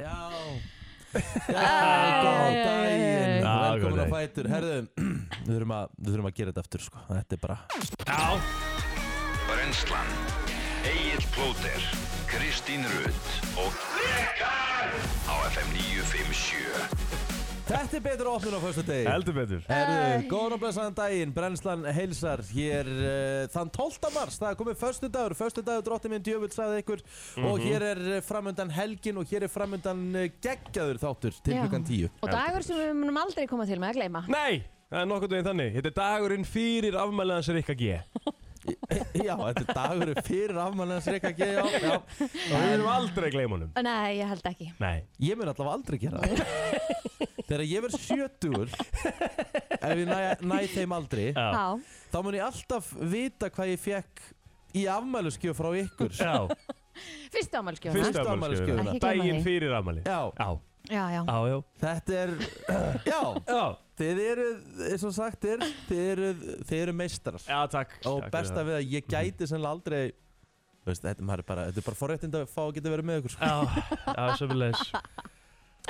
Já Æ, æ, Góðan æ, æ, daginn æ. Já, Velkomin góðan á daginn. fætur Herðu, við þurfum að, við þurfum að gera þetta aftur sko Þetta er bara Já, Brennslan Egil Plóter Kristín Rutt og Rikar á FM 957 Þetta er betur opnun á fyrsta degi heldur betur Herðu, góðan og blessaðan daginn Brennslan heilsar hér uh, þann 12. mars Það er komið föstu dagur Föstu dagur drottin minn djöfull sagði ykkur Mhm. Og hér er framöndan helgin og hér er framöndan uh, geggjaður þáttur til Já. klukkan 10 Og dagur sem við munum aldrei koma til með að gleyma Nei, það er nokkuð veginn þannig Þetta er dagurinn fyrir afmæliðans Rikka G Já, þetta er dagur fyrir afmannans Rikka G já, já. Og við erum aldrei að gleyma honum Nei, ég held ekki Nei Ég mun allavega aldrei gera það Þegar ég verð sjötugur Ef ég næ, næ þeim aldrei Já, Já, Þá mun ég alltaf vita hvað ég fekk Í afmæluskjöf frá ykkur já fyrstu ámælskjóna Fyrstu Fyrsta afmælisgjöfina. afmæliðskjöfuna Ekki gleyma Daginn því. fyrir afmæli Já. Já, Já, já já, já Þetta er Já, Já, þið eruð, eins og sagt er Þið eruð, þið eruð meistrar já takk Og Takk fyrir besta það. við að ég gæti sennilega aldrei Þú veist, þetta, maður er bara, þetta er bara forréttind að fá að geta verið með ykkur sko. Já, já, sömulegis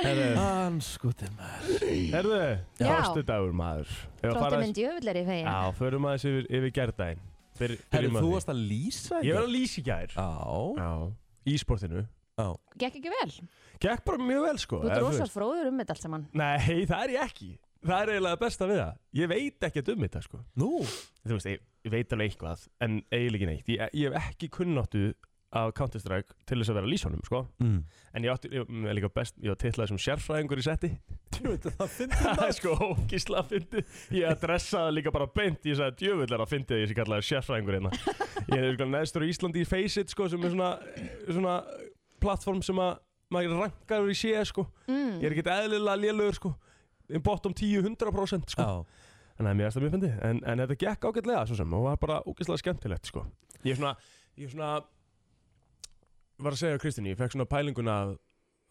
Herðu, Anskutin maður herðu Já. Föstudagur maður Ef að fara- Tróttir minn djöfull er í fegin Já, förum aðeins yfir, yfir gerðdægin Herru, Herðu, þú varst að lýsa Ég var að lýsa í gær Já, Já Í sportinu já Gekk ekki vel Gekk bara mjög vel sko Þú eða ert rosa veist. fróður um þetta allt saman Nei, það er ég ekki Það er eiginlega besta við það Ég veit ekkert um þetta sko Nú, Þú veist, ég, ég veit alveg eitthvað En eiginlega ekki neitt Ég, ég hef ekki kunnáttu af Counter-Strike til þess að vera að lýsa honum sko mm. En ég átti, ég, ég var líka best, ég var titlaði sem sérfræðingur í setti Jú, þetta það finnst Það er sko ógísla að fyndi Ég adressaði líka bara beint Ég sagði djöfull er að fyndi því sem kallaði sérfræðingur hérna Ég er sko neðstur á Íslandi í Faceit sko sem er svona, svona plattform sem að maður rankaður í sé sko mm. Ég er ekkert eðlilega lélugur sko In bottom 10-100% sko Já, Þannig að mér erst það mjög fyndi en, en þetta gekk ágætlega svo sem og var bara ógíslega skemmtilegt sko Ég er svona, ég er svona Var að segja á Kristín, ég fekk svona pælinguna að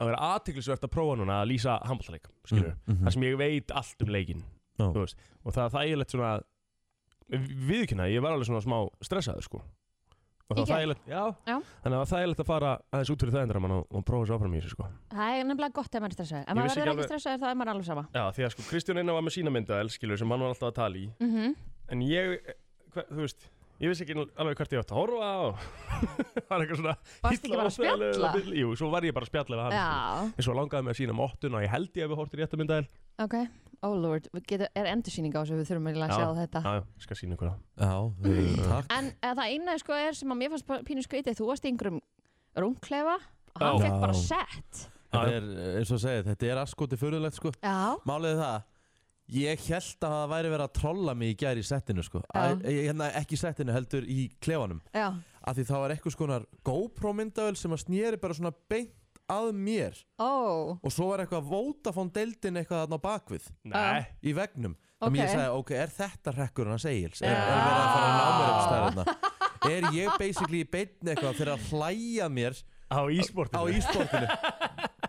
að vera aðtiklisvert að prófa núna að lýsa handbóltaleik, skilur Mm, mhm. þar sem ég veit allt um leikin Já. þú veist, og það er þægilegt svona viðkynna, ég var alveg svona smá stressaður sko og það Í var gær? þægilegt, já, Já. þannig að það var þægilegt að fara aðeins út fyrir þægindramann og, og prófa svo áfram í þessu sko Það er nefnilega gott ef maður er stressaður Ég Ef maður verður ekki vissi ekki alveg- stressaður þá er maður alveg sama Já, því að sko Kristján Einar var með sína myndaðel, skilur, sem hann var alltaf að tala í mm en ég, hva, þú veist ég vissi ekki alveg hvert ég átt að horfa og var eitthvað svona Varstu ekki bara að illa spjalla? ástæðilegur- Jú, svo var ég bara að spjalla við hann sko. Já, en svo langaði mig að sína mottun og ég held ég að við hortir rétt að myndaðel ok Oh lord, Við getum- er endursýning á þessu við þurfum eiginlega að sjá þetta Já, já, ég skal sína ykkur það já, uh, takk En eh, það eina sko er sem að mér fannst bara pínu skrítið Þú varst í einhverjum rungklefa og hann Já. fekk bara Já. sett Þetta er, eins og að segja, þetta er askoti fyrirlegt sko Já, Málið er það Ég held að það væri verið að trolla mig í gær í settinu sko Já. Æ, ég- Hérna ekki í settinu heldur í klefanum já, Af því það var eitthvað skonar GoPro myndavel sem að snýri bara svona beint að mér ó Og svo var eitthvað Vodafone deildin eitthvað þarna á bakvið Nei, Í veggnum Ah. Þannig Ok. ég sagði, ok, er þetta rekkur hann að segja Er, Já. er verið að fara að ná mér um stærðina Er ég basically í beitn eitthvað fyrir að hlæja að mér á ísportinu á ísportinu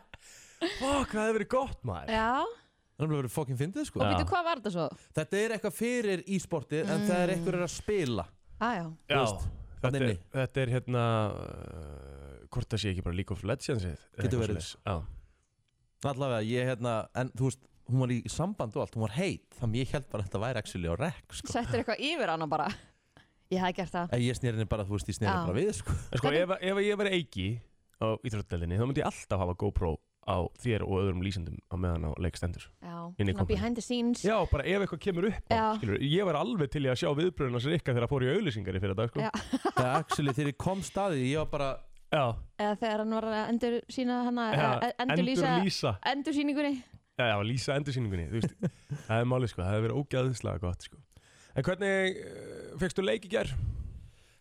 Fokk, það hefur verið gott maður Já, Þannig að það verið fokkin fyndið sko og Já. býtu hvað var þetta svo? Þetta er eitthvað fyrir ísportið en það er eitthvað er að spila Ah, já, Já, veist, þetta, þarna er, inni. þetta er hérna uh, Hvort það sé ekki bara League of Legends eða Getur eitthvað verið. svoleiðis. Já, Allavega ég hérna En þú veist Hún var í samband og allt Hún var heit Þannig ég held bara að þetta væri actually á rek sko settur eitthvað yfir hana bara Ég hafði gert það En ég sneri henni bara Þú veist ég sneri Já. henni bara við sko En sko, ef, ef ég verið eigi á íþróttadelinni þá myndi ég alltaf hafa GoPro á þér og öðrum lýsendum á meðan á leikstendur Já, Inn í svona kompuna. behind the scenes Já, bara ef eitthvað kemur upp á, Já. skilur, ég var alveg til ég að sjá viðbröðuna sér ykkar þegar að fór í auðlýsingar í fyrir dag sko. Já. Það er actually þegar ég kom staði Ég var bara Já, Eða þegar hann var að endur sína hana e- já, Endur lýsa lýsa Endur síningunni Já, já, lýsa endursýningunni, þú veist Það er málið sko, það hefur verið ógæðislega gott sko En hvernig uh, fegstu leik í gær?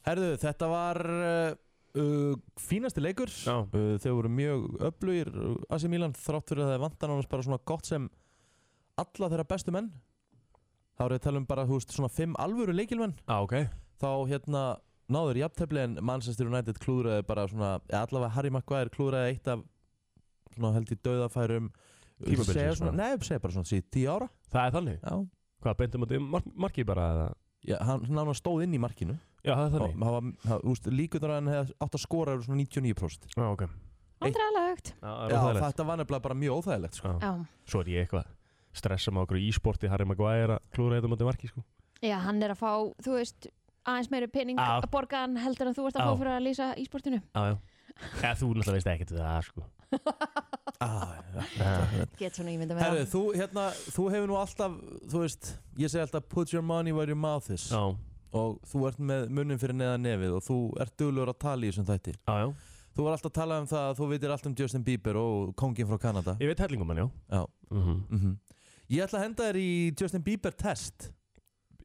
Herðu þetta var uh, uh, Fínasti leikur Já. uh, Þau voru mjög öflugir Asi Milan þrátt fyrir að það vantan Annars bara svona gott sem Alla þeirra bestu menn Þá erum við að tala um bara Þú veist svona Fimm alvöru leikilmenn Já, ah, ok þá hérna náður jafntefli en Manchester United klúðraði bara svona, eða allavega Harry Maguire klúðraði eitt af svona held í dauðafærum Tímabilsins segja svona, bara. nei, segja bara svona síðan tíu ára Það er þannig já, Hvað, beintum að mark markið bara eða? já hann náður stóð inn í markinu Já, það er og þannig hann var, hann, úst, líkunar að hann hefði átt að skora eru svona 99% Já, ok Vandræðalega högt. Já, það er Já, óþægilegt. þetta var nefnilega bara mjög óþægilegt sko. Já. Já. Svo er ég eitthvað stressa með okkur í e-sporti Harry Maguire að klúra þetta mútið marki sko. Já, hann er að fá, þú veist, aðeins meiri pening Af- að borga hann heldur en þú ert að Á. fá fyrir að lýsa í sportinu. Já, já Eða þú náttúrulega veist ekkert við það sko. ah, ja. Get svona ímynda með Herru, þú, hérna, þú hefur nú alltaf þú veist, ég segi alltaf put your money where your mouth is Já, og þú ert með munnin fyrir neðan nefið og þú ert duglur að tala í þessum þætti já, já þú var alltaf að tala um það að þú veitir allt um Justin Bieber og kongin frá Kanada Ég veit hellingum hann, já Já. mm Mhm. Ég ætla að henda þér í Justin Bieber test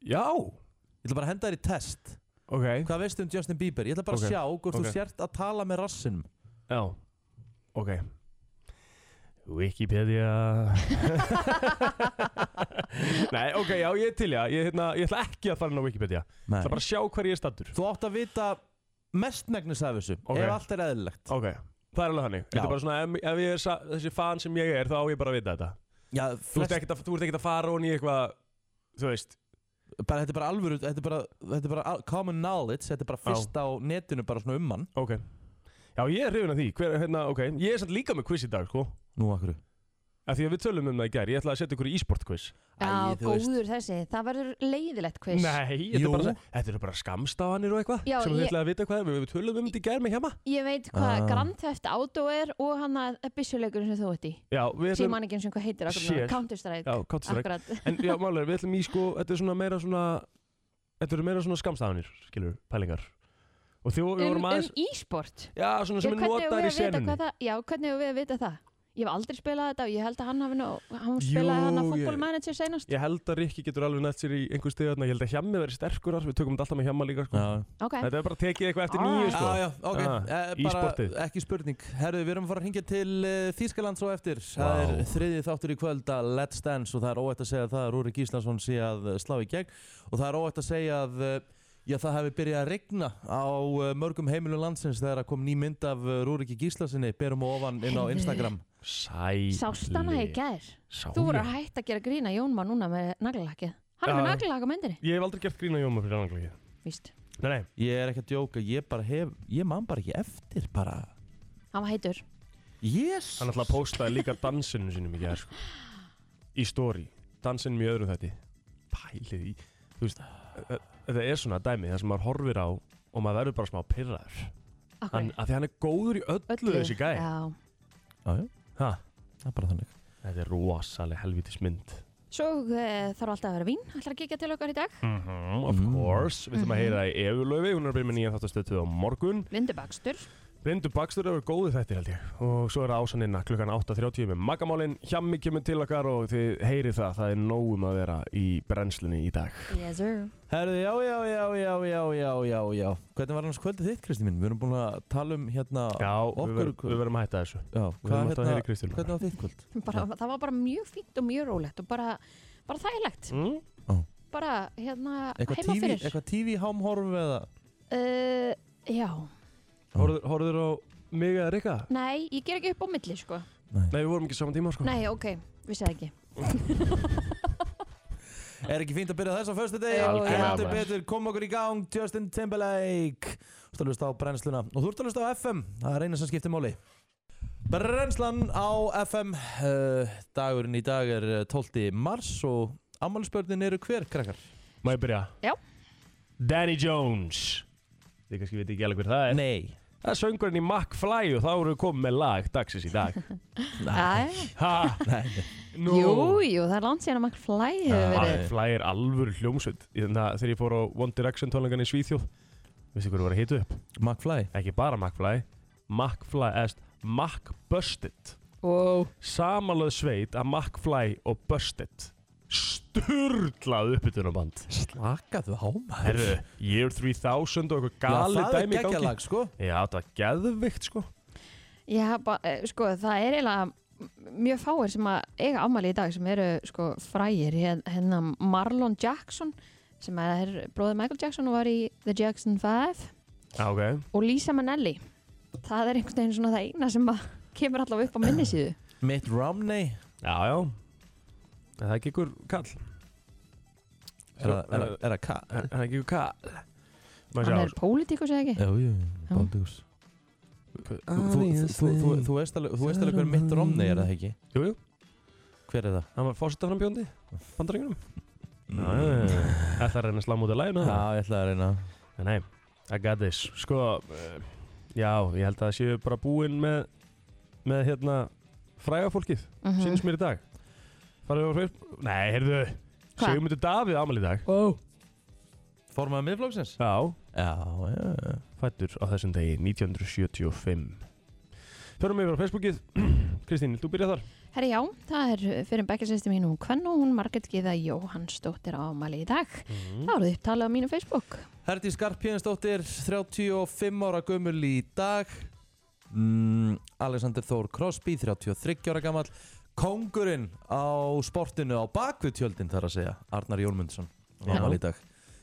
Já, Ég ætla bara að henda þér í test ok Hvað veistu um Justin Bieber? Ég ætla bara Ok, að sjá hvort ok. þú sért að tala með rassinum Já, ok Wikipedia Nei, ok, já, ég er til, já Ég, hérna, ég ætla ekki að fara inn á Wikipedia Nei. Það er bara að sjá hver ég er stattur Þú átt að vita mestmægnis af þessu Ok. ef allt er eðlilegt Ok, það er alveg hannig Þetta er bara svona, ef, ef ég er sa, þessi fan sem ég er þá á ég bara að vita þetta Já, Þú ert flest, ekkert að, þú ert ekkert að fara honi í eitthvað Þú veist bara, Þetta er bara alvöru þetta er bara, þetta er bara al- common knowledge Þetta er bara Já. fyrst á netinu bara svona um hann Ok Já, ég er hrifin af því Hver, hérna, ok Ég er samt líka með quiz í dag, sko Nú akkur Af því að við tölum um það í gær Ég ætla að setja ykkur í e-sport quiz Já, Æ, þú veist. góður þessi. Það verður leiðilegt quiz. Nei, þetta Jú. er, bara, þetta eru bara skamstafanir og eitthvað Já, Sem við ég- ætla að vita hvað er. Við, við tölum um þetta í gær með hjama Ég veit hvað Ah. Grand Theft Auto er og hann að byssuleikurinn sem þú ert í. Já, við Sér ætlum mann ekki eins og hvað heitir akkur Sér. núna. Counter-Strike. Já, Counter-Strike Akkurat. En já, málega, við ætlum í sko Þetta er svona meira svona Þetta eru meira svona skamstafanir Skilur, pælingar Og því við Um, vorum um aðeins e-sport. Já, svona Já, sem er hvernig eigum við notaðir í að vita senunni hvað það- Já, hvernig hefur við að vita það? Ég hef aldrei spilað þetta og ég held að hann hafi nú, hann Jú, spilaði hann að ég- fótbólmanager seinast. Ég held að Rikki getur alveg nætt sér í einhver stið Ég held að hjemmi verið sterkur Við tökum þetta alltaf með hjemma líka sko. Já, Ok, Ah. Þetta er bara tekið eitthvað eftir Alright. nýju já, sko. já, ok Ah, eh, í bara, sportið. Ekki spurning Herru, við erum að fara að hingja til uh, Þýskaland svo eftir Það Vá. er þriðið þáttur í kvöld að Let's Dance og það er óætt að segja það að Rúri Gíslason sé að eh, slá í gegn og það er óætt að segja að eh, Já, það hefði byrjað að regna á eh, mörgum heimilum landsins þegar að kom ný mynd af eh, Rúriki Gíslasinni, berum og ofan inn á Heyrðu. Instagram. Sæli sást hann að ég gær. Sá Þú voru ég. að hætta að gera grína Jónma núna með naglalakið. Hann er Já. með naglalakið á myndinni, Ég hef aldrei gert grína Jóma fyrir anglagi víst. Nei, nei, Ég er ekki að djóka, ég bara hef, ég man bara ekki eftir bara. Hann var heitur. Yes! hann ætlaði að postaði líka dansinu sinum í gerð sko. Í story, dansinum í öðrum þætti Pælið í, þú veist þe- Þetta er svona dæmi þar sem maður horfir á Og maður verður bara smá pirraður hann, Akkur. Af því hann er góður í öllu, þessi gæ Já. Já, já, Ha, það er bara þannig. Þetta er rosaleg helvitis mynd Svo uh, þarf alltaf að vera vín, ætlar að kíkja til okkar í dag. mm Of Mm. course, við þurfum að heyra það í Efulöfi Hún er að byrja með nýja þáttastötu á morgun Vindubakstur. Blindu Bakstur eru góðu þættir held ég og svo er það ásaninna klukkan 8.30 með Magamálin, Hjammi kemur til okkar og þið heyrið það, það er nógum að vera í brennslunni í dag Yes sir. Herðu, já, já, já, já, já, já, já, já. Hvernig var annars kvöldið þitt, Kristi mín? Við erum búin að tala um hérna... Já, okkur við, ver, kvöld. við verðum að hætta þessu já Við hvað verðum alltaf að hérna... heyra Kristján Hvernig var þitt kvöld? Bara, það var bara mjög fínt og mjög rólegt og bara, bara þægilegt. mm? Bara hérna Hm? Eitthvað heima TV, fyrir. eitthvað TV hámhorf eða... Uh, já, Horður- Horður á mig eða Rikka? nei, ég ger ekki upp á milli sko Nei, við vorum ekki saman tíma sko Nei, ok, vissi það ekki Er ekki fínt að byrja þess á föstu degi? Jú, Algjörlega, Heldur maður. betur, kom okkur í gang, Justin Timberlake. Þú ert að hlusta á brennsluna. Og þú ert að hlusta á FM. Það er eina sem skiptir máli. Brennslan á FM. Uh, dagurinn í dag er eh, 12. mars og ammálspörnin eru hver, krakkar? Má ég byrja? Já. Danny Jones Þið kannski veit ekki alveg hver það er Nei. Það er söngurinn í McFly og þá erum við komið með lag dagsins í dag Æ, Ha? Nei. Nú. Jú, jú, það er langt síðan að makk flæði hefur Já. verið Fly er alvöru hljómsveit Þannig að þegar ég fór á One Direction tónleikana í Svíþjóð Vistu hverju var að hita upp? McFly. Ekki bara McFly McFly, eðst McBusted wow. Samalöð sveit að McFly og Busted Sturlað uppbytunarband Slakaðu hámar. Herru, Year 3000 og eitthvað Já, galið það dæmi er í gangi geggjalag, sko. Já, þetta var geðvikt sko Já, ba, eh, sko, það er eiginlega mjög fáir sem að eiga ámæli í dag sem eru sko frægir Hér- hérna Marlon Jackson sem er bróðið Michael Jackson og var í The Jackson 5 Já, ok og Lisa Minnelli það er einhvern veginn svona það eina sem að kemur allavega upp á minni síðu Mitt Romney. Já, já Er það ekki ykkur kall? Er það- er það- er það ka... Er er það ekki ykkur kall? Má sjá, hann er pólitíkus eða ekki Jú, jú, Já. Baldurs. Hva- Þú, þú, þú, þú veist alveg, þú veist alveg hver mitt romni er það ekki? Jú, jú, Hver er það? hann var fórsetaframbjóndi Bandaríkunum Þetta er að reyna að slá mútið læginu Mm. Já, ég ætla að reyna En Nei, I got this Sko, eh, já, ég held að það séu bara búinn með með hérna fræga fólkið Mhm. sínist mér í dag Farðu á Facebook? Nei, heyrðu Hva? Sigmundur Davíð ámæli í dag oh. Formaði miðflóksins? Já, Já, já, já fættur á þessum degi 1975 Förum yfir á Facebookið Kristín, vilt þú byrja þar? Herri já, það er eh, fyrir bekkjarsýstum mínum hún Kvenn og hún Margrét Gíða Jóhannsdóttir á mæli í dag. Mhm. Það voruð upptalið á mínu Facebook. Herdi Skarpjensdóttir, 35 ára gömul í dag mm, Alexander Þór Crosby, 33 ára gammal Kongurinn á sportinu á bakvið tjöldin þar að segja Arnar Jónmundsson á Já. afmæli í dag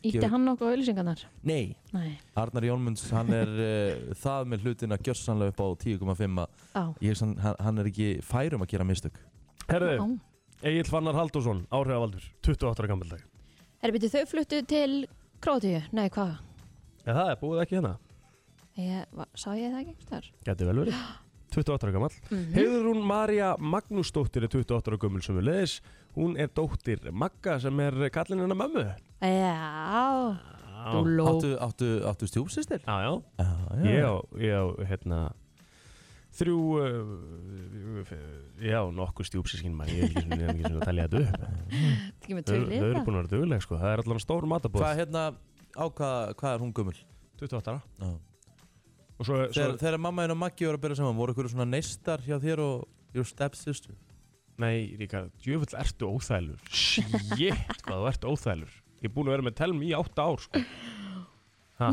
Ítti Ég- hann nokkuð á auðlýsingarnar? Nei, Nei. Arnar Jónmunds, hann er uh, það með hlutina gjörsanlega upp á 10,5 að Á. ég, sann- hann, hann er ekki færum að gera mistök Herðu, Á. Egil Fannar Haldursson, áhrifavaldur 28 ára gammal dag Herri byrju, þau fluttu til Krótíu. Nei, hvað? Já, það er búið ekki hérna Ég, va, sá ég það ekki þar? Gæti vel verið 28 ára gammal Mhm. Heiðrún Marja Magnúsdóttir er 28 ára gömul sem við leðis Hún er dóttir Magga sem er kallinn hennar mömmu Já, Já, dúló. Áttu, áttu, áttu stjúpsýstir? já, já. Já, Ég á, ég á hérna Þrjú uh, Já, nokkuð stjúpsískinn maður Ég er ekki svona- ég er ekki svona að talja þetta upp Þetta ekki með hérna. tvö Þau þau eru liða. búin að vera dugleg sko Það er allan stór matabóð Hvað hérna, á hvað, hvað er hún gömul? 28 ára Já. Og svo, svo Þegar, þegar mamma þín og Maggi voru að byrja saman, voru ykkur svona neistar hjá þér og your stepsister? Nei, Ríkard, djöfull ertu óþælur Shit, hvað þú ert óþælur Ég er búin að vera með Telma í 8 ár sko Æ, æ,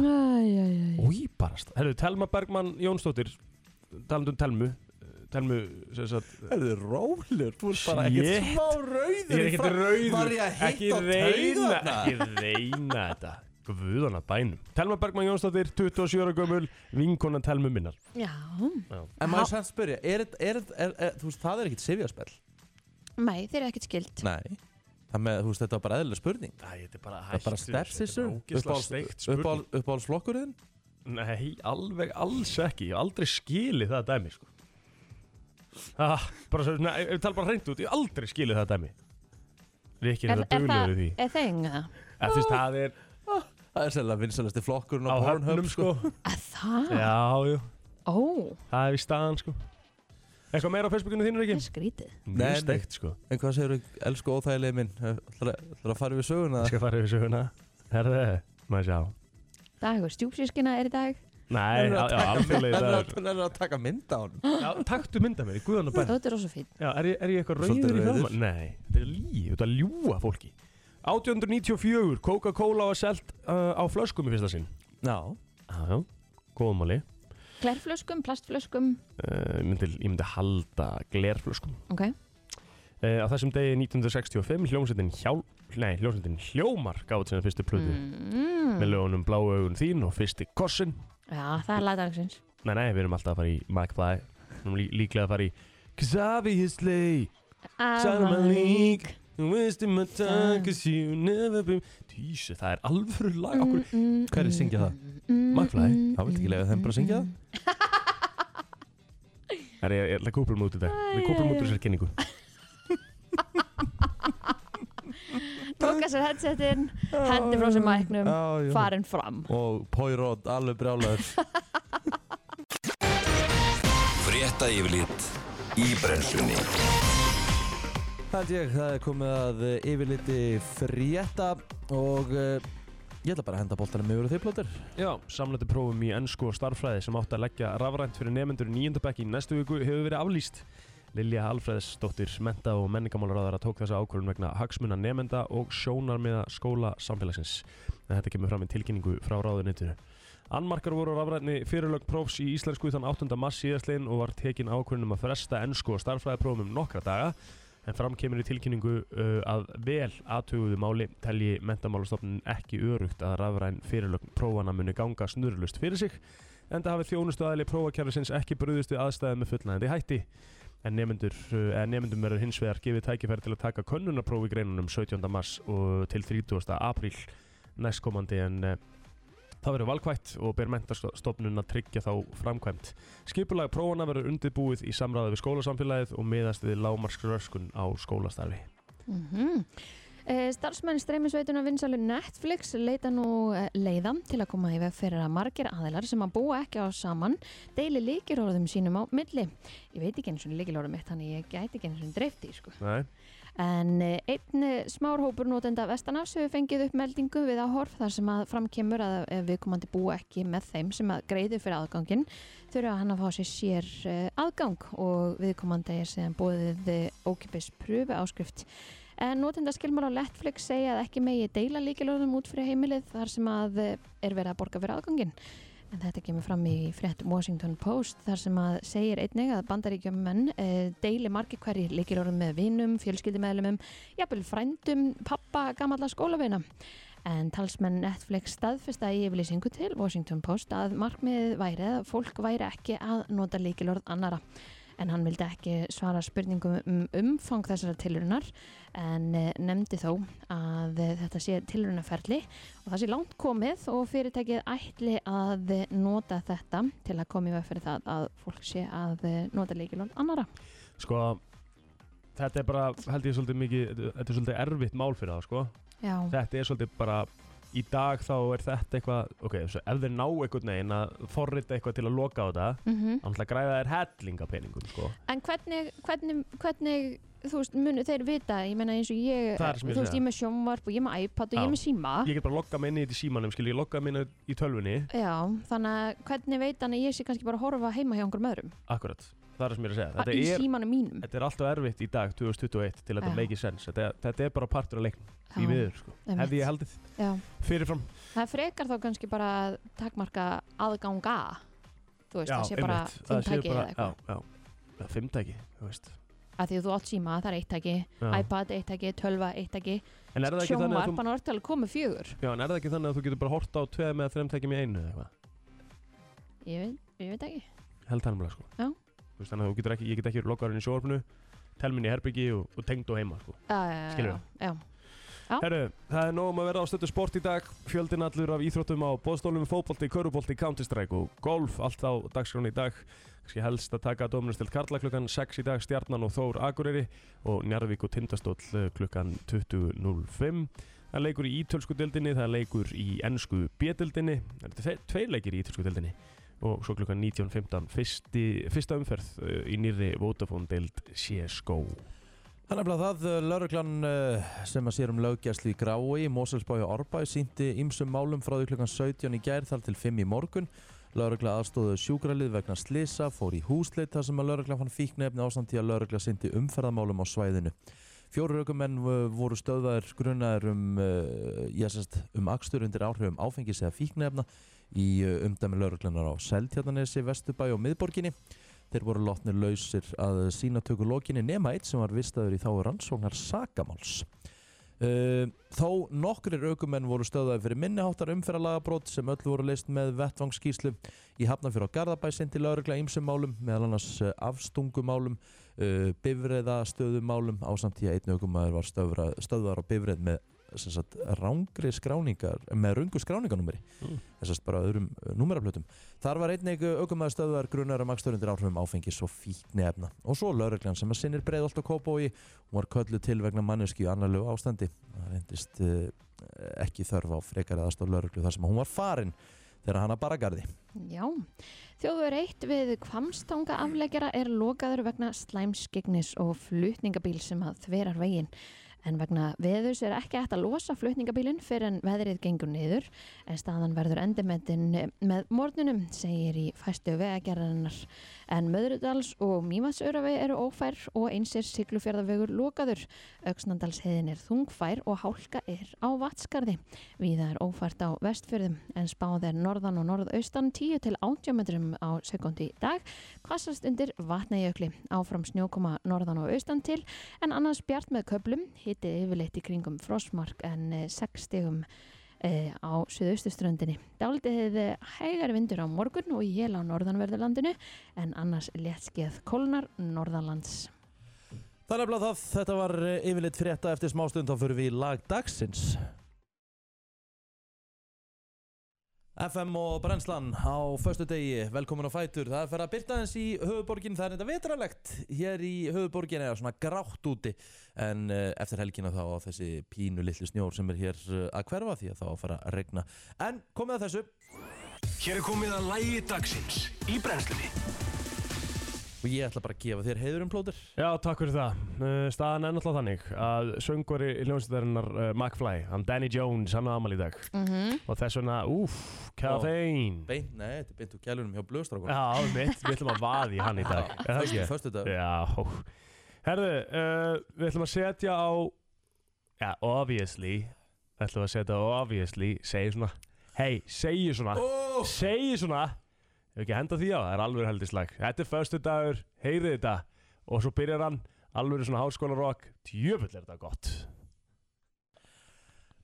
æ. Új, bara stað Herru, Telma Bergmann Jónsdóttir Talandi um Telmu Telmu, sem sagt Það er rólur, þú ert bara ekkert Shit. smá rauður Ég er ekkert rauður Var ég að Ekki hitta reyna, taugarnar? ekki reyna þetta Guðana bænum Telma Bergmann Jónsdóttir, 27 ára gömul Vinkona Telmu minnar Já, En maður sann spyrja, er, er, er, er, er, þú veist, það er ekkert sifjarspell nei, þeir eru ekkert skilt. Nei Það með, þú veist, þetta var bara eðlileg spurning Æ, þetta er bara Það er bara stepsister, uppáhalds- uppáhaldsflokkurinn þinn? Nei, alveg alls ekki Ég hef aldrei skilið það dæmi sko. ah, bara, svo- Nei, ég tala bara hreint út Ég hef aldrei skilið það dæmi Rikki er Er, er þetta það, duglegur í því er það enga það? Að, Þú veist, það er Ah, Það er sérlega vinsalasti flokkurinn á á Pornhub höfnum sko. Er það? Já, jú, Ó, það er í staðan sko. Eitthvað meira á Facebookinu þínu, það Rikki? er skrítið. Nei, Mjög nei. steikt sko. En hvað segirðu, elsku óþægilegi minn, ætlar að fara við söguna? Ég skal fara yfir söguna Herðu, maður sjá Dagur stjúpsískina er í dag. Nei, já, já, alþjóðlega í dag Hann er að taka mynd á hann Já, Taktu mynda mér, guðan og bæn Þetta er rosa fín. Já, er ég, er ég eitthvað Svolítið rauður í rauður. hjálmar? Nei, þetta er lí, þetta er ljúa fólki 1894, Coca-Cola var selt uh, á flöskum í fyrsta sinn Já, Já, já, góðmáli uh, Klærflöskum, plastflöskum. Eh, ég, myndi, ég myndi halda glerflöskum Ok. uh, Á þessum degi 1965, hljómsveitin hjál... Nei, hljómsveitin hljómar gáði sinna fyrstu plöðu Mm. Með lögunum Bláu augun þín og fyrsti kossin Já, það er lagdagsins. Nei, nei, við erum alltaf að fara í McFly Nú erum lí, líklega að fara í Xaviersley Salma League Wasting my time cause you never been Týsu, það er alvöru lag okkur Hverjir syngja það? Mm. McFly? eh? Það vilt ekki leyfa þeim bara að syngja það? Það er ég kúplum út í dag Við kúplum út úr sér kynningu Tóka sér headsetin, hendi frá sér mæknum, já, já. farin fram. Og Poirot alveg brjálaður Frétta yfirlit í brennslunni Held ég, það er komið að eh, yfirliti frétta Og uh, ég ætla bara að henda boltanum yfir og þið plótur Já, samlættu prófum í ennsku og starffræði sem átt að leggja rafrænt fyrir nefnendur í nýjöndabæk í næstu viku hefur verið aflýst Lilja Alfreðsdóttir, menta og menningamálaráðara tók þessa ákvörðun vegna hagsmuna nefnenda og sjónarmiða skóla samfélagsins en þetta kemur fram í tilkynningu frá ráðunitinu Annmarkar voru á rafrænni fyrirlög prófs í íslensku þann 8. mars síðastlegin og var tekin ákvörðunum að fresta ennsku og starffræðiprófum um nokkra daga en fram kemur í tilkynningu uh, að vel aðtuguðu máli telji mentamálastofnun ekki örugt að rafræn fyrirlögn prófana muni ganga snurlust fyrir sig en það hafi þjónustu aðli prófakjærlisins ekki brúðist við aðstæði með fullnæðandi hætti en nefnendur, uh, en nefnendum verður hins vegar gefið tækifæri til að taka um könnunaprófi greinunum 17. mars og til 30. apríl næstkomandi en uh, Það verður valkvætt og ber mentarstofnun að tryggja þá framkvæmt. Skipulag prófana verður undirbúið í samræði við skólasamfélagið og miðast við lámarskröskun á skólastarfi. Mm -hmm. Starfsmenn streymisveituna vinsalu Netflix leita nú eh, leiða til að koma í veg fyrir að margir aðilar sem að búa ekki á saman deili líkilorðum sínum á milli. Ég veit ekki eins og líkilorðum mitt þannig ég gæti ekki eins og dreifti sko. Nei. En eh, einn eh, smárhópur notenda vestanafs hefur fengið upp meldingu við áhorf þar sem að framkemur að ef viðkomandi búa ekki með þeim sem að greiðu fyrir aðgangin þurfa hann að fá sér sér eh, aðgang og viðkomandi er sem búið ókipis pröfu áskrift. En notenda skilmar á Netflix segja að ekki megi deila líkilorðum út fyrir heimilið þar sem að eh, er verið að borga fyrir aðgangin. En þetta kemur fram í frétt Washington Post þar sem að segir einnig að bandaríkjumenn e, deili margir hverjir líkilorðum með vinum, fjölskyldumeðlumum, jafnvel frændum, pappa, gamalla skólavina. En talsmenn Netflix staðfesta í yfirlýsingu til Washington Post að markmiðið væri að fólk væri ekki að nota líkilorð annara. En hann vildi ekki svara spurningum um umfang þessara tilurunar en eh, nefndi þó að eh, þetta sé tilurunaferli og það sé langt komið og fyrirtækið ætli að nota þetta til að koma í veg fyrir það að fólk sé að eh, nota leikilón annara. Sko, þetta er bara, held ég svolítið mikið, þetta er svolítið erfitt mál fyrir það, sko. Já, þetta er svolítið bara í dag þá er þetta eitthvað ok, svo ef þeir ná einhvern veginn að forrita eitthvað til að loka á þetta mm þá náttúrulega græða þeir hellinga peningum sko. en hvernig, hvernig, hvernig þú veist, munu þeir vita, ég meina eins og ég, Það er sem þú ég veist, segi. ég er með sjónvarp og ég er með iPad og ég Já. er með síma. ég get bara að lokka mig inn í þetta í símanum skil ég lokka mig inn í tölvunni Já, þannig að hvernig veit hann að ég sé kannski bara að horfa heima hjá einhverjum öðrum, akkurat, það er það sem ég er að segja í þetta er, símanum mínum. þetta er alltaf erfitt í dag 2021 til að Já. þetta make sense þetta, þetta er bara partur af leiknum í viður sko. einmitt. hefði ég haldið Já. fyrirfram Það frekar þá kannski bara að takmarka aðganga þú veist, Já, það sé bara einmitt. fimm Það séu tæki eða bara- eitthvað já, já. Já, fimm tæki þú veist. að því að þú átt síma, það er eitt tæki Já. iPad, eitt tæki, tölva, eitt tæki en er það ekki þannig að sjónvarp, þú- hann var til að koma fjögur já, en er það ekki þannig að þú getur bara horta á tveið með þrem tækjum í einu eða eitthvað ég veit, ég veit ekki held hannumlega sko Já. Þú veist, þannig að þú getur ekki, ég get ekki verið lokkarinn í sjóarpinu telminn í herbyggi og, og tengd og heima sko. Skilurðu? uh, já, Já. Herru, það er nóg um að vera á stöttu sport í dag fjöldin allur af íþróttum á bóðstólum fótbolti, körubolti, counterstrike og golf allt á dagskránu í dag kannski helst að taka Dóminustelt Karla klukkan 6 í dag Stjarnan og Þór Akureyri og Njarðvík og Tindastóll eh, klukkan 20.05 Það er leikur í ítölsku dildinni, það er leikur í ennsku B-dildinni, þetta er tve- tveir leikir í ítölsku dildinni og svo klukkan 19.15 fyrsti, fyrsta umferð eh, í nýrri Vodafone-deild CSGO Það er nefnilega það, lauruglan sem að sér um lögjæslu í Grái, Moselsbæi og Árbæi sýndi ymsum málum frá því klukkan 17 í gær þar til 5 í morgun. Laurugla aðstóðu sjúkralið vegna slisa, fór í húsleit þar sem að laurugla fann fíknefni ásamt í að laurugla sýndi umferðamálum á svæðinu. Fjóru aukumenn voru stöðaðir grunaðir um, eh, ég sérst, um akstur undir áhrifum áfengis eða fíknefna í eh, umdæmi lauruglanar á Seltjarnanesi, Vesturbæi og Miðborginni. Þeir voru látnir lausir að sínatöku lokinni nema eitt sem var vistaður í þá rannsóknar sakamáls. Uh, þó nokkrir aukumenn voru stöðaði fyrir minniháttar umferðalagabrót sem öll voru leist með vettvangskíslu í Hafnafjör og Garðabæ sindi laurugla ýmsum málum, meðal annars eh, afstungumálum, uh, bifreiðastöðumálum á samtíð að einn aukumæður var stöðra, stöðvar á bifreið með sem sagt, rángri skráningar með rungu skráninganúmeri Mm. þessast bara öðrum eh, númeraplötum Þar var einnig eh, aukumæður stöðvar grunar um aksturundir áhrifum áfengis og fíknefna. Og svo lauruglan sem að sinnir breiðolt og kópói og var köllu til vegna manneski í annarlegu ástandi. Það reyndist uh, ekki þörf á frekar aðstóð lauruglu þar sem hún var farin þegar hana bara garði. Já, þjóður eitt við kvamstanga afleggjara er lokaður vegna slæmskignis og flutningabíl sem að þverar veginn. En vegna veðurs er ekki hægt að losa flutningabílinn fyrir en veðrið gengur niður en staðan verður endimettin með morgunum, segir í fæstu vegagerðarinnar. En Möðrudals og Mýmasöravi eru ófær og eins er Siglufjörðavegur lokaður. Öksnandalsheiðin er þungfær og hálka er á vatskarði. Víða er ófært á vestfjörðum en spáð er norðan og norðaustan 10 til 80 metrum á sekundi í dag. Hvassast undir vatnajökli. Áfram snjókoma norðan og austan til en annars bjart með köplum. Hitti yfirleitt í kringum frostmark en 6 stigum eh, á suðaustuströndinni. Dálítið eh, hægar vindur á morgun og jél á norðanverðurlandinu en annars léttskeið kólnar norðanlands. Það er nefnilega það, þetta var eh, yfirleitt frétta eftir smástund þá fyrir við í lag dagsins. FM og Brennslan á förstu degi, velkomin á Fætur Það er fyrir að byrta aðeins í höfuborgin, það er þetta vetralegt Hér í höfuborgin er svona grátt úti En uh, eftir helgina þá á þessi pínu litli snjór sem er hér eh, að hverfa því að þá á að fara að regna En komið að þessu Hér er komið að lægi dagsins í brennslunni Og ég ætla bara að gefa þér heiður um plótur Já, takk fyrir það. Uh, staðan er náttúrulega þannig að söngvari hljómsveitarinnar uh, McFly, hann Danny Jones, hann á amal í dag. Og þess vegna, úff, kaffein. Beint, nei, þetta er beint úr kælunum hjá blöðstrákunum Mm. Já, mitt, við ætlum að vaði hann í dag. Er það ekki? Förstu dag Já, hó. Herðu, uh, við ætlum að setja á, já, obviously, ætlum að setja á obviously, segi svona, hei, segi svona, Ó, segi svona, ef ekki að henda því á, það er alveg heldislag. Þetta er förstu dagur, heyrið þetta, og svo byrjar hann, alveg svona háskólarokk, djöfull er þetta gott.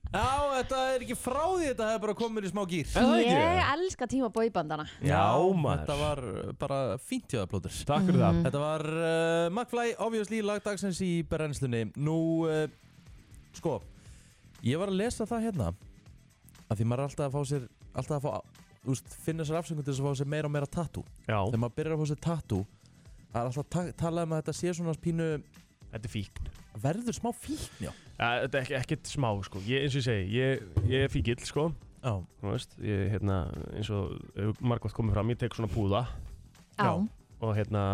Já, þetta er ekki frá því þetta hefur bara komið í smá gýr Er það ekki? Ég elska tíma bóibandana Já, maður. Þetta var uh, bara fínt hjá það plótur Takk fyrir það. Þetta var uh, McFly, obviously, lagdagsins í brennslunni. Nú, uh, sko, ég var að lesa það hérna, að því maður er alltaf að fá sér, alltaf að fá, þú veist, finna sér afsöngu til þess að fá sér meira og meira tattoo. Já, Þegar maður byrjar að fá sér tattoo, það er alltaf ta talað um að þetta sé svona pínu, þetta er fíkn. verður smá fíkn, já. Ja, Eh, Þetta er ekki, ekkert smá, sko. Ég, eins og ég segi, ég, ég er fíkild, sko. Já, Þú veist, ég, hérna, eins og margótt komið fram, ég tek svona púða Já. Já, og hérna,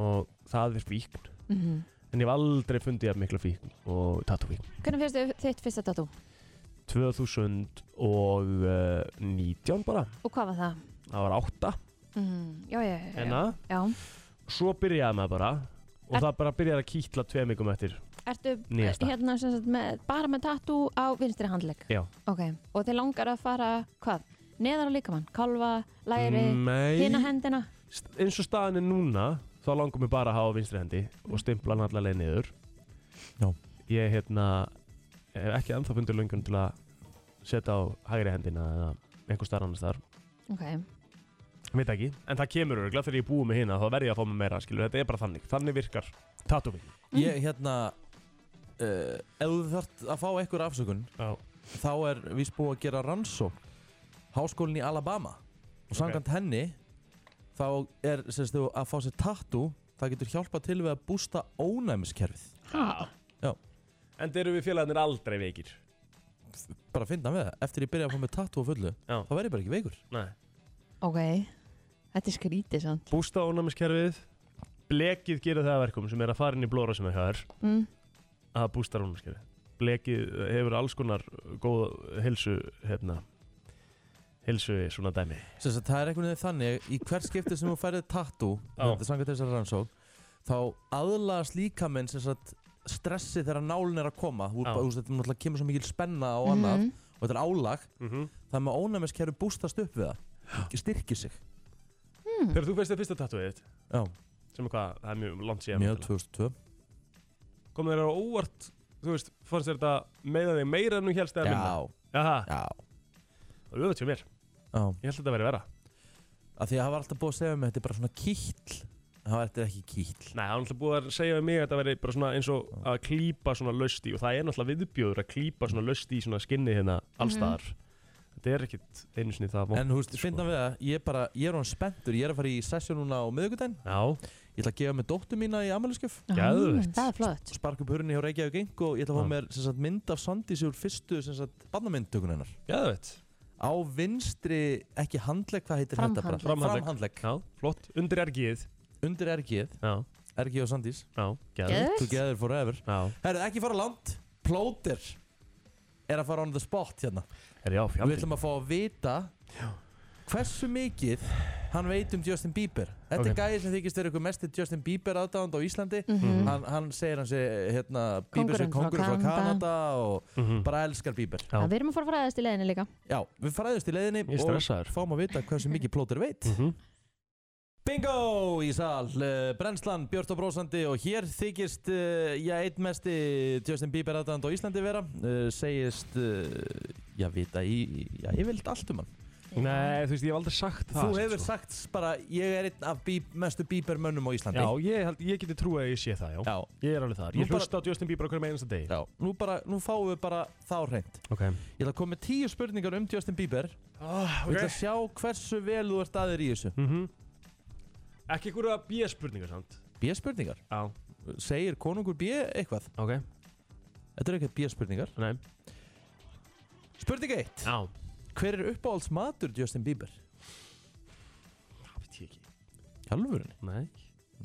og það er fíkn. Mhm. En ég hef aldrei fundið af mikla fíkn og tattúfíkn. Hvernig finnst þið þitt fyrsta tattoo? 2019 bara, Og hvað var það? það var átta Mm, já, já, já, já. hérna. já. Svo byrjaði maður bara og Er- það bara byrjaði að kýtla tveim mikum eftir. Ertu Nýjasta. hérna sem sagt með, bara með tattoo á vinstri handlegg? Já. Ok, og þið langar að fara hvað? Neðar á líkamann? Kolva, læri, mm. hina hendina? st- eins og staðan er núna þá langar mér bara að hafa á vinstri hendi og stimpla hann allavega leið niður Já. ég hérna hef ekki ennþá fundið löngun til að setja á hægri hendina eða einhver starf annars þar Ok, veit ekki, en það kemur örgulega þegar ég búið með hina þá verð ég að fá mig meira, skilur, þetta er bara þannig þannig virkar tattúfing ég, hérna, uh, ef þú þart að fá einhver afsökun, já, þá er víst búið að gera rannsókn háskólinn í Alabama og samkvæmt henni þá er semst þú að fá sér tattoo það getur hjálpað til við að bústa ónæmiskerfið Já. en eru við félagarnir aldrei veikir bara finna með það, eftir ég byrja að fá með tattoo á fullu Já. þá verð ég bara ekki veikur nei, ok. Þetta er skrítið samt. bústa ónæmiskerfið blekið gerir það að verkum sem er að fara inn í blóra sem er hér Mm. að bústa rónumskjöfi blekið hefur alls konar góð helsu hérna helsu svona dæmi semst að það er einhvern veginn þannig í hvert skipti sem þú færið tattoo Já. þetta er samkvæmt þessar rannsókn þá aðlaðast líkaminn sem sagt stressi þegar nálinn er að koma þú Já. bara, þú veist, þetta er náttúrulega kemur svo mikil spenna og annað Mhm. og þetta er álag mm -hmm. það með ónæmiskerfi bústast upp við það styrkir sig Þegar þú veist það fyrsta tattooið þitt Já, sem er hvað, það er mjög langt síðan mjög 2002 komið þér á óvart, þú veist, fannst þér þetta meða þig meira en þú helst eða minna Já, Jaha, já, það er öðvitað mér, já ég held að þetta verið vera Af því að það var alltaf búið að segja mig Þetta er bara svona kýll Það var þetta er ekki kýll Nei, það er náttúrulega búið að segja við mig að þetta verið bara svona eins og að klípa svona löst í og það er náttúrulega viðbjóður að klípa svona löst í svona skinni hérna allstaðar Þetta er ekkit einu sinni það vont, En þú veist, sko. finna við það Ég er bara, ég er hann spenntur Ég er að fara í sessjón núna á miðvikudaginn Já, Ég ætla að gefa mig dóttur mína í ammæliskef Geðveikt. Það er flott. Sparka upp hurðinni hjá Reykjavík Inc. Og ég ætla að Já. fá mér sem sagt, mynd af Sandís Úr fyrstu sem sagt, barnamyndtökun hennar geðvett Á vinstri, ekki handlegg, hvað heitir þetta bara? Framhandlegg. Framhandlegg Já, flott, undir ergið Undir ergið, Já, ergið og Sandís já, geðvett Geðveikt. Together forever Já, Herru, ekki fara langt Plóter er að fara on the spot hérna er já, Við fjandi ætlum að fá að vita hversu mikið hann veit um Justin Bieber. Þetta Ok. er gæði sem þykist er ykkur mesti Justin Bieber aðdáðand á Íslandi. hann, hann segir hann sé, hérna, Bieber sé Mhm. Kóngurinn frá kongur frá Kanada. Kanada og mm -hmm. bara elskar Bieber. Já. Við erum að fara að fræðast í leiðinni líka. Já, við fræðust í leiðinni Ég er stressaður. og fáum að vita hversu mikið plótur veit. Bingo í sal, eh, brennslan, björt og brósandi og hér þykist uh, já, einn mesti Justin Bieber aðdæðand Eh, á Íslandi vera, uh, segist, uh, já, vita í, já, ég vild allt um hann. Nei, þú veist, ég hef aldrei sagt það Þú samt, hefur sko. sagt bara, ég er einn af bí, mestu bíber mönnum á Íslandi Já, ég, held, ég geti trúið að ég sé það, já, Já, Ég er alveg þar, Nú ég bara- hlusta á Justin Bieber á hverjum einasta degi já. Nú, bara, nú fáum við bara þá hreint Ok, Ég ætla að koma með tíu spurningar um Justin Bieber okay. oh, Við ætla að sjá hversu vel þú ert aðeir í þessu mm Ekki einhverja B-spurningar samt B-spurningar, Já, segir konungur B eitthvað ok, Þetta eru ekkert B-spurningar nei Spurning 1 Já, Hver er uppáhalds matur Justin Bieber? það veit ég ekki Hjálfurinn Nei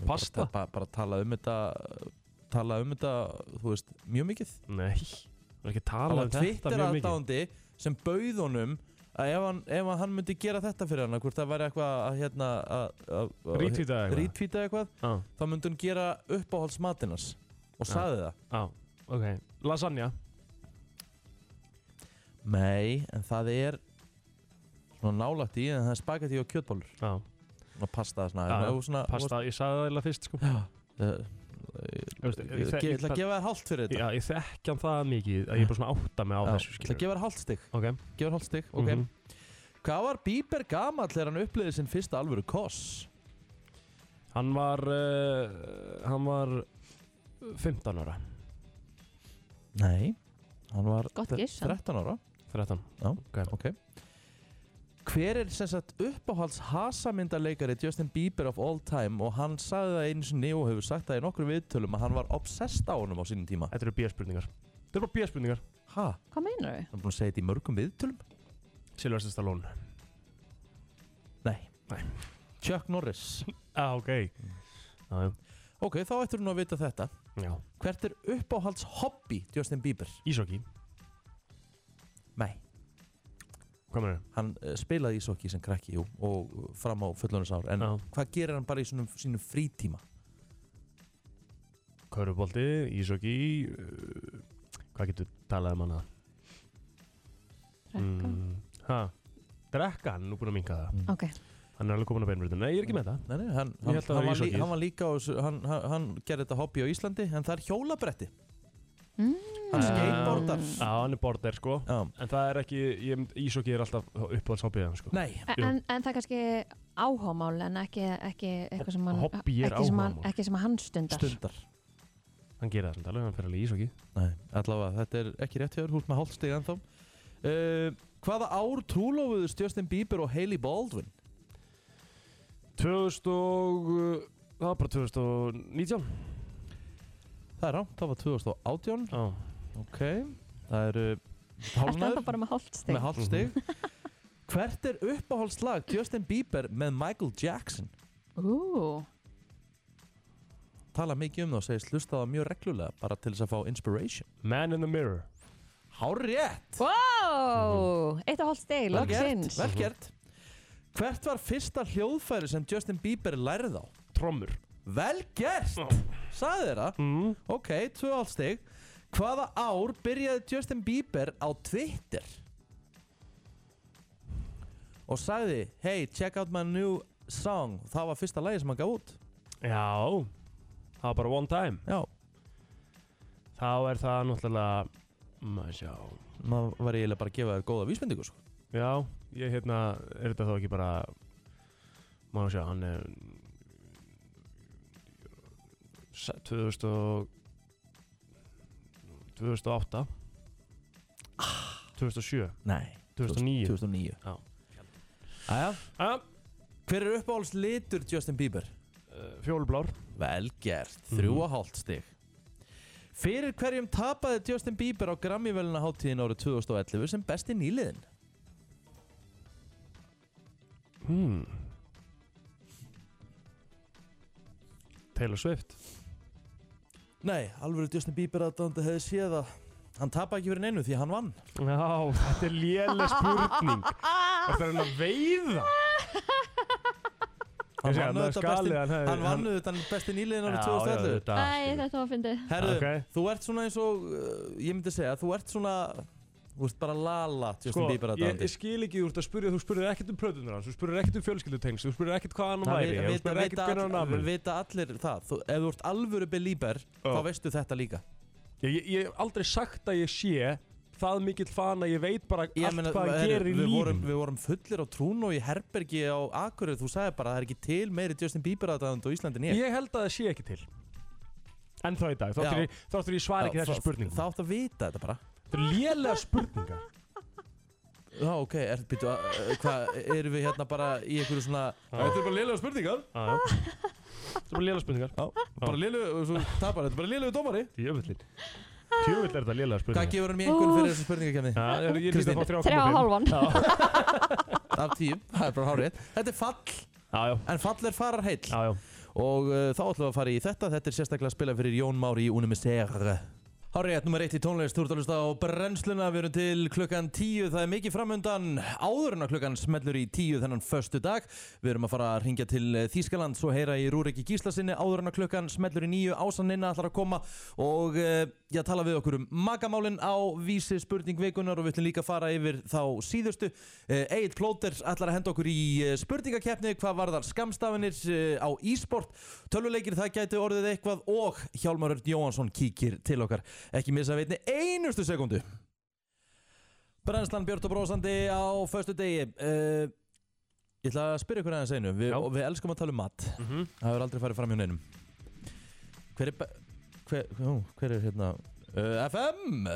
Pasta? Bara, bara, bara tala um þetta tala um þetta, þú veist, mjög mikið Nei, það er ekki að tala tala um þetta Twitter mjög mikið aðdándi sem bauð honum að ef hann, ef hann myndi gera þetta fyrir hann hvort það væri eitthvað að hérna að- að- að- Retweeta eða eitthvað retweeta eitthvað Já, þá myndi hann gera uppáhaldsmatinas og Já. saði það já, ok Lasagna nei, en það er svona nálægt í en það er spagetti og kjötbólur Já, og pasta svona, Já, og svona pasta, ég sagði það eiginlega fyrst sko Já, uh, Þú veist, ég þek- ég ætla að bara- gefa þér hálft fyrir þetta Já, ég þekki hann það mikið að ég er bara svona að átta mig á Já, þessu ég ætla að skilur gefa þér hálft stygg Ok, gefur hálft stygg, ok Mhm. Hvað var Bieber gamall þegar hann upplýði sinn fyrsta alvöru koss? hann var uh, Hann var 15 ára Nei, hann var Gott giss, hann. 13 ára 13 Ok Hver er sem sagt uppáhalds hasamyndaleikari Justin Bieber of all time og hann sagði það einu sinni og hefur sagt það í nokkrum viðtölum að hann var obsessed á honum á sínum tíma Þetta eru bjöspurningar Þetta eru bara bjöspurningar Ha? Hvað meinar þau? Hann er búin að segja þetta í mörgum viðtölum? Silvestre Stallone Nei Nei. Chuck Norris Já, ok Já, já. Ok, þá ættir hún að vita þetta já Hvert er uppáhalds hobby Justin Bieber? Ísokki, Nei hvað með Hann uh, spilaði ísokki sem krakki jú, og eh, fram á fullonus ár en Já. hvað gerir hann bara í sínum, sínum frítíma? Körubolti, ísokki uh, Hvað getur talað um hana? Rekka? Hæ? Drekka, hann er nú búinn að minka það Mm. Ok, Hann er alveg komin að beinbrutin Nei, ég er ekki með það Nei, nei, hann, Ég hann, held að hann, það var væri lí, íshokkið. hann var líka á, þessu- hann, hann, hann gerði þetta hobby á Íslandi en það er hjólabretti hann Ah. skateboardar Já, hann er border sko já. En það er ekki, ég mynd, ísokki er alltaf uppáhaldshobbið hans sko nei, en, Jú. en, en það er kannski áhámál en ekki, ekki eitthvað sem hann Hobby er ekki sem hann, áhugamál. ekki sem hann stundar stundar Hann gerir það samt alveg, hann fer alveg í ísokki nei, allavega, þetta er ekki rétt hjá húst með hálfstig ennþá uh, hvaða ár trúlófuðust Justin Bieber og Hailey Baldwin 2000 og, uh, það var bara 2019 það er rámt, það var 2018 Já, ok, það eru Er það hálfnaður bara með Mhm. hálfstig? með hálfstig hvert er uppáhaldslag Justin Bieber með Michael Jackson Ú, tala mikið um það og segist hlusta á það mjög reglulega bara til þess að fá inspiration Man in the Mirror hár rétt wow, eitt og hálfstig, Vel gert, loksins Vel gert Hvert var fyrsta hljóðfæri sem Justin Bieber lærið á? Trommur Vel gert Saði þeirra mm. Ok, tvö allstig Hvaða ár byrjaði Justin Bieber á Twitter? Og sagði Hey, check out my new song Það var fyrsta lagi sem hann gaf út Já, það var bara one time Já, Þá er það náttúrulega Maður sjá maður var eiginlega bara að gefa þér góða vísbendingu sko. Já, ég hérna Er þetta þá ekki bara Maður sjá, hann er se- 2000 og 2008 2007 Nei, 2009 2009 Já. Æja, ah, hver er uppáhalds litur Justin Bieber? Fjólblár Vel gert, Mhm. þrjú og hálft stig Fyrir hverjum tapaði Justin Bieber á Grammy-velina hátíðin árið 2011 sem besti nýliðin? hmm. Taylor Swift Nei, alveg Justin Bieber aðdóndi hefði séð að hann tapaði ekki fyrir neinu því hann vann Já, þetta er Mm. léleg spurning Þetta er hann að veiða Hann Ég segi, vann hann auðvitað skalið, besti, hann hefði- hann vann hann- auðvitað besti nýliðin árið Já, 2011 þetta Æ, skilur. þetta var að fyndið Herðu, Ok. þú ert svona eins og, uh, ég myndi segja, þú ert svona, þú ert bara lala Justin Sko, Bieber ég, aðdóndi ég skil ekki úr þetta að spyrja, þú spurðir ekkert um plötunar hans, þú spurðir ekkert um fjölskyldutengsl, þú spurðir ekkert hvað hann Það væri, vi- þú vita, spurðir ekkert vita, hvernig hann all, afur. vita allir það þú, Ef þú ert alvöru Belieber, Já. þá veistu þetta líka Ég, ég, ég hef aldrei sagt að ég sé það mikill fan að ég veit bara Ég allt meina, hvað hann herru, gerir í við vorum, lífum við vorum fullir á trún og í herbergi á Akureyri Þú sagði bara að það er ekki til meiri Justin Bieber aðdæðand á Íslandin ég Ég held að það sé ekki til En þá í dag, þá Já. áttur ég, þá áttur ég svar ekki Já, þessu þá- spurningum Það átt að vita þetta bara Þetta eru lélega spurningar Já, ok, er, býtu, uh, hvað, erum við hérna bara í einhverju svona Þetta er bara liðlega spurningar Já, já. Þetta eru lélega spurningar Já, Bara liðlega, svo tapar, þetta er bara liðlega dómari Djöfullin Djöfull er þetta lélega Hvað spurningar gefur hann í einhverju fyrir þessu spurningakefni? Já, ég er ég er líka Kristín. að fá þrjá Þrjá og hálfan. Af tíu, það er bara hárið Þetta er fall, Já, já, en fall er farar heill já, já Og uh, þá ætlum við að fara í þetta Þetta er sérstaklega að spila fyrir Jón Mári í Unimisera Hárið, nummer eitt í tónlist, þú ert að hlusta á brennsluna, við erum til klukkan tíu, það er mikið framöndan, áður en að klukkan smellur í tíu þennan förstu dag, við erum að fara að ringja til eh, Þýskaland, svo heyra í Rúriki Gíslasinni, áður en að klukkan smellur í nýju, ásaninna ætlar að koma og eh, ég tala við okkur um magamálin á vísi spurning vikunar og við ætlum líka að fara yfir þá síðustu. Egil Plóter ætlar að henda okkur í eh, spurningakeppni, hvað varðar skamstafinir eh, á e-sport, tölvuleikir það gæti orðið eitthvað og Hjálmar Örn Jóhansson kíkir til okkar ekki missa veitni einustu sekundu Brennslan Björn og Brósandi á föstu degi uh, Ég ætla að spyrja ykkur aðeins einu Vi, Já. og Við elskum að tala um mat Mhm. Það hefur aldrei farið fram hjá neinum Hver er be- hver, hú, hver er hérna uh, FM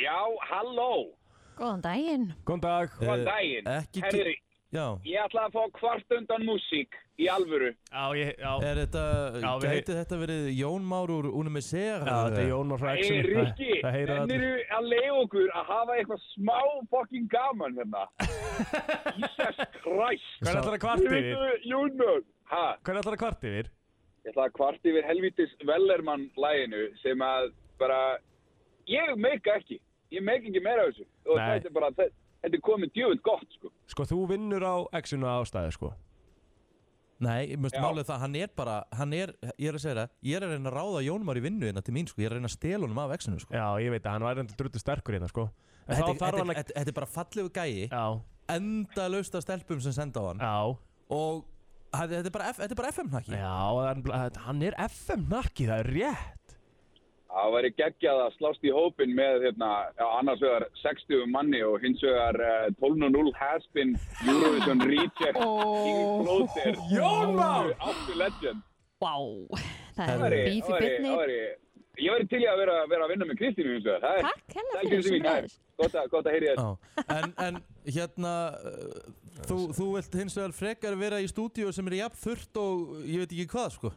Já, halló, Góðan daginn. Góðan dag góðan Eh, daginn. ekki ki- Herri, Já ég ætla að fá kvart undan músík í alvöru. Já, ég, já Er þetta, Já, við- gæti þetta verið Jón Már úr Unum með sér Já, þetta er Jón Már Hey, Ræksson Rikki, Það heyra henn allir eru að leiða okkur að hafa eitthvað smá fokkin gaman hérna. Jesus Christ. Hvað er allar að kvart yfir? Guðu Júnur. Ha, Hvað er allar að kvart yfir? ég ætla að kvart yfir helvitis Vellermann læginu sem að bara, ég meika ekki. Ég meika ekki meira af þessu. Og Nei. þetta er bara, þetta- þetta er komið djöfund gott, sko. Sko, þú vinnur á X-una ástæði, sko Nei, mjög Já. málið það, hann er bara hann er, ég er að segja það, ég er að reyna að ráða Jón Már í vinnu hérna til mín, sko, ég er að reyna að stela honum af exinu, sko. Já, ég veit að hann var enda drullu sterkur hérna, sko En þá Þetta þetta- þarf hann að þetta- þetta er bara fallegu gæi Já, enda lausta stelpum sem senda á hann já og hann- þetta er bara, F- þetta er bara FM nakki Já, hann, hann er FM-nakki, það er rétt Það væri geggjað að slást í hópin með hérna, já, annars vegar 60 manni og hins vegar uh, 12.0 Haspin, Eurovision Reject, King Floater, Jón Már! After Legend. Vá, það Það er væri- bíf í það væri- það bytni. væri, ég væri til í að vera, vera að vinna með Kristínu hins vegar. Það er- Takk hella það er fyrir Kristín sem mín, það er reyðis. Gott að, gott að heyri þetta. Já. en, en hérna uh, þú, þú vilt hins vegar frekar vera í stúdíu sem er jafn þurrt og ég veit ekki hvað sko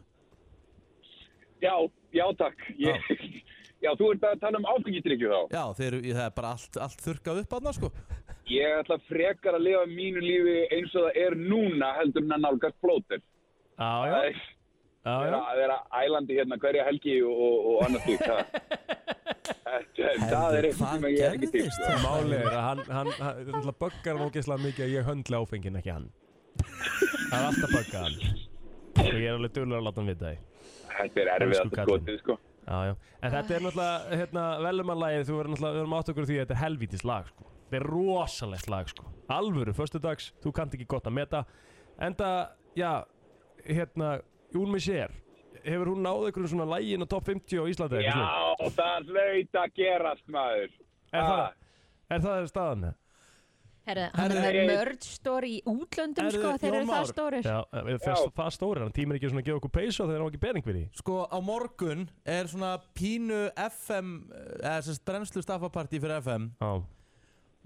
Já, já takk. Ég, já, þú ert að tala um áfengistrykju þá. Já, þeir, eru- það er bara allt, allt þurrkað upp aðna sko Ég ætla frekar að lifa mínu lífi eins og það er núna heldur en að nálgast Floater. Já, já, Það er... já, já. vera, að vera ælandi hérna hverja helgi og, og, og annað því það, Þetta- það er eitthvað sem ég er ekki til sko. það? Málið er að hann, hann, hann það böggar hann ógeðslega mikið að ég höndla áfengin ekki hann Það er alltaf böggað hann og ég er alveg dölur að láta hann vita því þetta er erfið Elsku að skotið sko. Já, já, en þetta er náttúrulega, hérna, velumannlagið, þú verður náttúrulega, við erum átt okkur á því að þetta er helvítis lag, sko Þetta er rosalegt lag, sko Alvöru, föstudags, þú kannt ekki gott að meta Enda, já, hérna, Jún Missér, hefur hún náð einhverjum svona lagin á top 50 á Íslandi eða eitthvað svoleiðis? Já, það hlaut að gerast maður Er það, Ah. er það staðan? eða? Herðu, hann er Herðu, með mörd stóri í útlöndum Herðu, sko, þeir Jón eru það Már. stórir. Já, eh, það Já. það stórir, hann tímir ekki svona að gefa okkur peysu og þeir ná ekki bering fyrir því. Sko á morgun er svona pínu FM eða sérst brennslu staffapartí fyrir FM Já,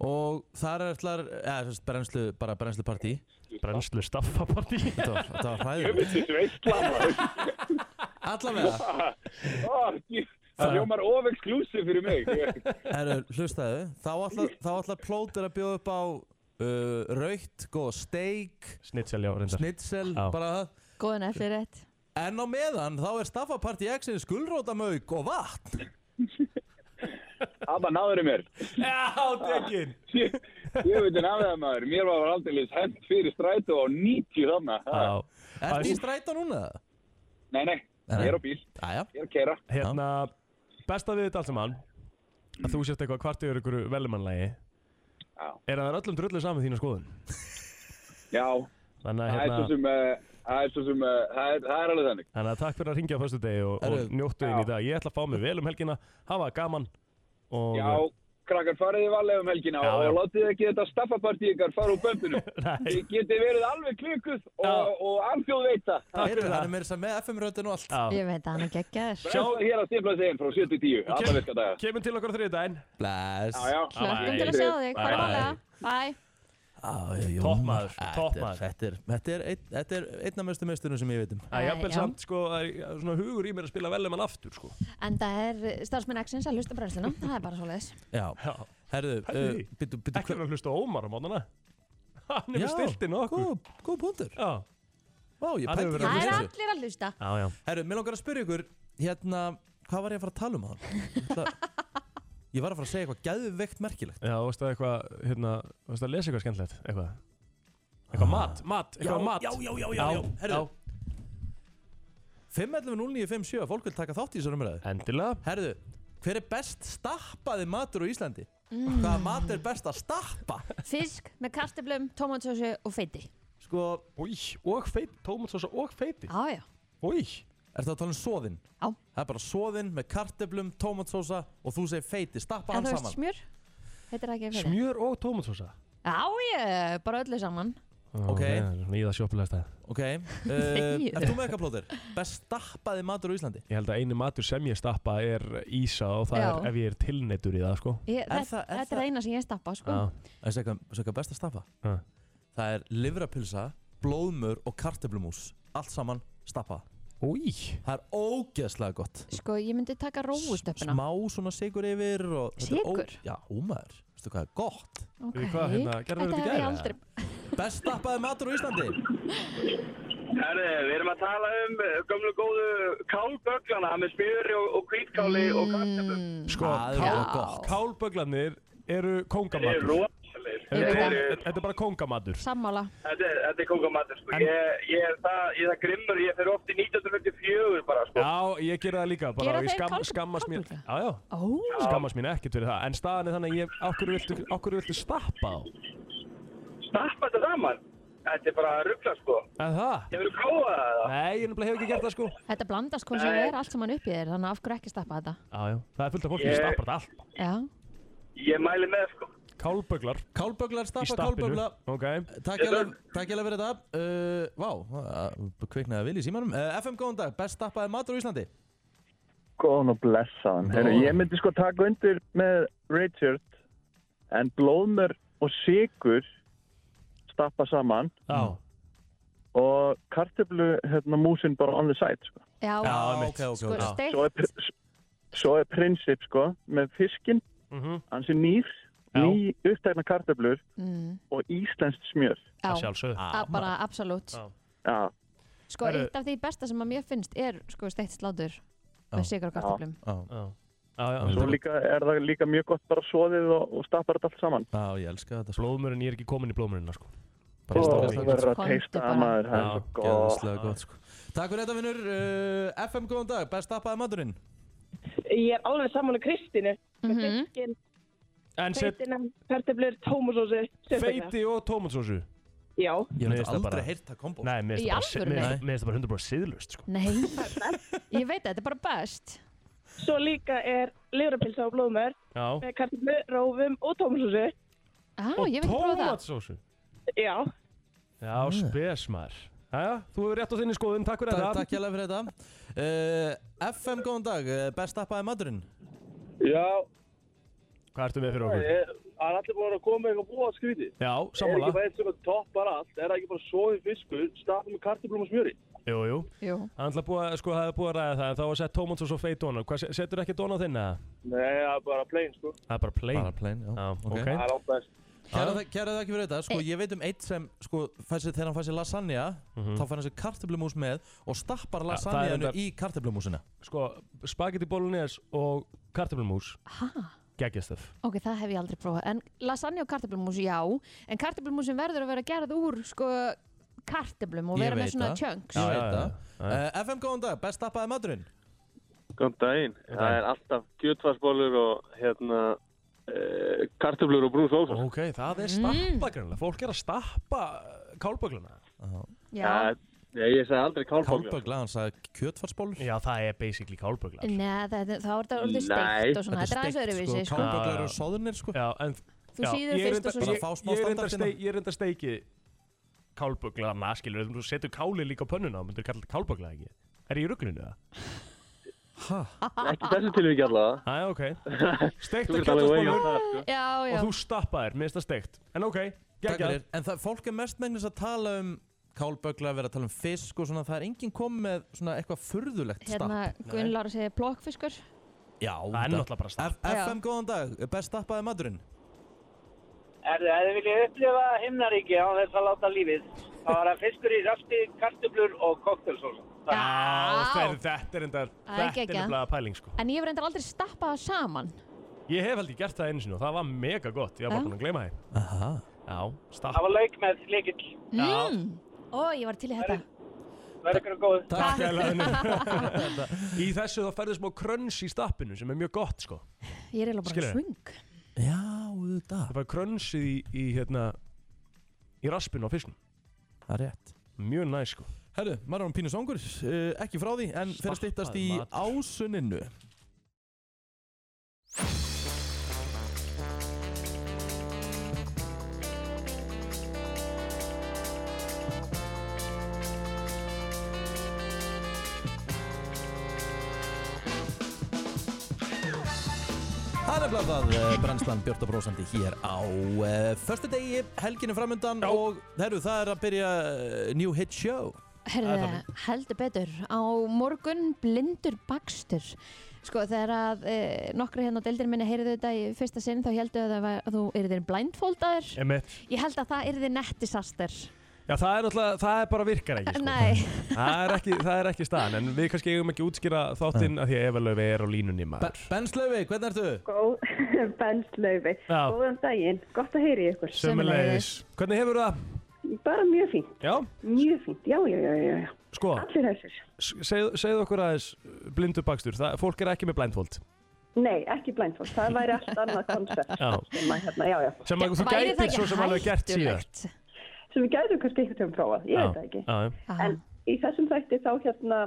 og þar er ætlar eða sérst brennslu, bara brennslupartí brennslu staffapartí. Þetta var, þetta var hræðilegt Þetta er veistla maður Ah, Allavega, Ó, djú- Það hljómar of-exclusive fyrir mig herru, hlustaðu Þá ætlar, þá ætlar plótur að bjóða upp á uh, Raukt, góð steik Snitsel, já, reyndar. Snitsel, Já. bara það Góðan eftir rétt. En á meðan, þá er staffapartí X-in skullrótamauk og vatn Abba náður í mér Já, dekkin! Ég ég veit en af það maður Mér var aldrei hent fyrir strætó á 90 þarna Já, Ah. Ertu í stræta núna? Nei, nei, ég er á bíl, Jæja, ég er að keira hérna, besta við þetta allt saman, að þú sért eitthvað kvart yfir ykkur velumannlægi, er að það er öllum drullu saman þína skoðun. Já, Þannig að, Það er svo hérna, sem, eh, það er svo sem, eh, það er, það er alveg þannig. þannig að takk fyrir að ringja á föstu degi og, Herru. og njóttu þín í Já. dag. Ég ætla að fá mig vel um helgina, hafa gaman og Já, krakkar farið í valega um helgina Já, já. og látið ekki þetta staffapartí ykkar fara úr böndinu. Þið getið verið alveg klukkuð og, og alþjóð veit það. Heyrðu, hann er meira þess að með FM-röndin og allt. Já. Ég veit að hann er geggjaður. Brennslan hér að stifla sig frá 7 til 10, alla virka daga. Kemur til okkar á þriðdæðin Bless. Já, já. Hlökkum til að sjá þig, hvað er Bye. málega? Bye. já. Topp maður, Þetta topp er- maður. Þetta er, þetta er, einn- þetta er einn af mestu meistunum sem ég veit um. Það er jafnvel Já. samt sko það er svona hugur í mér að spila vel um hann aftur sko En það er starfsmenn X-ins að hlusta brænsluna, það er bara svo leiðis. Já. Já Herðu, Herðu. uh, byttu, byttu. Ekki með að hlusta á Ómar á mánana Hann er með stiltinn og okkur Góð, góð punktur. Já Vá, ég Hann hefur pætti verið Það ekki er þessu. allir að hlusta. Já, já Herru, mér langar að spyrja ykkur, hérna, hvað var ég að fara að tala um hann? Ég ætla- ég var að fara að segja eitthvað gæðveikt merkilegt. Já, varst það eitthvað, hérna, varst það að lesa eitthvað skemmtilegt? Eitthvað? Eitthvað mat, mat, eitthvað mat já, já, já, já, já. Herru, já. 5.11.0957, fólk vil taka þátt í þessar umræðu. Endilega Herðu, hver er best stappaði matur á Íslandi? Hvaða mat er best að stappa? Mm. Fisk með kartöflum, tomatsósu og feiti. Sko, Új, og feiti, tómatsósa og feiti Já, já. Új er það að tala um soðinn? Já. Það er bara soðinn með karteflum, tómatsósa og þú segir feiti, stappa En hann þú veist saman. smjör? Heitir það ekki feiti? Smjör og tómatsósa Já, ég, bara öllu saman. Ok. Í það sjoppulega stað Ok, uh, ert þú með eitthvað plóðir? Best stappaði matur á Íslandi? Ég held að einu matur sem ég stappa er ísa og það Já. er ef ég er tilneittur í það, sko Ég, Er þetta, það- er þetta er það- það eina sem ég stappa, sko. Já, Það er eitthvað best að stappa. já Það er livrapilsa, blóðmör og karteflumús. Allt saman stappa. Új Það er ógeðslega gott. Sko, ég myndi taka róustöppuna. Smá svona sigur yfir og... þetta er ó- Sykur? Já, ómaður. Veistu hvað er gott? Ok. Við hvað, hérna, Þetta gerðum við þetta í hef ég gær, aldrei... Best stappaði matur á Íslandi? Herri, við erum að tala um eh, gömlu góðu kálböglana með smjöri og, og hvítkáli og Mm. kartöflum. Mm. Sko, Það er kál, alveg gott. kálböglarnir eru Þeir eru kóngamatur rosalegir. Þetta Þeir er eru- bara- þetta er bara kóngamatur Sammála. Þetta er- þetta er kongamatur, sko. En- Ég, ég er það, ég er það grimmur, ég fer oft í 1954 bara, sko. Já, ég gera það líka bara, Gera og ég þeir kálb- skammast mér kálbugla? Já, já, Ó, skammast mín ekkert fyrir það en staðan er þannig að ég, okkur viltu, okkur viltu stappa á Snappa þetta saman. Þetta er bara ruggla, sko. eða það? Ég verður prófað það. Nei, ég nefnilega hef ekki gert það sko þetta blandast hvað sem er allt saman upp í þér, þannig að af hverju ekki stappa þetta? já, já. það er fullt af fólki sem Ég- stappar þetta allt Já. Ég mæli með, sko. kálböglar í Kálböglar, stappa stappinu kálbögla. ok, Takk hérlega takk hérlega fyrir þetta. Uh, vá, uh, kviknaði vil í símanum. Uh, FM góðan dag, best stappaði matur á Íslandi? Góðan og blessaðan. Herru, ég myndi sko taka undir með Richard en blóðmör og sigur stappa saman já, og kartöflu hérna músin bara on the side sko. Já, já, ok, ok, sko, ok. steikt. Svo er, pr- s- svo er prinsip sko með fiskin, Mhm. hans er nýr, Já. ný upptækna kartöflur Mm, og íslenskt smjör. það já, sjálfsögðu að bara absolutt. Já. Já, Sko, Herru. eitt af því besta sem að mér finnst er sko steikt slátur með sigur og kartöflum. Já, já, já, já, svo svo líka líka, er það líka mjög gott bara svoðið og, og stappar þetta allt saman. já, ég elska þetta. sko. blóðmörun, ég er ekki komin í blóðmörunna sko Ó, Bara stappar það þetta. verður Komdu að teista bara. að maður, það er Já, svo gott. Gæðislega gott sko. Takk fyrir þetta vinnur. Uh, FM góðan dag, best stappaði maturinn? Ég er alveg saman á Kristínu. Mhm. Mm -hmm. Fiskin, en set feitina, kartöflur, tómasósu, sérstaklega. feiti og tómatsósu Já, Mér Ég hef finnst það aldrei bara- heyrt það kombo. nei, mér Í finnst það bara- alvöru, mér nei. finnst- mér finnst það bara 100% siðlust sko Nei, ég veit að þetta er bara best. svo líka er livrapilsa og blóðmör já, með kartöflu, rófum og tómasósu. Já, og ég veit að prófa það. tómatsósu Já, já, spes maður Jæja, þú hefur rétt á þinni skoðun, takk fyrir Takk, þetta takk hjá fyrir þetta. Uh, FM, góðan dag. Uh, Best stappaði maturinn? Já, Hvað ertu með fyrir okkur? það er allir bara að koma eitthvað búið að skríti. Já, sammála einn sem að toppar allt? Er það ekki bara svoðið fiskur, stappa með kartablum og smjöri? Jú, jú Jú. Það er alltaf búið að, sko, það er búið að ræða það en þá var sett tómatsós og feit dónar Hvað, se- setur ekki dónar þinn eða? Nei, það er bara plain, sko. Það er bara plain Bara plain, já. Já, ok, Ok. er átt best. Kæra, kæra þakki fyrir þetta. Sko, ég veit um eitt sem, sko, fæsir, þegar hann fær sér lasagna, þá fær hann sér kartöflumús með og Mhm. stappar það er lasagnaðinu þetta- hérna í kartöflumúsina. Sko, spagetti bolognese og kartöflumús Hæ? Geggjastöf Ok, það hef ég aldrei prófað. En lasagne og kartöflumús, já. En kartöflumúsin verður að vera gerð úr, sko, kartöflum og Ég vera með veit svona það. chunks. Ég Já, veit já, það. já, Uh, FM, góðan dag. Best stappaði maturinn? Eh, Góðan daginn. Það daginn. er alltaf kjötfarsbólur og hérna e, kartöflur og brún sósa. Ok, Mm. það er stappa grannlega Fólk er að stappa kálbögluna Já, Það er Nei, ég segi aldrei kálböggla. Kálbögla, hann sagði kjötfarsbólur Já, það er basically kálbögglar Neða, þá er þetta orðið Nei, steikt og svona, þetta er aðeins öðruvísi, sko, sko. kálböglar eru soðunir sko Já, en Þú Já, síður ég er fyrst og reyndar- svo Bara fá smá Ég er enda standardina. steik, ég er enda steiki kálbögglarna, skilur, þú setur káli líka á pönnuna og myndur kalla þetta kálböggla ekki Er ég í rugglinu það? Ekki þessu tilvíki allavega. Æ, ok Steikt Þú að ert alveg veginn á kjötfarsbólur það, sko. Já, já, og þú stappaðir, minnst það steikt En ok, Takk geggjað fyrir. En það, fólk er mest megnis að tala um kálbögla, vera að tala um fisk og svona, það er enginn kom með svona eitthvað furðulegt hérna Gunn Lára segir plokkfiskur stapp. Já, Það er náttúrulega bara stapp. F- FM, góðan dag, best stappaði maturinn. Erðu, ef þið viljið upplifa himnaríki án þess að láta lífið, þá var það fiskur í rafti, kartublur og koktelsósa. Á, Já, þeir, þetta er enda, er þetta er geggjað. nefnilega pæling sko en ég hef reyndar aldrei stappað það saman Ég hef aldrei gert það einu sinni og það var mega gott, ég Já. var bara búin að gleyma það Aha. Já, stapp Það var lauk með slikill. mm. Ó, ég var til í þetta Verður ykkur góð. Takk. Í þessu þá ferður smá kröns í stappinu sem er mjög gott sko Ég er eiginlega bara Skilurðu? svung Já, þetta. Það fær krönsið í, í hérna í raspinu á fisknum Það er rétt. Mjög næ sko Herru, maður er um pínu songur, uh, ekki frá því, en fyrir að stýttast í Stappaði ásuninu. Það er nefnilega það, eh, brennslan Björta Brósandi hér á uh, förstu degi, helginu framöndan og herru, það er að byrja uh, New Hit Show. Herðu, heldur betur á morgun blindur bakstur sko þegar að e, nokkru hérna á deildir minni heyrðu þetta í fyrsta sinn þá heldur að, það var- að þú eru þeir blindfoldaður Emmett ég held að það eru þeir nettisaster Já, það er náttúrulega, það er bara virkar ekki sko nei, Það er ekki, það er ekki staðan En við kannski eigum ekki að útskýra þáttinn af því að Eva Löfi er á línunni Be- maður Benslaufi, hvernig ertu? Góð, benslaufi. Já. Góðan daginn, gott að heyri ykkur. Sömuleiðis. Hvernig hefur það? Bara mjög fínt, Já, mjög fínt, já, já, já, já, já. sko, Allir þessir. s- segðu segðu okkur aðeins uh, blindur bakstur, það, fólk er ekki með blindfold Nei, ekki blindfold, það væri allt annað koncept Já. sem að hérna, já, já. sem að þú væri það gætir ekki svo sem alveg gert síðar hættulegt? Sem við gætum kannski eitthvað til að prófað, ég veit það ekki. já, já. Aha. En í þessum þætti þá hérna,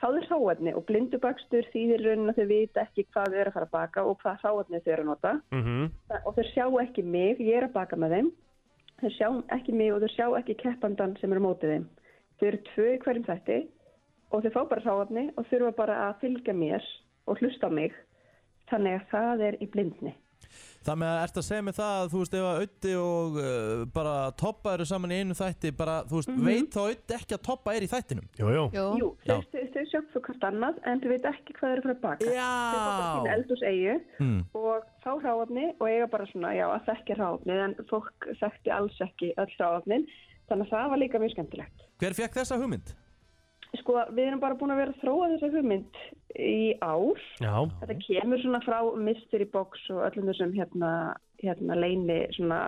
þá er hráefni og blindubakstur þýðir í raunin að þau vita ekki hvað þau eru að fara að baka og hvað hráefni þau eru að nota. Mhm. og þeir sjá ekki mig, ég er að baka með þeim þeir sjá ekki mig og þeir sjá ekki keppandan sem er á mótið þeim þeir eru tvö í hverjum þætti og þeir fá bara ráðafni og þurfa bara að fylgja mér og hlusta á mig þannig að það er í blindni Það með að ert að segja mig það að þú veist ef að Ötti og uh, bara Toppa eru saman í einu þætti bara þú veist veit þá Ötti ekki að Toppa er í þættinum Jú, jú. Jú, Jú, Já. þeir, þeir, þeir sjá svo hvert annað en þeir veit ekki hvað þeir eru að fara að baka þeir fá bara sína Já eldús eigu mm. og fá ráðafni og eiga bara svona já að þekki ráðafni en fólk þekkti alls ekki öll ráðafnin þannig að það var líka mjög skemmtilegt Hver fekk þessa hugmynd? Sko, við erum bara búin að vera að þróa þessa hugmynd í ár. Já, Þetta kemur svona frá mystery box og öllum þessum hérna, hérna leini svona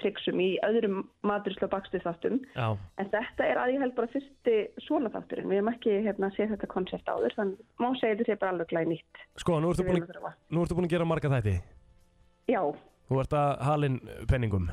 tryggsum í öðrum maturislu og bakstu þáttum. já, En þetta er að ég held bara fyrsti svona þátturinn. Við hefum ekki hérna séð þetta koncept áður, þannig má segja þetta sé bara alveg glæð nýtt. sko, nú ertu sem við búin erum að að, þróa. nú ertu búin að gera marga þætti Já, Þú ert að halin uh, penningum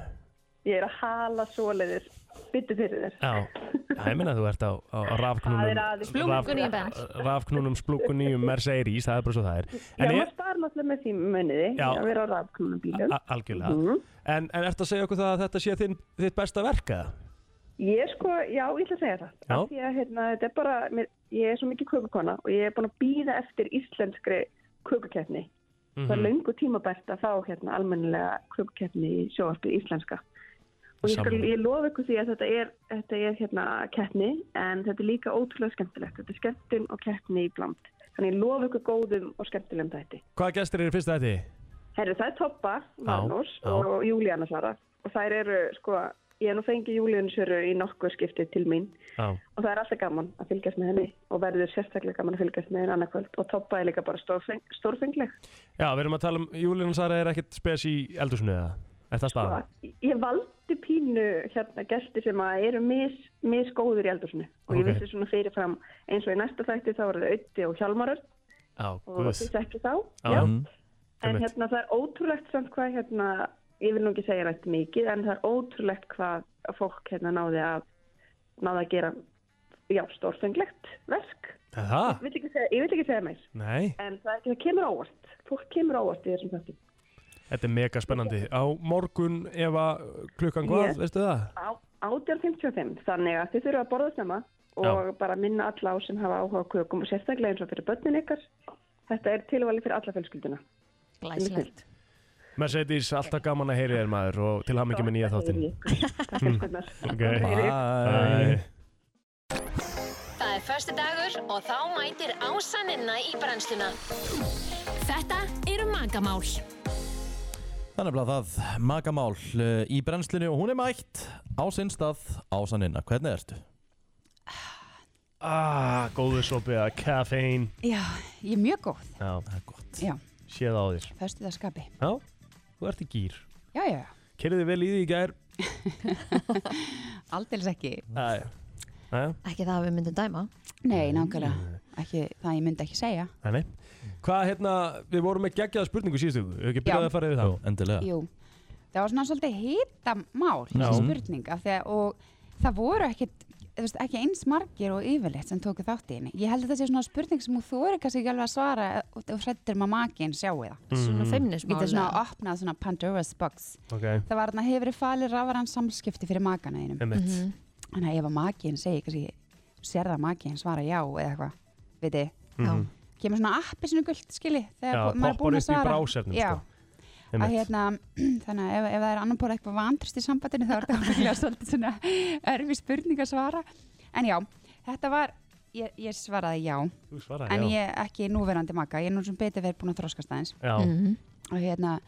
ég er að hala svoleiðir, byttu fyrir þér. Já, Já, ég minna þú ert á, á, á Það er rafknúnum aðeins. Splunk. Splunkuníum bens. Rafknúnum, splunkuníum, Mercedes, það er bara svo það er Já, En maður ég, starf náttúrulega með því muniði Já. að vera á rafknunum bílum. a- algjörlega Mhm. En, en ertu að segja okkur það að þetta sé þinn, þitt besta verk eða? Ég sko, já, ég ætla að segja það. Já. Af Því að hérna, þetta er bara, mér, ég er svo mikið kökukona og ég er búin að býða eftir íslenskri kökukeppni. Það Mhm. er löngu tímabært að fá hérna almennilega kökukeppni í sjóarpi íslenska. Og ég, skal, Sammála. ég lofa ykkur því að þetta er, þetta er hérna keppni en þetta er líka ótrúlega skemmtilegt. Þetta er skemmtun og keppni í bland. Þannig ég lofa ykkur góðum og skemmtilegum þetta. Hvaða gestir eru í fyrsta þætti? Herru, það er Toppa, Magnús já. og Júlíana Sara og þær eru, sko, ég hef nú fengið Júlíun Söru í nokkuð skipti til mín Já, og það er alltaf gaman að fylgjast með henni og verður sérstaklega gaman að fylgjast með henni annarkvöld og Toppa er líka bara stórfeng, stórfengleg Já við erum að tala um Júlíun Sara er ekkert spes í eldursunni eða? Er það staðan? Sko, ég valdi pínu hérna gesti sem að eru mis, misgóður í eldursinu og ég Ok. vissi svona fyrirfram eins og í næsta þætti þá voru þau Ötti og Hjálmarur Já, og guð þið þekki þá Já. Já. Mhm. en einmitt. hérna það er ótrúlegt samt hvað hérna, ég vil nú ekki segja nætt mikið en það er ótrúlegt hvað að fólk hérna náði að náði að gera já, stórfenglegt verk. Það? Ég vil ekki segja, ég vil ekki segja meir. Nei, En það, er ekki- það kemur ávart. Fólk kemur ávart í þessum þáttum. þetta er mega spennandi. Á morgun ef að klukkan hvað, Ég- veistu það? Á 18.55, þannig að þið þurfa að borða snemma og bara minna alla á sem hafa áhuga á kökum og sérstaklega eins og fyrir börnin ykkar. Þetta er tilvali fyrir alla fjölskylduna. Glæsilegt. Mercedes, alltaf gaman að heyri þér maður og til hamingi með nýja þáttin. Takk fyrir skoðnar. Ok, Bye. bye. Það er förstu dagur og þá mætir ásaninna í brennsluna. Þetta eru magamál. Þannig að það magamál uh, í brennslinu og hún er mætt á sinn stað á sanninna. Hvernig ertu? Ah, góður sopi að kaffein. Já, ég er mjög góð. Já, það er gott. Já, Séð á þér. föstu það skapi. Já, þú ert í gýr. Já, já, Kerðið vel í því í gær. aldeilis ekki. Æ. Æ. Ekki það að við myndum dæma. Nei, nákvæmlega. Ekki, það ég myndi ekki segja. Nei, nei. Hvað hérna, við vorum með geggjaða spurningu síðustu, við hefum ekki Já. byrjaði að fara yfir það. endilega. Jú, það var svona svolítið hitamál, Já. þessi spurning. Af því að, og það voru ekkit, þú veist, ekki eins margir og yfirleitt sem tóku þátt í henni. Ég held að það sé svona spurning sem þú eru kannski ekki alveg að svara og um þú hrættir maður makinn sjáu það. Svona Mhm. feminismál, Getur svona eða? opnað svona Pandora's box. Ok. Það var þarna hefur falið rafarann samskipti fyrir makana þínum. Einmitt. Mhm. Þannig að ef að makiðin segir, kannski, sér það makiðin svara já eða eitthvað, veit þið, Mhm. kemur svona appi sinu gullt, skilji, þegar Já, bú- maður er poppar búin að upp í svara. browsernum, Já, sko. að Einmitt. hérna, þannig að ef, ef það er annan pól eitthvað vantrist í sambandinu þá er þetta ábyggilega svolítið svona erfi spurning að svara. En já, þetta var, ég, ég svaraði já, Þú svaraði en já. ég ekki núverandi maka, ég er nú sem betur verið búin að þroskast aðeins. Já. Mhm. Og hérna,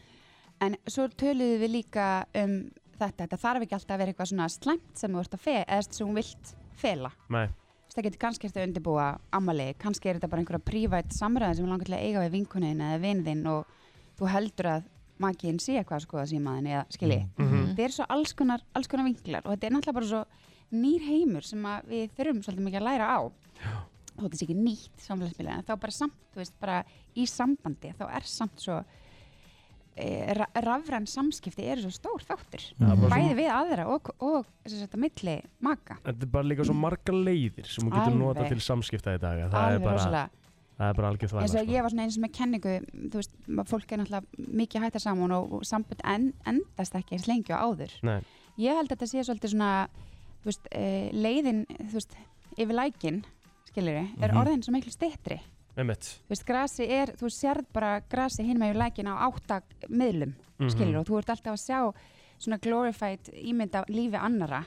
en svo töluðum við líka um þetta, þetta þarf ekki alltaf að vera eitthvað svona slæmt sem þú ert að fe, eða sem þú vilt fela. Nei. Þú veist, það getur kannski eftir að undirbúa ammali, kannski er þetta bara einhverja prívætt samræði sem er langar til að eiga við vinkunin eða vinðinn og þú heldur að makiðin sé eitthvað sko að símaðin eða skilji. Mm Mhm. Þetta er svo alls konar, alls konar vinklar og þetta er náttúrulega bara svo nýr heimur sem að við þurfum svolítið mikið að læra á. Þó þetta sé ekki nýtt samfélagsmiðla en þá bara samt, þú veist, bara í sambandi þá er samt svo e, ra rafræn samskipti eru svo stór þáttur. Já, bara Bæði svo- við aðra og, og, og sem sagt að milli maka. Þetta er bara líka svo margar leiðir sem þú getur Alveg. notað til samskipta í dag. að Það Alveg er bara, rosalega. það er bara algjör þvæla. eins og sko. ég var svona eins og með kenningu þú veist, ma- fólk er náttúrulega mikið hættar saman og, og sambund en, endast ekki eins lengi og áður Nei. ég held að þetta sé svolítið svona þú veist, uh, leiðin þú veist, yfir lækin skilur er Mhm. orðin svo miklu stittri Einmitt. þú veist, grasi er, þú sérð bara grasi hinn með lækin á átta miðlum Mhm. skilur og þú ert alltaf að sjá svona glorified ímynd af lífi annara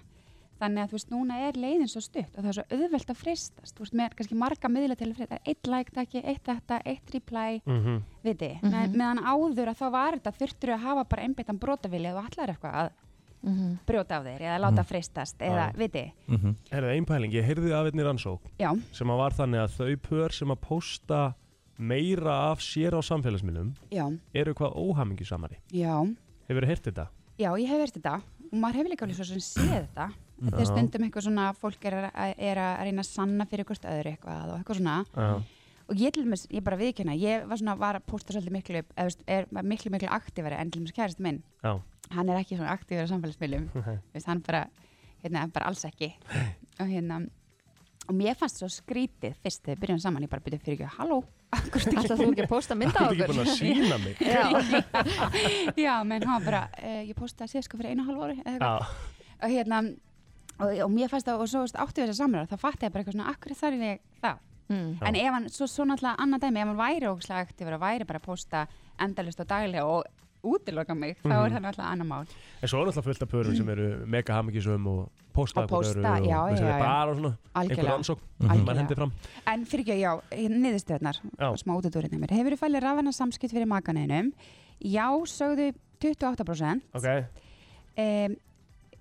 þannig að þú veist, núna er leiðin svo stutt og það er svo auðvelt að fristast þú veist, með kannski marga miðla til að fristast eitt like takki, eitt þetta, eitt reply Mhm. viti, mm Mhm. meðan áður að þá var þetta þurftur að hafa bara einbyttan brotavilja og allar eitthvað að brjóta af þeir eða láta Mhm. fristast eða, Já. viti, -hmm. Er það einpæling? Ég heyrði af einni rannsók Já. sem að var þannig að þau pör sem að posta meira af sér á samfélagsmiðlum já, eru hvað óhamingi samari. já Hefur þið heyrt þetta? Já, ég hef verið þetta og maður hefur líka alveg svo sem séð þetta Já. þegar stundum eitthvað svona fólk er að, er að reyna að sanna fyrir hvort öðru eitthvað og eitthvað svona og ég til dæmis, ég bara viðkynna, ég var svona var að posta svolítið miklu, eða, þú veist, er var miklu miklu aktífari en til dæmis kærist minn Já. hann er ekki svona aktífari á samfélagsmiðlum Nei. Þú veist, hann bara, hérna, bara alls ekki og hérna og mér fannst svo skrítið fyrst þegar við byrjum saman ég bara byrjuði fyrir ekki, halló Alltaf þú ekki að posta mynd af Ertu ekki okkur. búin að sýna mig? Já. Já, menn hann var bara, uh, ég postaði síðan sko fyrir einu og halvu ári eða eitthvað. Og hérna, og, og mér fannst það, og svo veist, áttu við þess að samræða, þá fatt ég bara eitthvað svona, akkur þarf ég það? Já. En ef hann, svo, svo náttúrulega annað dæmi, ef hann væri ógislega aktífur og væri bara að posta endalist og daglega og útiloka mig, þá er Mhm. það náttúrulega annað mál. En svo er náttúrulega fullt af pörum sem eru mega hamingisum og posta Og hvort posta, öðru og já, þess að já, þetta já. er bara svona einhver Algjörlega. rannsók Algjörlega. mann hendi fram. En fyrir ekki, já, niðurstöðnar, smá útudúrinn mér. Hefur þú fælið rafana samskipt fyrir makaneginum? Já, sögðu 28%. Ok, um,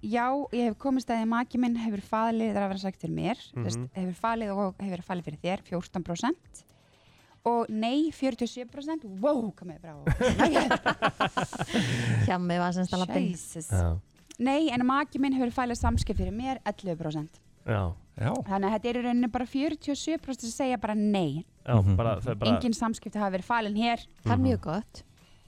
já, ég hef komist að því að maki minn hefur falið, það er að vera sagt fyrir mér mm Mhm. hefur falið og hefur falið fyrir þér 14% og nei 47% wow, komið brá Hjá mig var semst að lappin. Jesus. nei, en maki minn hefur falið samskip fyrir mér 11% já. Já. þannig að þetta er í rauninni bara 47% sem segja bara nei Mhm. bara, það er bara, engin samskipti hafa verið falin hér Það er Mhm. mjög gott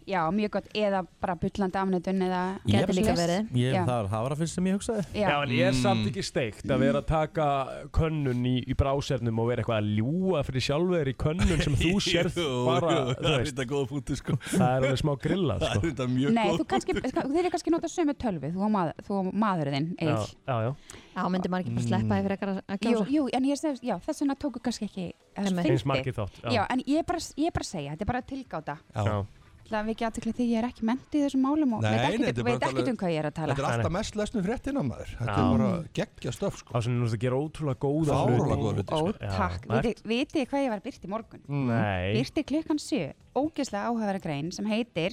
já, mjög gott, eða bara bullandi afnöðun eða eitthvað svoleiðis. Ég, Já. það var- það var að fyrst sem ég hugsaði Já. Já, en ég er samt ekki steikt að vera Mm. að taka könnun í, í brásernum og vera eitthvað að ljúa fyrir sjálfur í könnun sem þú sérð Jú, bara, jú, þú það er veist þetta góða punktu sko Það er alveg smá grillað Það er sko þetta mjög Nei, þú góð kannski, sko, þeir eru kannski nota sömu tölvi, þú og maður, þú og maður þinn, Egil. já, já. Já, myndi maður Mm. ekki bara sleppa því fyrir ekkert að Jú, kjósa. jú, en ég segi, já, þess vegna tóku kannski ekki það Einmitt. fyndi. Eins margir þátt, já. Já, en ég er bara, ég er bara að segja, þetta er bara tilgáta. Já. Það við ekki aðtökla því ég er ekki mennt í þessum málum og veit þetta ekkert er bara veit ekkert alveg- um hvað ég er að tala. Þetta er alltaf mest lesnum fréttina maður Þetta er bara geggja stöf sko Það sem þú veist að gera ótrúlega góða Fárulega góða hluti sko. Ó, takk. Vitið- Vitið þið hvað ég var byrt í morgun? Nei Byrti klukkan 7, ógeðslega áhugavera grein sem heitir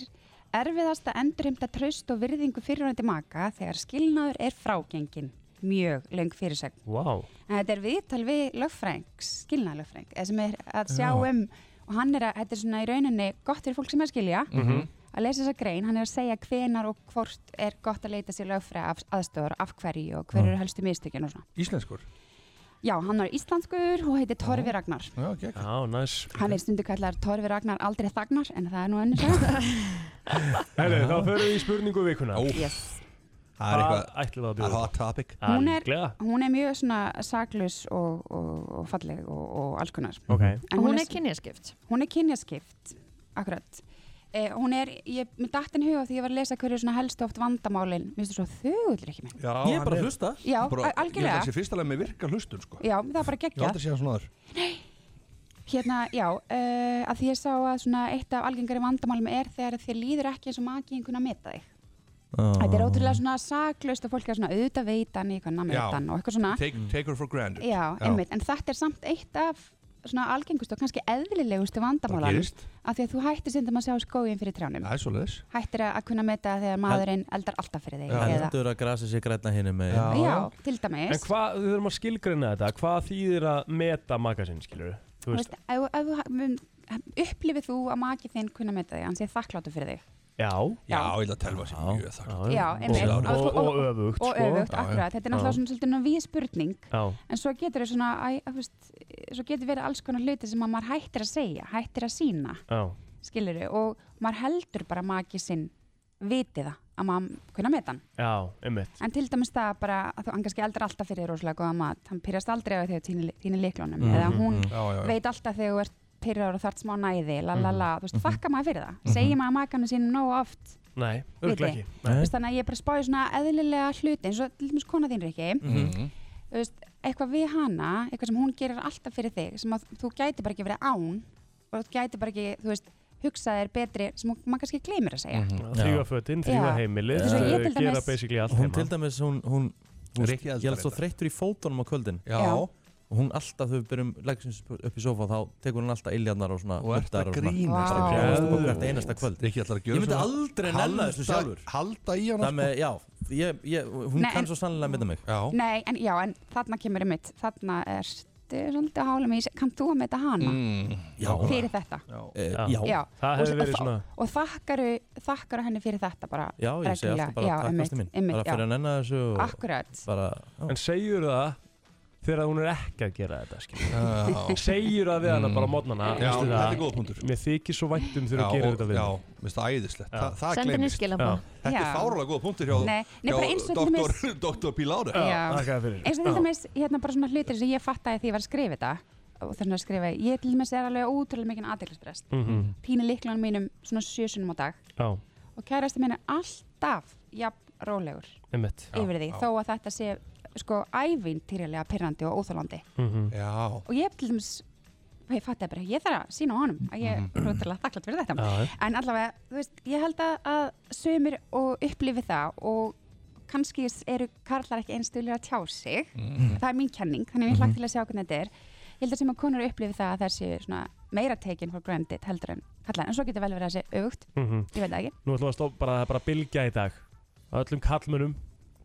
Erfiðasta endurheimta traust og virðingu fyrirvændi maka þegar skilnaður er frágengin. Mjög löng fyrirsögn. Vá En þetta er viðtal við lögfræng, skilnaðlögfræng, sem er að sjá Já. um, og hann er að, þetta er svona í rauninni gott fyrir fólk sem er að skilja, Mhm. að lesa þessa grein, hann er að segja hvenar og hvort er gott að leita sér lögfræ af, aðstöður, af hverju og hver Já. eru helstu mistökin og svona. Íslenskur Já, hann er íslenskur og heitir Torfi Ragnar. Já, gegg Já, næs Hann er stundu kallar Torfi Ragnar aldrei þagnar, en það er nú önnur saga. Herri, þá förum við í spurningu vikuna Ó. Yes. Það er eitthvað ætlum við að bjóða Það er hot topic Hún er, hún er mjög svona saklaus og, og, og falleg og, og alls konar. Ok. En Hún er kynjaskipt Hún er kynjaskipt, akkurat eh, Hún er, ég með dattin huga því ég var að lesa hverju svona helst oft vandamálin Mér finnst þú svo þögullur ekki minn Já, Ég er bara að hann hlusta. Já, bara, a- algjörlega. Ég held að sé fyrst alveg með virka hlustun sko Já, það er bara Ég held geggjað að sé hann svona aður Hérna, já, uh, að því ég sá að svona eitt af algengari vandamálum er þegar þér líður ekki eins og maki einhvern að meta þig Þetta er ótrúlega svona saklaust og fólk er svona auðvitað veitan í einhvern að meta hann og eitthvað svona take, take her for granted Já, einmitt, en þetta er samt eitt af svona algengustu og kannski eðlilegustu vandamálan gerist. af því að þú hættir sindum að sjá skóin fyrir trjánum Það er svoleiðis hættir að að kunna meta þegar maðurinn eldar alltaf fyrir þig eða, Heldur að grasi sér græna hinn með já, til dæmis En hvað, við þurfum að skilgreina þetta Hvað þýðir að meta magasinn, skilur Þú Þú veist, ef- ef þú ha- mun- upplifir þú að maki þinn kunna meta þig, hann sé þakkláttu fyrir þig já Já, ég ætla að telma sér mjög þakklát Já, einmitt. Og- Að þú- og- og öfugt, og sko. öfugt, Já, já. akkurat, þetta er náttúrulega Já. svona svolítið svona vísspurning Já. en svo getur þau svona, æ, að, þú veist, svo getur verið alls konar hluti sem að maður hættir að segja, hættir að sína Já skilur og maður heldur bara maki sinn viti það að maður kunna meta hann Já, einmitt en til dæmis það bara að þú, hann kannski eldar alltaf fyrir þér rosalega góða mat hann pyrrast aldrei á þegar tíni, tíni líklónum Mhm, eða hún mhm. Já, já, já. veit alltaf þegar þú ert pyrrar og þart smá næði la la la, þú veist, Mhm. þakka maður fyrir það Mhm. segir maður makanu sínum nógu oft Nei, viti. örglega ekki Þú veist, þannig að ég er bara að spá í svona eðlilega hluti eins og til dæmis kona þín Riki Mhm. þú veist, eitthvað við hana eitthvað sem hún gerir alltaf fyrir þig sem að þú gæti bara ekki verið án og þú gæti bara ekki, þú veist, hugsa þér betri sem hún- maður kannski gleymir að segja Mhm. Þrýfa fötin, þrýfa Mhm. Já. heimilið Þetta er svo ég eh, til Gera dæmis- basically allt Hún heima. til dæmis, hún, hún, hún Rikki Ég eldar er svo þetta. þreyttur í fótunum á kvöldin Já. Já. Og hún alltaf, þegar við byrjum leggsins upp í sofa, þá tekur hún alltaf iljarnar og svona Og ert nuddar að svona. grínast. Bara Vá. grínast og hvert einasta kvöld Rikki ætlar að gjöra Ég myndi svona- aldrei nella þessu Halda- sjálfur Halda í hana sko. Það með, já, ég, ég, hún Nei, en- kann svo sannlega mynda mig Já Nei, en já, en þarna kemur ég mitt þarna er svolítið að hála mig kann þú að meta hana Mm, Mm. Já fyrir þetta Eh, Já, Og- og, og þakkaru, þakkaru henni fyrir þetta bara Já, ég segi reglulega. alltaf bara Já, takk einmitt, ástu mín einmitt, Bara fyrir já. að nenna þessu og Akkurat. Bara, En segjur það þegar hún er ekki að gera þetta Já. skilur. Segjur það við hana bara á mótnana Já, þetta er góð punktur Mér þykir svo vænt um þegar Já, hún gerir og- þetta við já, mig. mér finnst það æðislegt Þa, það Sendu henni gleymist. skilaboð. Já. Þetta Já. er fárulega góða punktur hjá, Nei, nei, bara eins og til doktor, dæmis- doktor Bílári Já. eins og til dæmis, hérna bara svona hlutir sem ég fattaði því ég var að skrifa þetta og þannig að skrifa, ég til dæmis er alveg ótrúlega mikinn aðeinsbrest Mhm. pínu líklanum mínum svona sjösunum á dag Já, og kærasti minn er alltaf jafn rólegur einmitt yfir því, þó að þetta sé sko ævintýrilega pyrrandi og óþálandi Mhm. Já og ég til dæmis ég fatt bara, ég þarf að sína á honum að Mhm. ég er rotalega þakklátt Eh, fyrir þetta Já, já. en allavega, þú veist, ég held að, að sömur og upplifi það og kannski eru karlar ekki einstuðlega að tjá sig Mm. Mhm. það er mín kenning, þannig að ég Mhm. hlagt til að sjá hvernig þetta er ég held að sem að konur upplifi það að það sé svona meira taken for granted heldur en kallar, en svo getur vel verið að það sé augt Mhm. ég veit það ekki, Nú ætlum við að stoppa bara, það er bara bylgja í dag Að Öllum kallmönum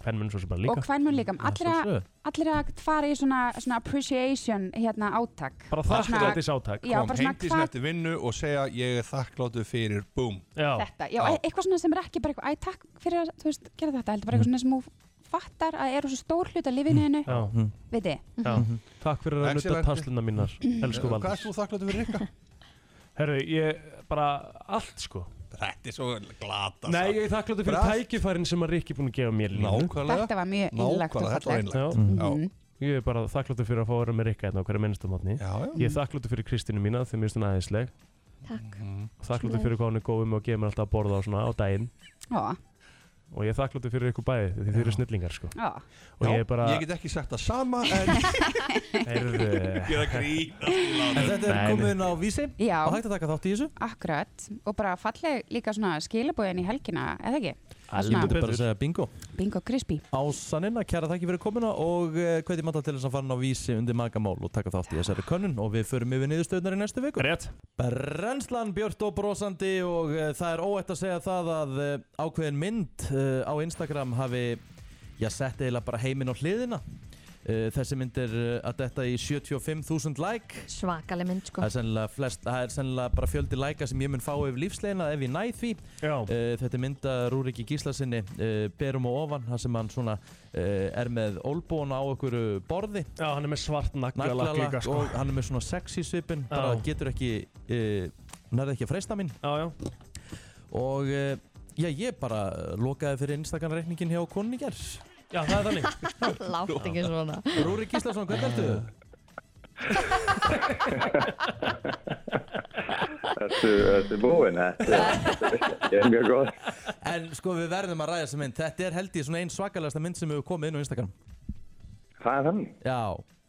Hvernmönum svo sem bara líka og hvern mun líka sjálfsögðu. allra, allra fara í svona, svona appreciation hérna átak Bara Svona- já, bara Kom svona heimtis hvat- eftir vinnu og segja ég er þakkláttu fyrir Búm Já, þetta, já, e- eitthvað svona sem er ekki bara eitthvað, æ, takk fyrir að, þú veist, gera þetta, heldur bara eitthvað svona sem hún fattar að eru svo stór hlut að lifinu hennu, Mm. Já. Mhm. veit Já, takk fyrir að nutta Excellent. tasluna mínar Elsku Mhm. Eh, Hvað Valdur er þú þakkláttu fyrir Rikka? Herru, ég bara allt sko Þetta er svo glata Nei, ég er þakkláttur fyrir tækifærin sem að Rikki búin að gefa mér líka Nákvæmlega. Þetta var mjög einlægt og Nákvæmlega, þetta var fallegt. einlægt. Já. Mhm. Ég er bara þakkláttur fyrir að fá að vera með Rikka hérna á hverja minnstamotni Ég er þakkláttur fyrir Kristínu mína þegar mér finnst hún aðeinsleg Takk. Mhm. og þakkláttur fyrir hvað hún er góð um að gefa mér alltaf að borða á, svona, á daginn Já. og ég er þakkláttur fyrir ykkur bæði því þið eru snillingar sko. Já. og ég er bara Ég get ekki sagt það sama en Heyrðu. Ég er að grínast, En þetta er Nei, nei. komið inn á vísi Já. og hægt að taka þátt í þessu Akkurat, og bara falleg líka svona skilabóðin í helgina, eða ekki? Það er Alveg svona- myndi bara að segja bingo Bingo crispy Ásaninn að kæra þakki fyrir komuna og uh, hvað er matta til þess að fara inn á vísi undir magamál og taka þátt í þessari könnun og við förum yfir niðurstöðnar í næstu viku Rétt Brennslan Björt og brosandi og uh, það er óætt að segja það að uh, ákveðin mynd uh, á Instagram hafi já, sett eiginlega bara heiminn á hliðina uh, þessi mynd er uh, að detta í 75.000 like Svakaleg mynd sko Það er sennilega, flest, það er sennilega bara fjöldi læka sem ég mun fá yfir lífsleina ef ég næð því. Eh, Uh, þetta er mynda Rúriki Gíslasinni uh, berum og ofan, þar sem hann svona uh, er með ólbúna á okkur borði. Já, hann er með svart naglalakk líka, sko. og hann er með svona sexy svipin, Já. bara getur ekki, uh, nærði ekki að freista mín. Já, já. Og uh, já, ég bara eh, lokaði fyrir Instagram-reikningin hjá Konningar. Já, það er þannig. Látt ekki svona Rúrik Gíslason, hvernig ertu? Þetta þetta er búinn, eh? þetta er- ég er mjög góð. En sko við verðum að ræða þessa mynd Þetta er held ég svona ein svakalegasta mynd sem hefur komið inn á Instagram Það er þannig? Já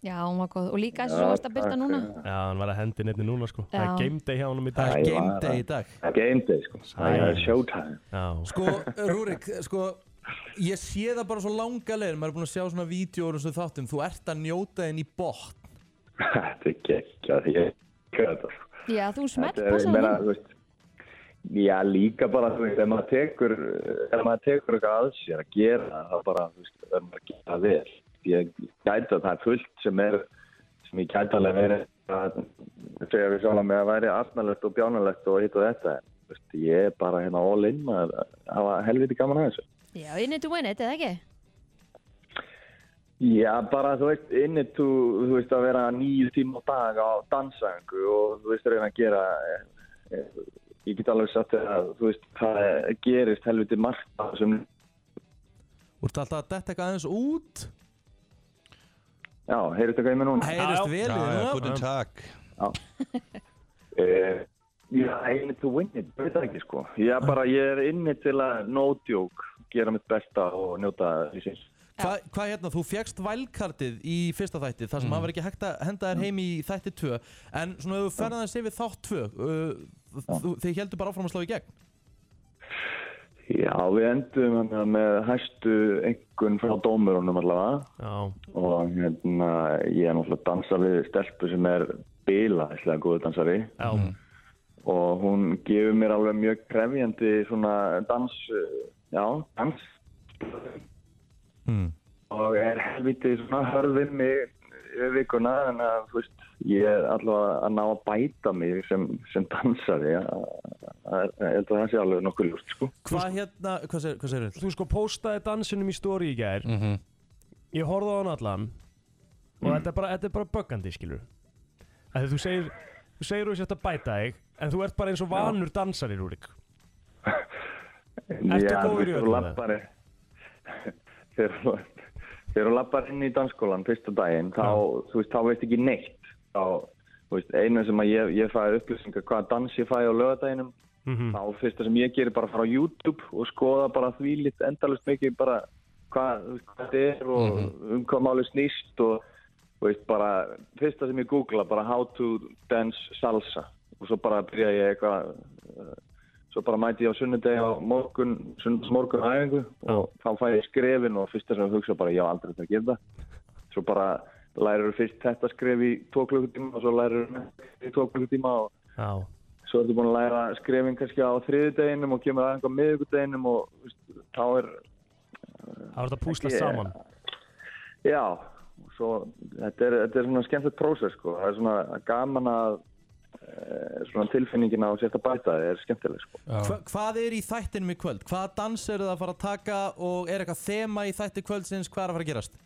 Já, hún var góð og líka þessi sem þú varst að byrta núna Já, hann var að hendi nefni núna sko Það Já. er game day hjá honum í dag Það er game day í dag Það er game day, sko. Það er showtime. Já. Sko Rúrik, sko Ég sé það bara svo langa leiðin Maður er búin að sjá svona vídjóur og svo þáttum Þú ert að njóta þinn í botn Þetta er geggjað, ég kjöða þetta. sko. Já, þú smelt Þetta er, ég passaði meina, hún þú veist, já, líka bara, þú veist, ef maður tekur, ef maður tekur eitthvað að sér að gera, það, þá bara, þú veist, ef maður gera það vel. Ég gæti að það er fullt sem er, sem ég gæti alveg verið að segja við sjálf með að væri afnalegt og bjánalegt og hitt og þetta. En, Þú veist, ég er bara hérna all in maður að hafa helviti gaman að þessu. Já, in it to win it, eða ekki? Já, bara þú veist, inni þú, þú veist að vera nýju tíma á dag á dansangu og þú veist að reyna að gera, eh, eh, ég get alveg sagt þér að þú veist, það eh, gerist helviti margt á þessum, Þú ert alltaf að detta eitthvað aðeins út já, heyrðu þetta hvað ég með núna? Heyrist vel í þér núna takk. Já. Eh, Já, inni þú vinnir, ég veit það ekki sko. Já, bara ég er inni til að nótjók, gera mitt besta og njóta því síns. Hva, Hvað hérna, þú fegst vælkartið í fyrsta þætti þar sem mm. var ekki hægt að henda þér heim í þætti 2 En svona ef þú ferðan þessi við þátt 2 uh, þú- Þið heldur bara áfram að slá í gegn Já, við endum hérna með hæstu einhvern frá dómurunum allavega Já. og hérna ég er náttúrulega að dansa við stelpu sem er bilaðislega góðu dansari Já. og hún gefur mér alveg mjög krefjandi svona dans, já, dans Mm. og er helviti svona hörðið mig yfir vikuna en að, þú veist, ég er allavega að ná að bæta mig sem, sem dansari, já, ég held að það sé alveg nokkuð ljúst, sko. Hvað hérna, hvað segir, hvað segir Þú sko postaði dansinum í stóri í gær Ég horfði á hann allan Og þetta er bara, þetta er bara böggandi skilur Þegar þú segir Þú segir þú sért að bæta þig En þú ert bara eins og vanur dansari Rúrik Ertu Já, góður í þegar öllu þú það? lappar þegar þú- þegar þú lappar inn í dansskólan fyrsta daginn, þá, þú veist, þá veist ekki neitt þá, þú veist, einu sem að ég, ég fæði upplýsingar hvaða dans ég fæði á lögadæginum þá fyrsta sem ég gerir bara að fara á YouTube og skoða bara því lit endalust mikið bara hvað, þú veist, hvað þetta er og um hvað máli snýst og þú veist, bara, fyrsta sem ég googla bara how to dance salsa og svo bara byrja ég eitthvað eh, svo bara mæti ég á sunnudegi á morgun, sunnudagsmorgun æfingu og þá fæ ég skrefin og fyrsta sem ég hugsa bara ég á aldrei þetta að gera það svo bara lærir fyrst þetta skref í tvo klukkutíma og svo lærir í tvo klukkutíma og Já. svo ertu búin að læra skrefin kannski á þriðudeginum og kemur aðeins á miðugudeginum og þú veist, þá er Það var þetta að púsla Ekki- saman já, og svo þetta er, þetta er svona skemmtilegt prósess sko, það er svona gaman að eh, svona tilfinningin á sérst að bæta þig er skemmtileg sko Hva, hvað er í þættinum í kvöld? Hvaða dans eru það að fara að taka og er eitthvað þema í þætti kvöldsins? Hvað er að fara að gerast?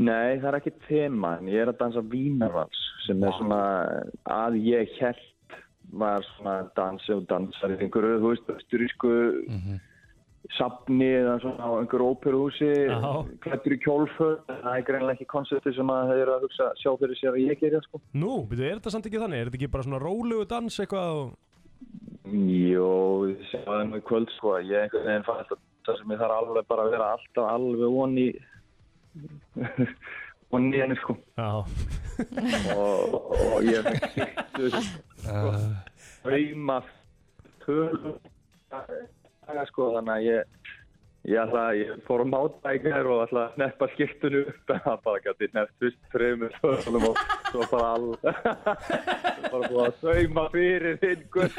Nei, það er ekki tema, en ég er að dansa Vínarvals sem er svona að ég held maður svona dansi og dansar í einhverju, þú veist, östurísku safni eða svona á einhverju óperuhúsi, klættur í kjólföt, en það er greinlega ekki koncepti sem að þeir eru að hugsa sjá fyrir sér að ég gerja, sko. Nú, byrju, er þetta samt ekki þannig? Er þetta ekki bara svona rólegu dans eitthvað og... Jó, við sjáum í kvöld, sko, að ég einhvern veginn fann alltaf það sem ég þarf alveg bara að vera alltaf alveg von í, von í henni, sko. Já. og, og ég fekk sýttu, sko, drauma tölum daga, sko, þannig að ég ég ætla að ég fór að máta í gær og ætla að neppa skiptunu upp en það bara gæti nefnt fyrst fremur tölum og svo bara all svo bara búið að sauma fyrir einhver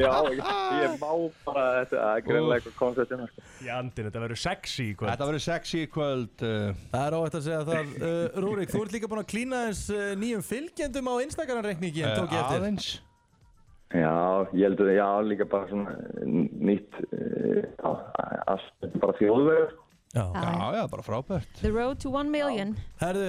já, ég, ég má bara þetta það er greinlega eitthvað konceptinn sko. Í andin, þetta verður sexy í kvöld. Þetta verður sexy í kvöld. Uh, Það er óvægt að segja það. Uh, Rúrik, þú ert líka búinn að klína eins uh, nýjum fylgjendum á Instagram-reikningin, tók ég eftir. Eh, aðeins. Já, ég held að já, líka bara svona eh, nýtt, eh, já, allt bara sko. þjóðverður. Já, já, já, bara frábært. The road to one million Herðu,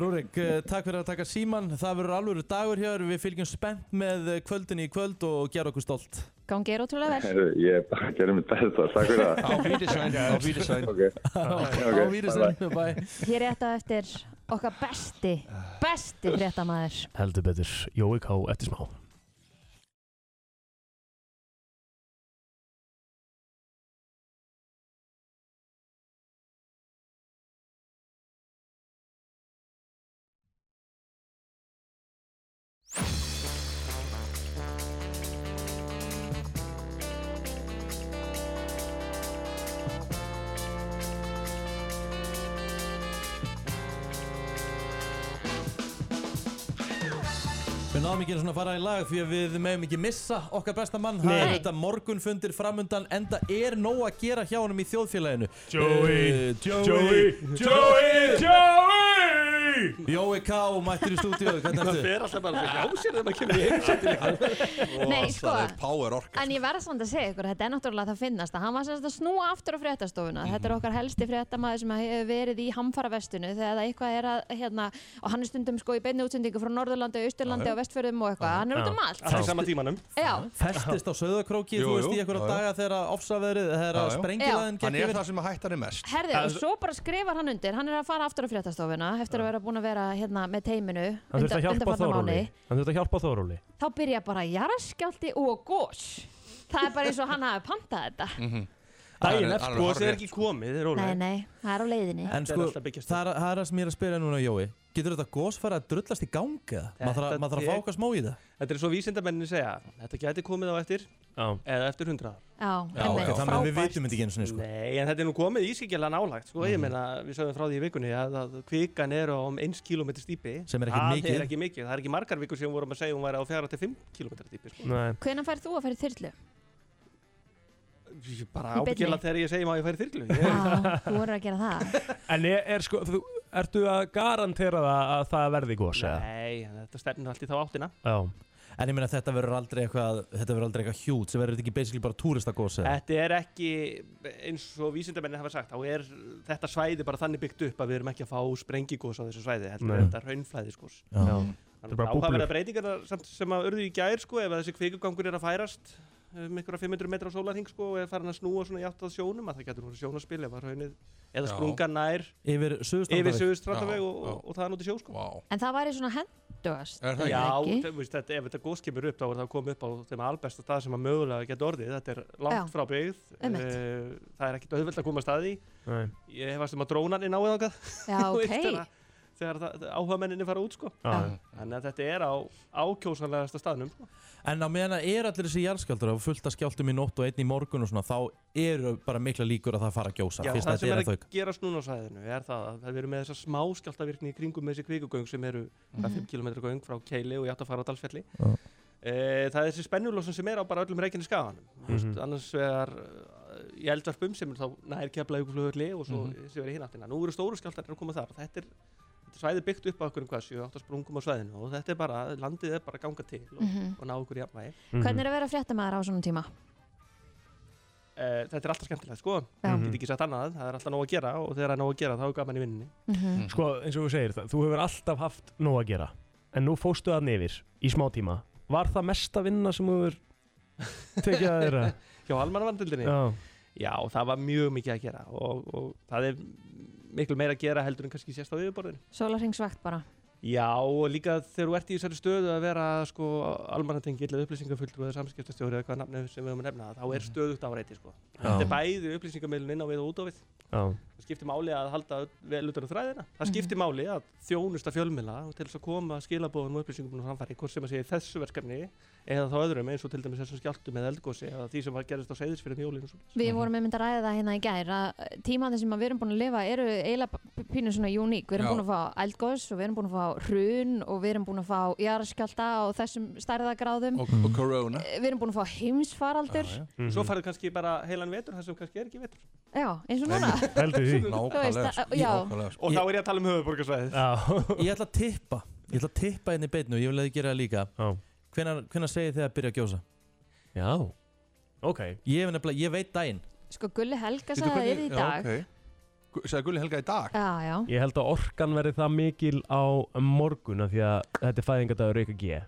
Rúrik, uh, takk fyrir að taka síman. Það verður alvöru dagur hér. Við fylgjum spennt með uh, kvöldin í kvöld og gera okkur stolt. Gangi er ótrúlega vel Heyrðu, Ég bara gerði mitt besta, takk fyrir það. Á Wiedersehen, á Wiedersehen. Ok, ok, Á Vírusen, bye. Hér er þetta eftir okkar besti besti fréttamaður Heldur betur, Jói K. eftir smá Við náðum ekki einu svona að fara í lag því að við meðum ekki missa okkar besta mann Það er Nei. þetta morgunfundir framundan enda er nóg að gera hjá honum í þjóðfélaginu Joey, Eh, Joey, Joey, Joey Jói K. mættir í stúdíu, hvernig Það ertu? fer alltaf bara fyrir hjá sér þegar maður kemur í heimsættilega Nei, sko. það er power ork En ég verða samt að segja ykkur, þetta er náttúrulega það finnast að hann var semst að snúa aftur á fréttastofuna þetta er okkar helsti fréttamaður sem hefur verið í hamfaravestinu þegar það eitthvað er að hérna, og hann er stundum sko í beinni útsendingu frá Norðurlandi, Já. Austurlandi og Vestfjörðum og eitthvað, hann er út um allt Það er sama tímanum Já, Festist á söðakróki, þú Jú, veist, jú, í einhverja já, já. daga þegar ofsaveðrið, þegar Já, já. sprengilaðin Já. Hann er það sem að hættan er mest herði, og svo bara skrifar hann undir hann er að fara aftur á fréttastofuna eftir að vera búin að vera hérna með teiminu Hann þurft undan- að hjálpa undanfarna Þóróli. mánuði. Hann þurft að hjálpa Þóróli. þá byrja bara jarðskjálti og gós það er bara eins og hann hafi pantað þetta Hann Dæin er- eftir, hann er sko, hárrétt. það er ekki komið, það er nei, rólega nei, það er á leiðinni En sko, það er það er það sem ég er að spyrja núna Jói Getur þetta gos fara að drullast í gang eða? Maður þarf að- maður þarf að fá okkar smá í það Þetta er svo vísindamenninni segja Þetta gæti komið á eftir Eða eftir hundrað Já, Já, einmitt. ok, þannig að við vitum þetta ekki einu sinni sko Mhm. Nei, en þetta er nú komið ískikjala nálægt sko. Ég meina, við sögum frá því í vikunni að, að kvikan er á um 1 km stýpi Sem er ekki mikið. Það er ekki mikið, það er ekki margar vikur sem vorum að segja hún væri á 4-5 km stýpi sko. Hvenær færð þú að fara í þyrlu? Ég Bara Í beinni. ábyggjala þegar ég segi maður ég færi þyrlu Já, Ég- þú voru að gera það En er, er sko, þú, ertu að garantera það að það verði gos eða? Nei, þetta stefnir allt í þá áttina Já. En ég meina þetta verður aldrei eitthvað Þetta verður aldrei eitthvað hjút sem verður þetta ekki basically bara túristagos eða? Þetta er ekki, eins og vísindamennin hafa sagt, þá er þetta svæði bara þannig byggt upp að við erum ekki að fá sprengigós á þessu svæði, heldur Nei. er þetta raunflæðisgós. Já. Þetta er bara Þá hafa búblur. verið breytingar samt sem að urðu í gær sko, ef að þessi kvikugangur er að færast um einhverja 500 metra á sólarhing sko og er farin að snúa svona í átt að sjónum að það getur voru sjónaspil ef að raunið eða Já. sprunga nær Yfir Suðurstrandarveg. yfir Suðurstrandarveg Já, og, og, og það er út í sjó sko. Wow. En það væri svona hendugast Er er Já, það ekki? þú veist, þetta, ef þetta gós kemur upp þá er það að koma upp á þeim albesta stað sem að mögulega geta orðið þetta er langt Já. frá byggð Einmitt. eh, það er ekkit auðvelt að koma að staði Nei. ég hefast um að drónaninn náið ákað Já, ok. þegar það- áhuga menninni fara út sko. Já. þannig að þetta er á ákjósanlegasta staðnum sko. En á meðan að er allir þessi jarðskjáldur og fullt af skjáltum í nótt og einn í morgun og svona þá eru bara mikla líkur að það fara að gjósa Já, fyrst það þetta sem er er að að þauk gerast núna á sæðinu er það að það verður með þessa smá skjáltavirkni í kringum með þessi kvikugöng sem eru mm. Mhm. 5 km göng frá Keili og ég átt að fara á Dalsfjalli Já. Eh, Það er þessi spennulósun sem er á bara öllum reikinni skaganum Mhm. annars vegar eh, í eldvarpum sem er þá nær kefla ykkur flugurli og svo mm Mhm. -hmm. sem er í hináttina. Nú eru stóru skjáltar að koma þar þetta er, þetta er svæði byggt upp á okkur um hvað 7-8 sprungum á svæðinu og þetta er bara landið er bara að ganga til og, Mhm. og ná okkur jafnvægi Hvernig er að vera fréttamaður á svona tíma? Eh, þetta er alltaf skemmtilegt sko, Já. ég get ekki sagt annað, það er alltaf nóg að gera og þegar það er nóg að gera þá er gaman í vinninni. Mm. Mhm. Sko, eins og þú segir það, þú hefur alltaf haft nóg að gera. En nú fóstu það nefir í smá tíma Var það mesta vinna sem þú er tekið að þeirra? Hjá almannavandildinni? Já. Já, það var mjög mikið að gera og, og það er miklu meira að gera heldur en kannski sérst á yfirborðinu. Sólarhengsvakt bara. Já, og líka þegar þú ert í þessari stöðu að vera sko almannatengi eða upplýsingafulltrú eða samskiptastjóri eða hvaða nafni sem við höfum að nefna, þá er stöðugt áreiti sko. Þetta er bæði upplýsingamilun inn á við og út á við. Já. Það skiptir máli að halda vel utan á þræðina. Það skiptir máli að þjónusta fjölmila til þess að koma skilabóðum og upplýsingum á framfæri, hvort sem að segja í þessu verkefni eða þá öðrum eins og til dæmis þessum skjáltum eða eldgósi eða því sem var gerist á um seyðisfyrir mjólinu. Við vorum einmitt að ræða það hérna í gær að tímandi sem að við erum búin að lifa eru eiginlega p- pínu svona uník. Við erum Já. búin að fá eldgós og við erum búin að fá hrun og við erum búin að fá jarðskjálta og þessum stærðagráðum. Og, og corona Við erum búin að fá heimsfaraldur. Já, Svo farið kannski bara heilan vetur þar sem kannski er ekki vetur. eins og núna. Heldur því. Þú veist, Nákvæmlega, að- já. nákvæmlega, sko. Og þá er ég að tala um höfuborgarsvæðið. Ég ætla að tippa Ég ætla að tippa hérna í beinu og ég vil að þið gera það líka Hvenær, hvenær segir þið að byrja að gjósa? Já, ok Ég, hef nefnilega- ég veit daginn Sko Gulli Helga sagði að það er í dag. Sæði Gulli Helga í dag? Já, já. Ég held að orkan verði það mikil á morgun af því að þetta er fæðingadagur Reykja G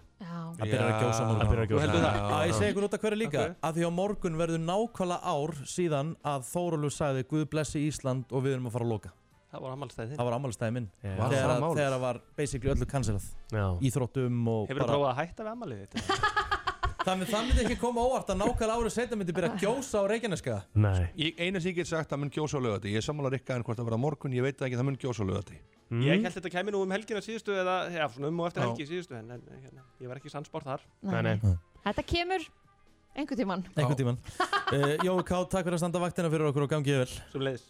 Það byrjar að gjósa á morgun Það byrjar að gjósa Þú heldur það? Já, ég segi ykkur út af hverju líka Ok. Að því á morgun verður nákvæmlega ár síðan að Þórólur sagði Guð blessi Ísland og við erum að fara að loka Það voru ammálstæðið. Það var ammálstæði minn Var Þegar það að- málið? Þegar það var basically öllu cancelað Já. Íþróttum og Hefur þú bara- prófað að hætta við ammálið þetta? Þannig það myndi ekki koma óvart að nákvæmlega árið setna myndi byrja að gjósa á Reykjaneska Nei Ég, eina sem ég get sagt að mun gjósa á lögati Ég er sammála Rikka en hvort það verða á morgun Ég veit það ekki það mun gjósa á lögati Mm. Ég held þetta kæmi nú um helgina síðustu eða, já, svona um og eftir Mhm. Já. helgi síðustu en, en hérna, ég var ekki sannsport þar. Nei, nei. Þetta kemur einhver tíman. Einhvern tíman uh, Jói Ká, takk fyrir að standa vaktina fyrir okkur og gangið vel Sem leiðis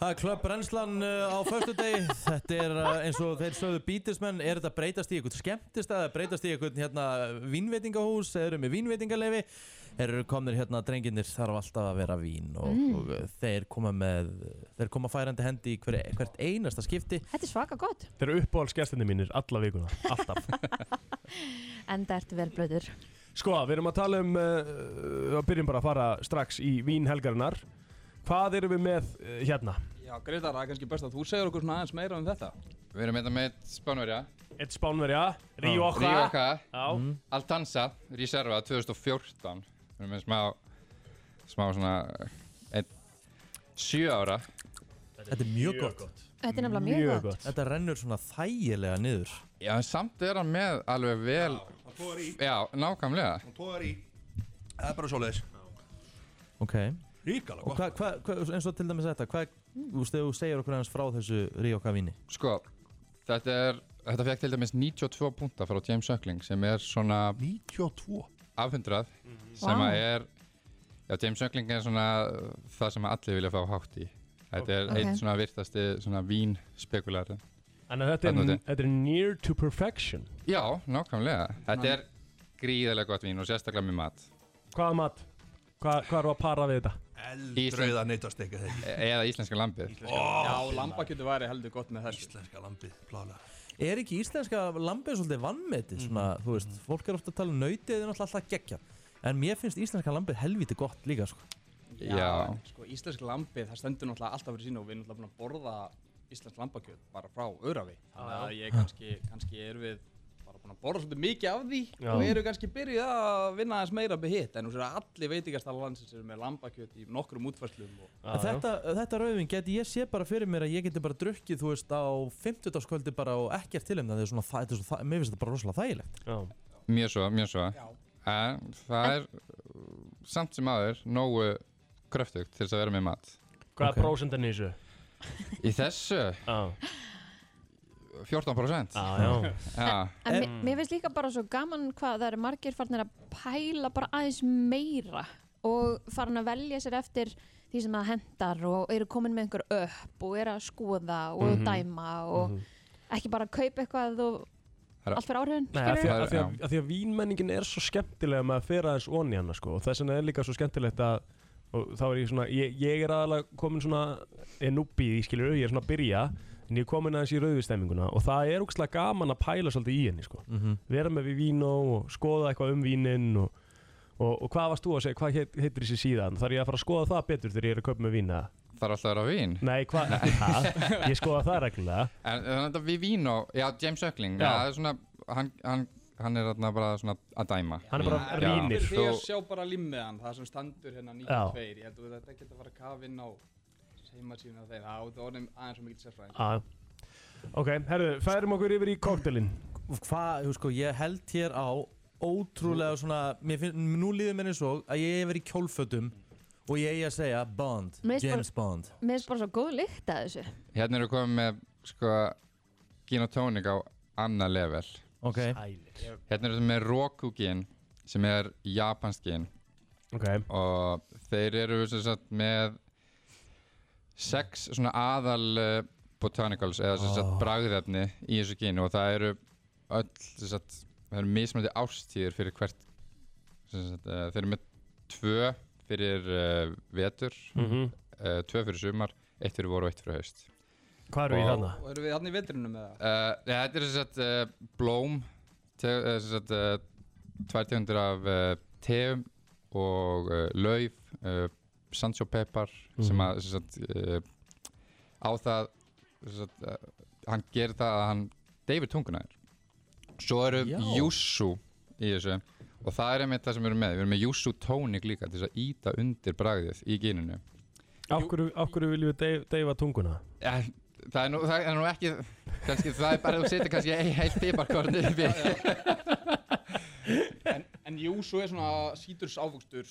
Það er klöpp brennslan uh, á förstu deg Þetta er uh, eins og þeir sögðu bítismenn Er þetta að breytast í eitthvað skemmtist eða breytast í eitthvað hérna vínveitingahús eða eru með vínveitingaleifi eru komnir hérna drenginir þarf alltaf að vera vín og, Mm. og uh, þeir koma með þeir koma færandi hendi í hver, hvert einasta skipti Þetta er svaka gott. Þeir eru uppáhaldsgestinni mínir alla vikuna, alltaf Enda ertu vel blöður. Sko, við erum að tala um uh, að byrjum bara að fara strax í Vín helgarinnar Hvað erum við með uh, hérna? Já, Greitar, það er kannski best að þú segir okkur svona aðeins meira um þetta. Við erum hérna með eitt Spánverja. Eitt Spánverja, Rioja. Rioja, Mhm. Já. Altanza, Reserva 2014. Við erum með smá, smá svona, ein, sjö ára. Þetta er mjög gott. Þetta er nefnilega mjög gott. Þetta rennur svona þægilega niður Já, en samt er hann með alveg vel... Já, hann togar í. Já, nákvæmlega. Hún tóðar í Það er bara svoleiðis Ok Ríkala Og hvað, hva, hva, eins og til dæmis þetta, hvað, þú veist, þegar þú segir okkur hans frá þessu Ríoka víni Sko, þetta er, þetta fekk til dæmis 92 púnta frá James Ökling sem er svona... 92? Afhundrað, sem Mhm. Vá. að er, já, James Ökling er svona uh, það sem allir vilja fá hátt í. Þetta er Ok. einn svona virtasti svona vín spekulæri. Þannig að þetta er, þetta er near to perfection Já, nákvæmlega. Þetta Ná. er gríðarlega gott vín og sérstaklega með mat. Hvaða mat? Hvað, hvað erum við að para við þetta? Eldrauða neytastekka þeir E-, Eða íslenska lambið. Já, lambakjötu væri heldur gott með þessu Íslenska lambið, plálega Er ekki íslenska lambið svolítið vannmetið, svona, þú veist, fólk er ofta að tala um nautið en alltaf alltaf geggja En mér finnst íslenska lambið helviti gott líka, sko Já. en Sko, íslensk lambið, það stendur náttúrulega alltaf fyrir sína og við erum náttúrulega búin að borða íslensk lambakjöt bara frá örafi. Þannig að ég kannski, kannski er við bara búin að borða svolítið mikið af því Já. og eru kannski byrjuð að vinna aðeins meira með hitt. En þú sér að allir veitingastala landsins eru með lambakjöt í nokkrum útfærslum og... En þetta, þetta rauðvin geti ég sé bara fyrir mér að ég geti bara drukkið, þú veist, á 50 bara og ekkert til um það, þetta er svona, þa- þetta er svo, þa- mér finnst þetta bara rosalega þægilegt Já Mjög svo, mjög svo. En það er uh, samt sem aður nógu kröftugt til þess að vera með mat. Hvað er prósendan í þessu? Í þessu? Já. 14%? Já, já. En mér, mér finnst líka bara svo gaman hvað það eru margir farnir að pæla bara aðeins meira og farin að velja sér eftir því sem það hendar og eru komin með einhver upp og eru að skoða og Mhm. dæma og ekki bara kaupa eitthvað og Það er- allt fyrir áhrifin Nei, af því, Það að, er- af, því að, já. af því að vínmenningin er svo skemmtilega með að fyrra aðeins onni hana sko, og þess vegna er líka svo skemmtilegt að og þá er ég svona, ég, ég er aðalega komin svona er núbið í skilur, ég er svona að byrja en ég er komin aðeins í rauðvistemminguna og það er úkslega gaman að pæla svolítið í henni sko. Mhm. vera með við vín og skoða eitthvað um vínin og, og, og hvað varst þú að segja, hvað heit, heitir þessi síðan þarf ég að fara að skoða það betur þegar ég er að kaupa með vín eða? Það er alltaf að vera vín. Nei, hvað, ekki það, ég skoða það reglulega En þannig að við vín og, já, James Ökling, Já. já. það er svona hann, hann, hann er þarna bara svona að dæma Hann er bara Já. rýnir. Þið Þú- sjá bara limmiðan, það sem standur hérna Já. 92, ég held að þetta geta að fara að kafa inn á heimasíðuna þeir, það átti orðin aðeins svo mikið sérfræðing. Já, já. Ok, herru, færum okkur yfir í koktelin Hvað, þú sko, ég held hér á ótrúlega svona, mér finn, nú líður mér eins og að ég hef verið í kjólfötum og ég eigi að segja Bond, Mér finnst bara- James Bond. Mér finnst bara svo góð lykt að þessu. Hérna eru komið með sko gin og tónik á annað level Ok Sælir. Hérna eru með Roku gin sem er japansk gin Ok Og þeir eru sem sagt með sex svona aðal uh, botanicals eða sem sagt Oh. bragðefni í þessu ginu og það eru öll sem sagt, það eru mismöndi ástíður fyrir hvert sem sagt, uh, þeir eru með tvö fyrir uh, vetur Mhm. uh, tvö fyrir sumar, eitt fyrir voru og eitt fyrir haust Hvað eru í Og- þarna? Og eru við hann í vetrinum með það? Uh, nei, þetta er sem sagt uh, blóm te, uh, sem sagt uh, tvær tegundir af uh, teum og uh, lauf uh, sancho pepper sem að sem sagt, uh, á það sem sagt, uh, hann gerir það að hann deyfir tunguna þér svo eru Já. jússu í þessu og það er einmitt það sem við erum með við erum með jússu tónik líka til þess að íta undir bragðið í gíninu Af hverju, af hverju viljum við deyf- deyfa tunguna? Ja, það, er nú, það er nú ekki kannski, það er bara að þú setja kannski ein- heilt piparkorn yfir en, en jú, svo er svona síturs ávöxtur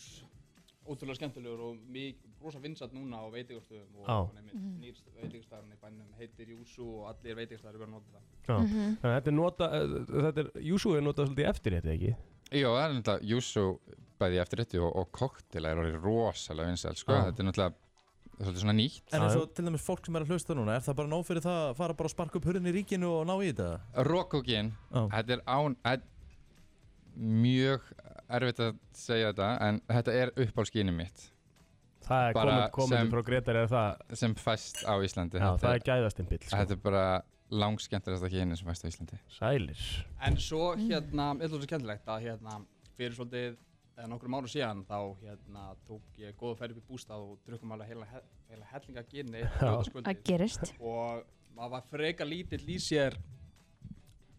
ótrúlega skemmtilegur og mikið rosa vinsat núna á veitingarstöðum og Já. nefnir nýrst veitingarstæðurinn í bænum heitir Júsu og allir veitingarstæður eru bara að nota það. Já, Mhm. þannig að þetta er nota, uh, þetta er, Júsú er notað svolítið eftir þetta ekki? Jó, það er náttúrulega júsu bæði eftirrétti og, og koktela er orðið rosalega vinsæl sko. Já. þetta er náttúrulega svolítið svona nýtt En eins og til dæmis fólk sem er að hlusta núna, er það bara nóg fyrir það að fara bara að sparka upp hurðin í ríkinu og ná í þetta? Rokugin, þetta er án þetta, mjög erfitt að segja þetta en þetta er uppálskinu mitt Það er Bara komið, komið sem- frá Gretar eða það sem fæst á Íslandi Já, Þetta það er gæðastimpill, sko. Þetta er bara langskemmtilegasta kynin sem fæst á Íslandi Sælir En svo hérna, ég ætlum svo skemmtilegt að hérna, fyrir svolítið eða nokkrum árum síðan þá hérna tók ég góða ferð upp í bústað og drukkum alveg heila, he- heila hellinga gini Það gerist. og maður var freka lítill í sér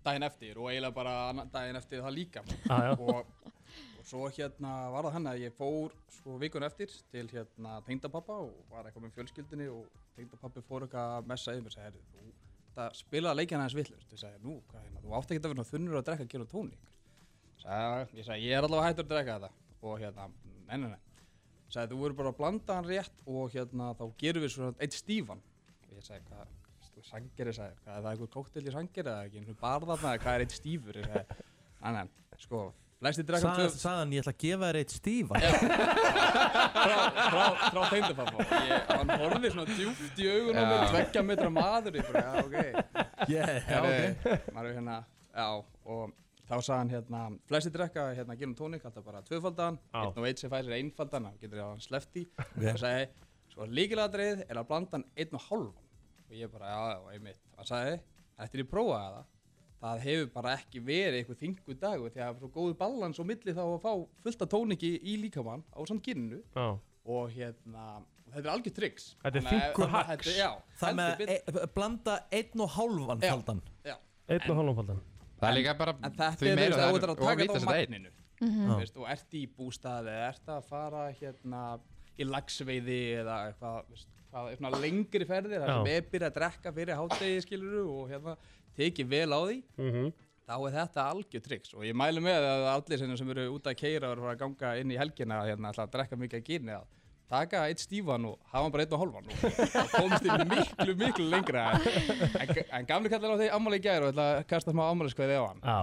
daginn eftir og eiginlega bara annan daginn eftir það líka Já, já. og, og svo hérna var það hann að ég fór svo vikun eftir til hérna tengdapappa og var eitthvað með fjölskyldinni og tengdapappi fór eitthvað að messa yfir og sagði, "Heyrðu, þú það spilaði leikjana aðeins villur þú sagði, nú, hvað hérna, þú átt ekki að vera svona þunnur að drekka gera tónik sagði, ég sagði, ég er allavega hættur að drekka þetta og hérna, nei, nei, nei sagði, þú verður bara að blanda hann rétt og hérna, þá gerum við svona eitt stífan og ég sagði, hvað, þú sangeri sagði, hvað er það einhver kóktel í sangeri eða ekki, einhver bar þarna, hvað er eitt stífur Ég sagði, nei, nei, sko, flestir drekka Sað, Saðan, ég ætla að gefa þér eitt stífa. frá, frá tengdapappa Ég- hann horfði svona djúft í augun á mér Já. tveggja metra maður ég bara, já, ok Yeah, já, ok. ok maður er hérna, já, og þá sagði hann hérna, flestir drekka hérna gin og tónik, alltaf bara tvöfaldan einn og einn sem fær sér einfaldan, hann getur hann sleppt í Vel. og sagði, sko líkiladrið er að blanda hann einn og hálfan og ég bara, já, já, einmitt, hann sagði eftir ég prófaði það það hefur bara ekki verið eitthvað þingu dagur því að það er svo góðu ballans og milli þá að fá fullta tóniki í líkamann á samt ginnu Já og hérna, þetta er algjör tryggs Þetta er þykkur hacks. Já, Það heldur með betur. að e blanda einn og hálfan kaldan. Já. Einn og hálfanfaldan Það er líka bara En þetta er, þú veist, þú ert að taka þetta á magninu Mhm. Þú veist, og ert í bústaði eða ert að fara hérna í lagsveiði eða eitthvað, veist, hvað, svona lengri ferðir þar sem Já. er byrjað að drekka fyrir hátegi skiluru og hérna tekið vel á Mhm. því Mhm. þá er þetta algjör tryggs og ég mælu með að allir hérna sem- sem eru út að keira og eru að fara að ganga inn í helgina og hérna, ætla að drekka mikið að gynni að taka eitt stífan og hafa hann bara einn og hálfan og þá komst þið miklu, miklu lengra en, en gamli kallar á því ámáli í gær og ætla að kasta smá ámáli skoðið á hann Já,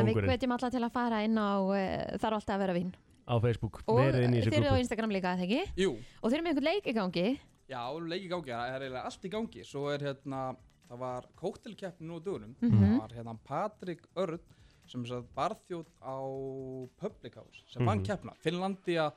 En við kóngurinn hvetjum alla til að fara inn á uh, þar alltaf að vera vín. á Facebook Og Verið inn í þeir þessu eru á grúpu Instagram líka, eða ekki? Jú. Og þeir eru með einhvern leik í gangi. Já, leik í gangi, það er eiginlega allt í gangi Svo er hérna, það var kóktelkeppni nú á dögunum Mhm. Það var hérna Patrik Örn sem satt barþjóð á Public House sem vann Mhm. keppna Finnlandia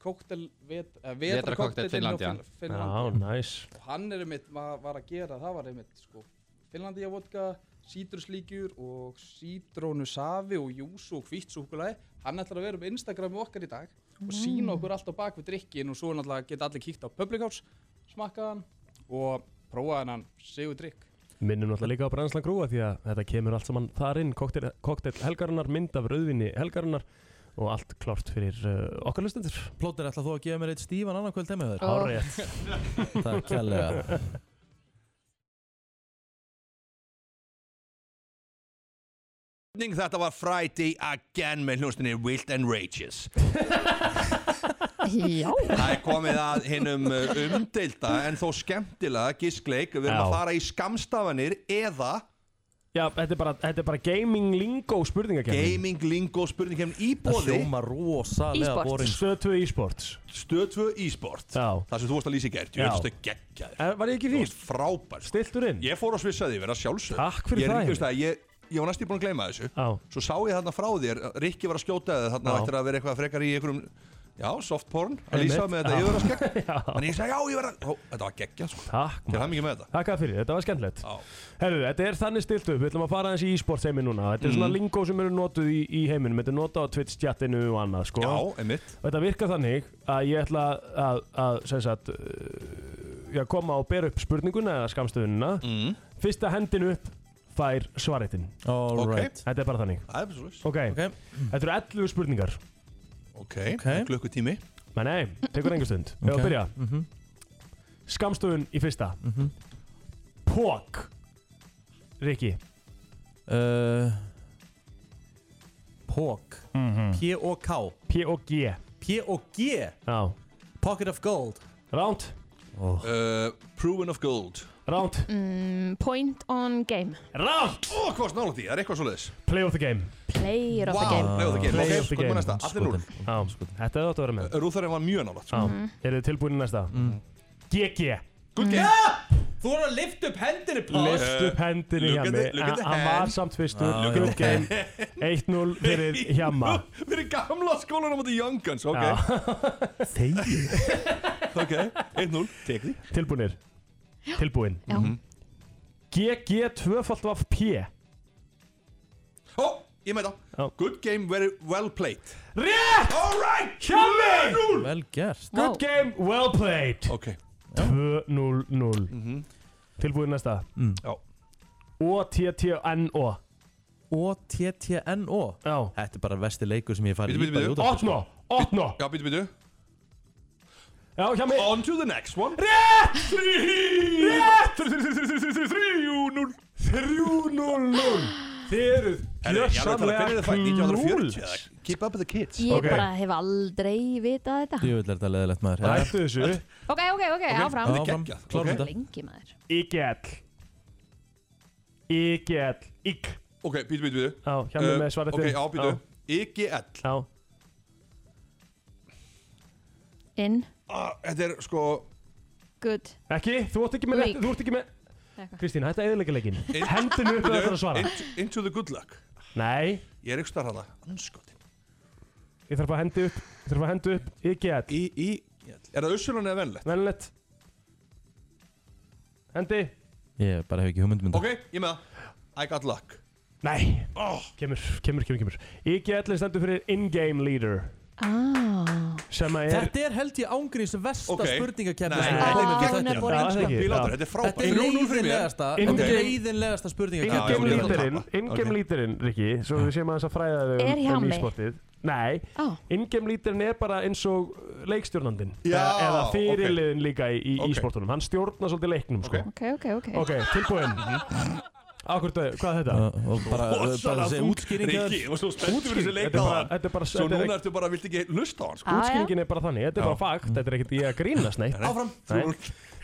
kóktel vet, eh, Vetrarkóktel vetrarkóktelinn hjá Finnlandia. Finn- Já, Finnlandia næs Og hann er einmitt, var, var að gera, það var einmitt sko, Finnlandia vodka, sítruslíkjur og sítrónu safi og jús og hvítt súkulagi Hann ætlar að vera um Instagrami okkar í dag og sína okkur allt á bak við drikkin og svo náttúrulega geta allir kíkt á Public House smakkaðan og prófaðan hann sigur drikk Minnum náttúrulega líka á brennslan grúa því að þetta kemur allt saman þar inn kokteil, kokteil helgarinnar, mynd af rauðvinni helgarinnar og allt klárt fyrir uh, okkar lustendur Plóter, ætla þú að gefa mér eitt stífan annan kvöld heima hjá þér? Ó. Hárrétt. Takk kærlega Þetta var Friday Again með hljónstinni Wild and Rageous Já Það er komið að hinnum umdeilda en þó skemmtilega gískleik Við erum að Já. fara í skamstafanir eða Já, þetta er bara, þetta er bara gaming lingo spurningakefni Gaming lingo spurningakefni í Það bóði hljómar rosalega E-sports. boring. Stöð 2 e-sports Stöð 2 e-sport Það sem þú varst að lýsa í gert, Já. ég veist að geggja þér Var ég ekki fín? Frábær Stiltur inn Ég fór á svissaði, verða sjálfsög Takk fyrir ég, það, það veist, að, ég, ég var næstu búin að gleyma þessu Já. Svo sá ég þarna frá þér, Rikki var að skjóta þér Þarna Já. ættir að vera eitthvað frekar í einhverjum Já, soft porn, að Einmitt. lýsa með þetta Já. yfirvaraskegg En ég sagði, já, ég verða Ó, Þetta var geggja, sko Takk Til hæmingi með þetta Takk að fyrir, þetta var skemmtilegt Herru, þetta er þannig stilt upp, við ætlum að fara aðeins í e-sports heiminn núna Þetta er svona Mm. lingó sem eru notuð í, í heiminum Þetta er notað á Twitch chatinu og annað sko. Já, einmitt. Og Þetta virkar þannig að ég ætla að, að sem sagt, uh, já, koma og bera upp spurninguna eða skamstöðunina mm. Fyrsta hendin upp fær svaritinn Alright. Þetta er bara þannig Það er svoleiðis. okay. Þetta eru 11 spurningar Ok, okay. klukkutími Nei, nei, tekur engu stund Við okay. að byrja Mhm. Skamstöðun í fyrsta Pók Rikki uh, Pók Mhm. P-O-K P-O-G P-O-G Já Pocket of Gold Ránt oh. uh, Proven of Gold Ránt mm, Point on game Ránt Ó, hvað var snála því, það er eitthvað svoleiðis Play of the game Player of the Wow. game Play of the game. Play Ok, of the skotum game næsta. Allir núll. Já, Þetta er þetta að vera með Rúþarinn var mjög nálægt sko. Já, Mhm. eru þið tilbúin í næsta Mhm. GG Good game Þú voru að lifta upp hendinni, Pál Lift upp hendinni look hjá at the- mig look at the Hann var hand. samt fyrstur Ah, Good look at the game 1-0 fyrir hjama Við erum gamla skólanum á því Young Guns, ok Eh, Þegi Ah, Ok, 1-0, tek því Tilbúinir Tilbúin Já. GG Mhm. tvöfalt af P Ó, ég með það Good game, very well played Rétt! Alright! Hjami! Vel gert Good game, well played Ok Mhm. 2-0-0 Tilbúin næsta Mm. Já O-T-T-N-O O-T-T-N-O Já Þetta er bara vesti leikur sem ég hef farið Bíddu, bíddu, bara í bíddu. útvarpi, sko. Opna. Otno Já, býtu, býtu Já, hjá mig On to the next one Rétt! Rétt! 3-0 3-0-0 Þið eruð Herri, ég alveg tala, hvernig er það fætt? 1940 eða? Keep up with the kids Ég bara hef aldrei vitað þetta Djöfull er þetta leðilegt maður Hættu þessu Ok, ok, ok, áfram þetta er Áfram. geggjað. Klárum þetta. Lengi maður Ígjall Ígjall Ígg Ok, býtu, býtu, býtu Já, hjá mig með svarið Ok, þinn. já, býtu IGL Já Inn, Ah, Þetta er sko good Ekki, þú ert ekki með rétt, Leik. þú ert ekki með Kristín, hættu að eðilegja leikin In- Hendinu upp eða Býtu, það að svara into- Into the good luck Nei, Ég er ykkur starf hana Anskotin ég þarf að hendi upp Ég þarf að hendi upp Ígjall Í, í Er það ussulan eða venlegt? Venlegt Hendi Ég bara hef ekki um hugmyndmynda Ok, ég með það I got luck Oh. Nei Kemur, kemur, kemur, kemur Ígjall stendur fyrir in-game leader ah. Sem að er Þetta er held ég ángríns versta Ok. okay. spurningakefni Nei, sem nei, ég nei, hef nei, tekið nei, þátt í. nei, nei, nei, nei, nei, nei, Þetta er Þetta er leiðinlegasta In-game- Þetta er leiðinlegasta In-game spurningakefni lítirinn, in-game lítirinn, Rikki, svo Ah. við séum aðeins að fræða þau Er hjá um, um mig? e-sportið. Nei, in-game lítirinn er bara eins og leikstjórnandinn, Já, eða, eða ok. fyrirliðin líka í, í Ok. e-sportunum, hann stjórnar svolítið leiknum, sko. Ok, ok, ok Ok, tilbúin. Akkur döðu, hvað er þetta? og bara- Rosalega bara þessi þung. útskýring hjá þér. Rikki, ég var svo spenntur fyrir þessi Útskýring, leik þetta er á bara- hann. þetta er bara- Svo þetta er núna ekki- ertu bara, viltu ekki hlusta á hann sko? Útskýringin er bara þannig, þetta er bara fakt, þetta er ekkert ég að grínast, neitt. Áfram. Nei.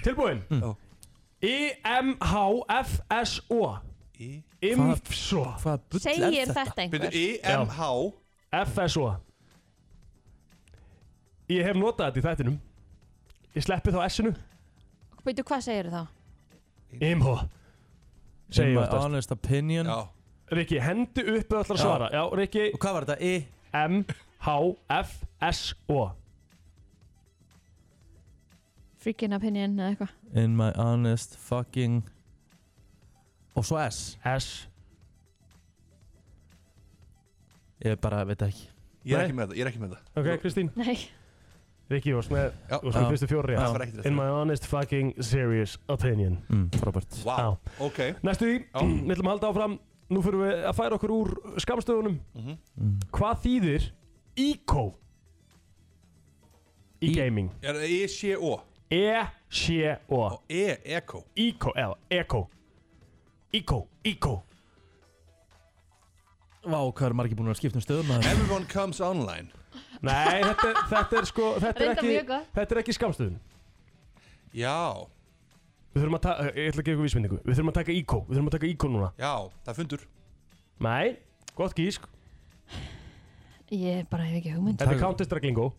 Tilbúin. I-M-H-F-S-O. IMFSO. Hvað Segir þetta einhver? FSO Ég hef notað þetta í þættinum Ég sleppi þá S-inu Býtu, hvað segir þá? IMHO In Segir my oftast honest opinion Rikki, hendi upp eða ætlar að Já. svara Já, Rikki Og hvað var þetta? I M-H-F-S-O Freaking opinion eða eitthvað In my honest fucking Og svo S S Ég bara veit það ekki Ég er ekki með það, ég er ekki með það Ok, Kristín Nei Rikki, þú varst með, Já. þú varst með Já. fyrstu fjóri Það var ekkert rétt. In my honest fucking serious opinion mm. Robert wow. Ok Næstu því, við ætlum að halda áfram Nú fyrir við að færa okkur úr skamstöðunum Mhm. Hvað þýðir ICO í gaming? E, Er það E E-C-O? E-C-O E, E-Eco ICO, eða ECO ICO, ICO Vá, hvað er margir búin að skipta um stöðum að Everyone comes online Nei, þetta, er- þetta er sko Þetta er Reyndar mjög ekki, gott. þetta er ekki skamstöðun Já Við þurfum að taka, ég ætla að gefa ykkur vísmyndingu Við þurfum að taka ICO, við þurfum að taka ICO núna Já, það er fundur Nei, gott gísk Ég bara hef ekki hugmynd Þetta er Counter-Strike lingo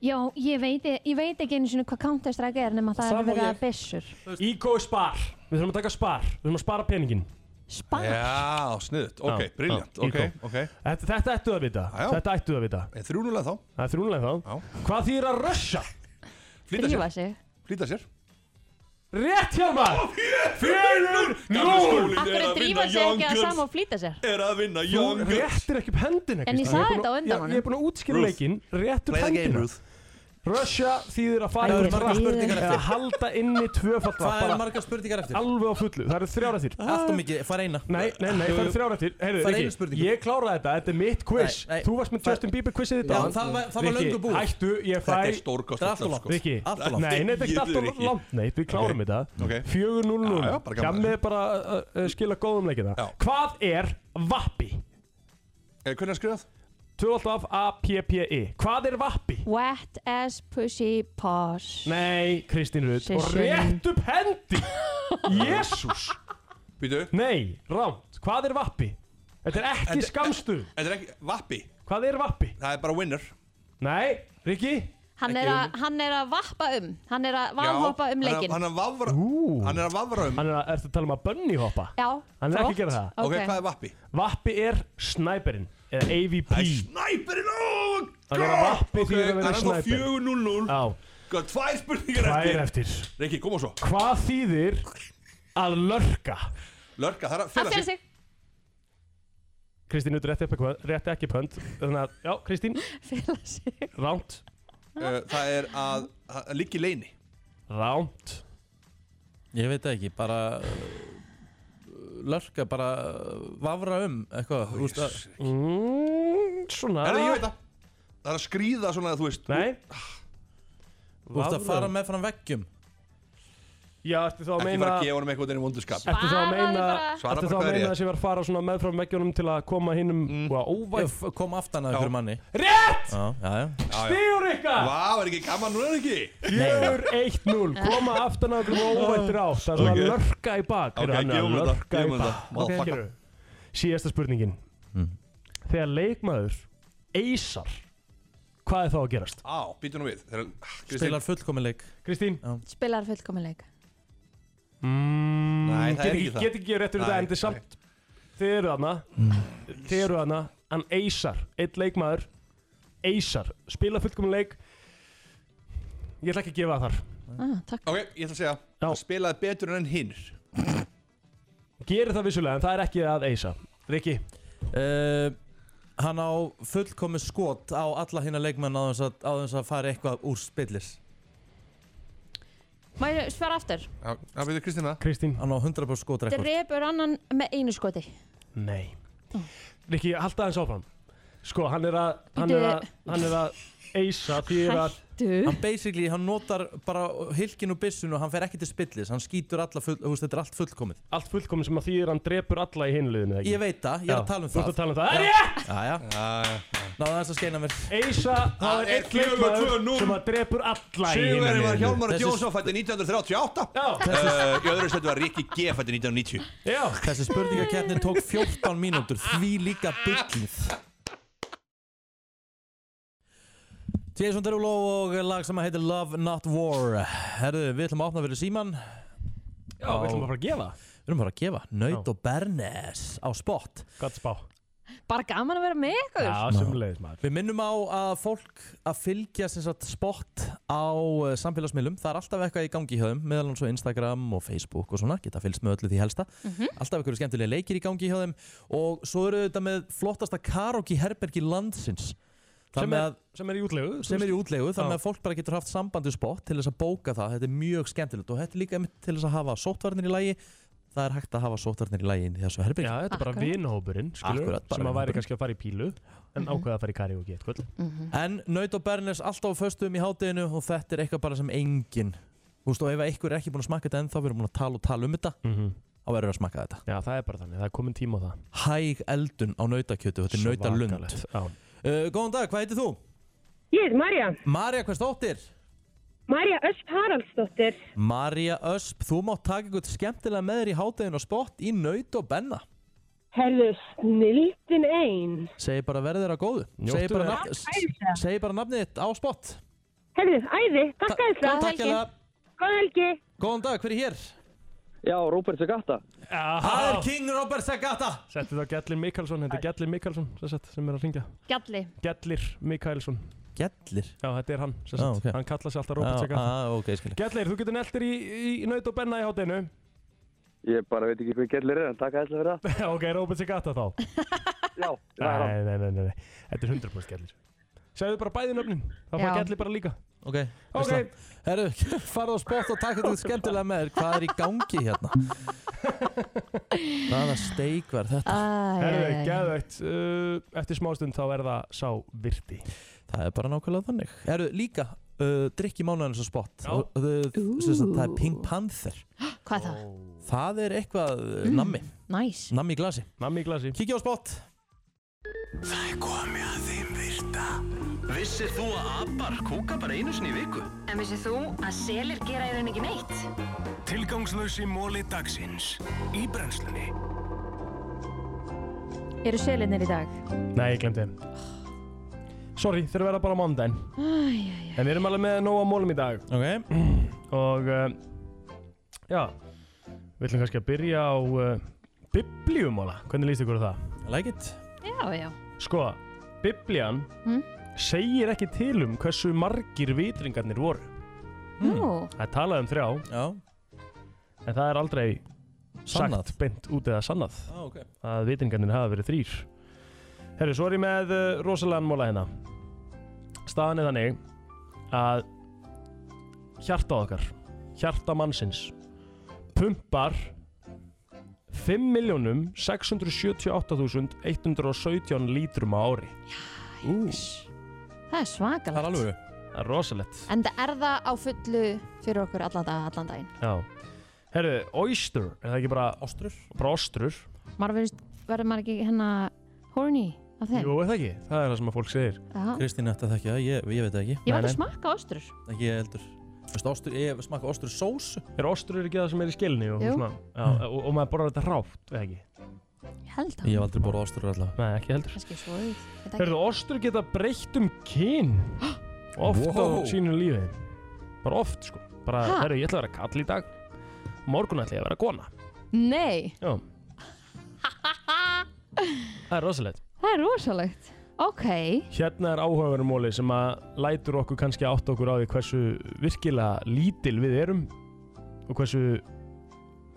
Já, ég veit, ég veit ekki einu sinni hvað Counter-Strike er nema það er Sama verið og að byssur. ICO er spar Við þurfum að taka spar, við þurfum að spara peningin Spar? Já, sniðut, ok, Já, brilliant já, Ok, ICO. ok Þetta, þetta ættu að vita já. Þetta ættu að vita Þrjúnulega þá Það er þrjúnulega þá já. Hvað þýðir að rössa? Drífa sig Flýta sér Rétt hjá maður Fjörur núl Akkur er drífa sig ekki að sama og flýta sér Er að vinna Þú réttir ekki upp hendina En ég Kristín. sagði er búin þetta á að- undan Já, honum. Ég er búin að útskýra Ruth. leikinn Rétt upp Play the game, hendina Ruth. Russia þýðir að fara Það eru út margar hratt spurningar eða eftir. Halda inni tvöfald Hvað bara eru margar spurningar eftir? Ah. Alveg á fullu Það eru þrjára þýr Allt og mikið, fara eina Nei, nei, nei, það eru þrjára til Heyrðu, Fara einu Riki, spurningu. ég kláraði þetta, þetta er mitt quiz Nei, nei. Þú varst með Fara- Justin Bieber quizið þetta Já, áðan. það var- það var Riki, löngu búið. Hættu, ég fæ Þetta er stórkostlegt, Þetta er allt of langt. sko. Riki, Allt of langt. Nei, nei, þetta er ekki Ég- allt of Riki. langt Nei, við klárum Ok. þetta Ok. 4-0-0 Já, já, bara gaman. Gjammið bara uh, uh, skila góðum leikina Hvað er vappi? Eh, Hvernig er skrifað? 12 af A-P-P-I E. Hvað er vappi? Wet as pussy paws. Nei, Kristín Rutt Og Session. rétt upp hendi Jésús Býtu Nei, rámt Hvað er vappi? Þetta er ekki skamstuð Þetta er ekki, vappi Hvað er vappi? Það er bara winner Nei, Rikki Hann er, að, hann er að vappa um Hann er að valhoppa um leikin Hann er að vafra Hann er að vafra um Hann er að, ertu að tala um að bunny hoppa? Já, Hann er ekki flott. að gera það Ok, Ok. hvað er vappi? Vappi er snæperinn Eða AVP Snæperinn, oh Hann er að vappi því að vera Það er þá snæper 4-0-0 Já Hvað, tvær spurningar Tvær eftir eftir Rikki, koma svo Hvað þýðir að lörka? Lörka, það er að Hann fela fyrir sig sig Kristín, rétti, upp eitthvað- rétti ekki pönd Þannig að, já, Kristín Fela sig Rámt Uh, Það er að að liggja í leini Rámt Ég veit það ekki, bara uh, Lörka, bara uh, Vafra um, eitthvað Þú veist að mm, Svona Herra, ég veit það Það er að skríða svona, þú veist Nei Þú veist að Vafra fara um. með fram veggjum Já, ertu þá að Ekki meina fara að gefa honum eitthvað inn í vondurskap Ertu þá að meina Svara Ertu bara hvað þá að er Mm. ég meina að ég var að fara svona meðfram veggjónum til að koma hinnum og að óvæg Ég kom aftan að ykkur manni Rétt! Já, já, já Stígur ykkar! Vá, er ekki gaman núna, er ekki? 4-1-0 Koma aftan að okkur og óvættir á Það er svona Ok. okay. lörka í bak Ok, Heyrðu, hann er gefum að þetta, lörka gefum í þetta, bak motherfucker. gerðu. Síðasta spurningin Mm. Þegar leikmaður eysar Hvað er þá að gerast? Á, býtu nú við Þeir, Kristín- Spilar fullkominleik Kristín Spilar fullkominleik. mm, Nei, það get er ekki það. Get ekki gefið réttur Nei, þetta en þið samt Þið eru þarna Þið eru þarna Hann eysar Eitt leikmaður Eysar Spila fullkomun leik Ég ætla ekki að gefa það þar Ah, Ok, ég ætla að segja Það spilaði betur en hinnir Gerir það vissulega en það er ekki að eisa Rikki uh, Hann á fullkomi skot á alla hína leikmenn á þess að, á þess að fara eitthvað úr spillis Má ég svara aftur? Já, það veitur Kristín það Kristín Hann á 100% skotrekord Drepur annan með einu skoti. Nei Rikki, halda aðeins áfram Sko, hann er að Hann er að Hann er að eisa Því er að Hann basically, hann notar bara hilkin og byssun og hann fer ekki til spillis Hann skýtur alla full, þú veist, þetta er allt fullkomið Allt fullkomin sem að því er að hann drepur alla í hinliðinu Ég veit það, ég er að tala um Þú ert það. að tala um það Það er ég Já, já Náðu þess að skeina mér Eisa, það er eitt leikmaður sem að drepur alla í hinliðinu Sigurverðin var Hjálmar Jónsson fætti 1938 Uh, Í öðru setu var Rikki G fætti 1990 Já Þessi spurningakeppnin tók 14 mínútur Því líka byggð Jason Derulo og lag sem heitir Love Not War Herðu, við ætlum að opna fyrir síman Já, við ætlum að fara að gefa Við ætlum að fara að gefa Naut og Bernes á spot Gott spá Bara gaman að vera með ykkur sömulegis maður Við minnum á að fólk að fylgja sem sagt spott á uh, samfélagsmiðlum Það er alltaf eitthvað í gangi hjá þeim meðal hans og Instagram og Facebook og svona geta fylgst með öllu því helsta Mhm. Alltaf eitthvað skemmtilega leikir í gangi hjá þeim og svo eru þetta með flottasta karaoke herbergi landsins Sem Þannig er- að- sem er í útleigu, þú Sem er í veist. útlegu, þannig Já. að fólk bara getur haft sambandi spott til þess að bóka það Þetta er mjög skemmtilegt og þetta er líka einmitt til þess að hafa sóttvarnir í lagi Það er hægt að hafa sóttvarnir í lagi inn í þessu herbygg Já, þetta er bara Akkurat. vinahópurinn, skilurðu, sem að væri kannski að fara í pílu en Mhm. ákveða að fara í karaoke eitthvað Mhm. En Naut og Bernes alltaf á föstum í hátteginu og þetta er eitthvað bara sem engin Þú veist og ef einhver er ekki búin að smakka þetta ennþá við erum búin að tala og tala um þetta Mhm. þá verður að smakka þetta Já, það er bara þannig, það er komin tíma á það Hæg eldun á nautakjötu, þetta er nautalund uh, Góðan dag, hvað heitir þú? Ég heit Marja. Marja, hvers dóttir? Marja Ösp Haraldsdóttir. Marja Ösp, þú mátt taka eitthvað skemmtilega með þér í hátteginu og spott í naut og benna Herðu, snildin ein. Segir bara verður þeirra góðu Njóttu Segir bara, þeirra. nafn, s- segir bara nafnið þitt á spott Herðu, æði, takk aðeins. Takk hérna Góð helgi. Góðan dag, hver er hér? Já, Róbert Sagata Það er King Robert Sagata Settu þá Gellir Mikkelsson, þetta er Gellir Mikkelsson sem sagt, sem er að ringja Gjalli Gellir Mikkelsson Gellir? Já, þetta er hann, sem Já, sagt, ok. hann kallar sig alltaf Róbert Já, ah. Sagata já, ok, skil Gellir, þú getur neltir í, í, í naut og benna í hátinu Ég bara veit ekki hvað gellir er en takk aðeinslega fyrir það Ok, Róbert Sagata þá Já, það er Nei, nei, nei, nei, nei, þetta er 100% Gellir Segðu bara bæði nöfnin, þá fær Já. Gellir bara líka Ok, Ok. veistla. Herru, farðu á spott og takk eitthvað skemmtilega með þér Hvað er í gangi hérna? Hvaða steik var þetta? Herðu, geðveitt, uh, eftir smástund þá er það sá virti Það er bara nákvæmlega þannig Herru, líka, uh, drikki mánuðins á spott Og, uh, sem sagt, Það er Pink Panther Hvað er það? Það er eitthvað Mm, mm. nammi Næs Nammi í glasi Nammi í glasi Kikki á spott Það er komið að þeim virta. Vissir þú að abar kúka bara einu sinni í viku? En vissið þú að selir gera í raun ekki neitt? Tilgangslösi móli dagsins í brennslunni. Eru selinnir í dag? Nei, ég glemdi þeim Sorry, þeir verða bara á mánudaginn Æj, En við erum alveg með nóg á mólum í dag Ok Og uh, Já Við ætlum kannski að byrja á uh, Bibliumóla, hvernig líst ykkur á það? I like it já, já Sko, Biblian Mm. segir ekki til um hversu margir vitringarnir voru Nú, Það er talað um þrjá Já En það er aldrei Sannað. sagt beint út eða sannað Ah, ok. að vitringarnir hafa verið þrýr Herru, svo er ég með uh, rosalega móla hérna Staðan er þannig að hjarta okkar hjarta mannsins pumpar 5.678.117 lítrum á ári yes. það er svakalegt Það er rosalegt En það er það á fullu fyrir okkur allan, dag, allan daginn Já Herru, oyster, er það ekki bara Ostrur? Bara ostrur Maður verður, verður maður ekki hérna horny af þeim? Jú, er það ekki? Það er það sem að fólk segir Já. Kristín ætti að þekkja það, ég, ég veit það ekki Ég var ekki að smakka ostur Ekki ég heldur Veistu, ostur, ég smakka ostur sós Er ostrur ekki það sem er í skilni og, Jú. Mm. svona, já, og, og maður borðar þetta rátt, eða ekki? Ég held það Ég hef aldrei borðað ostur allavega Nei, ekki heldur Kannski svo í Herru, ostrur geta breytt um kyn Oft Wow. á sínu lífi Bara oft, sko Bara, Ha? herru, ég ætla að vera kall í dag Morgun ætla ég að vera kona Nei, Já Það er rosalegt það er rosalegt Ok, Hérna er áhugaverðum móli sem að lætur okkur kannski átt okkur á því hversu virkilega lítil við erum og hversu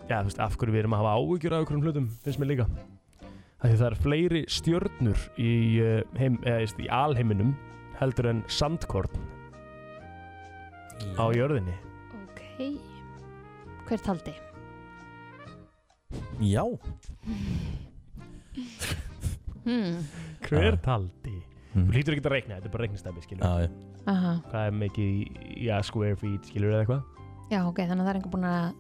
já, þú veist, af hverju við erum að hafa áhyggjur af okkur um hlutum, finnst mér líka Af Því það er fleiri stjörnur í, eh, heim, eða, þú veist, í alheiminum heldur en sandkorn á jörðinni ok Hver taldi? Já Hmm. Hver taldi? Þú lítur ekki að reikna, þetta er bara reiknistæmi, skilur Mhm. Já, já Aha. Hvað er mikið í, já, square feet, skilur eða eitthvað? Já, ok, þannig að það er einhver búin að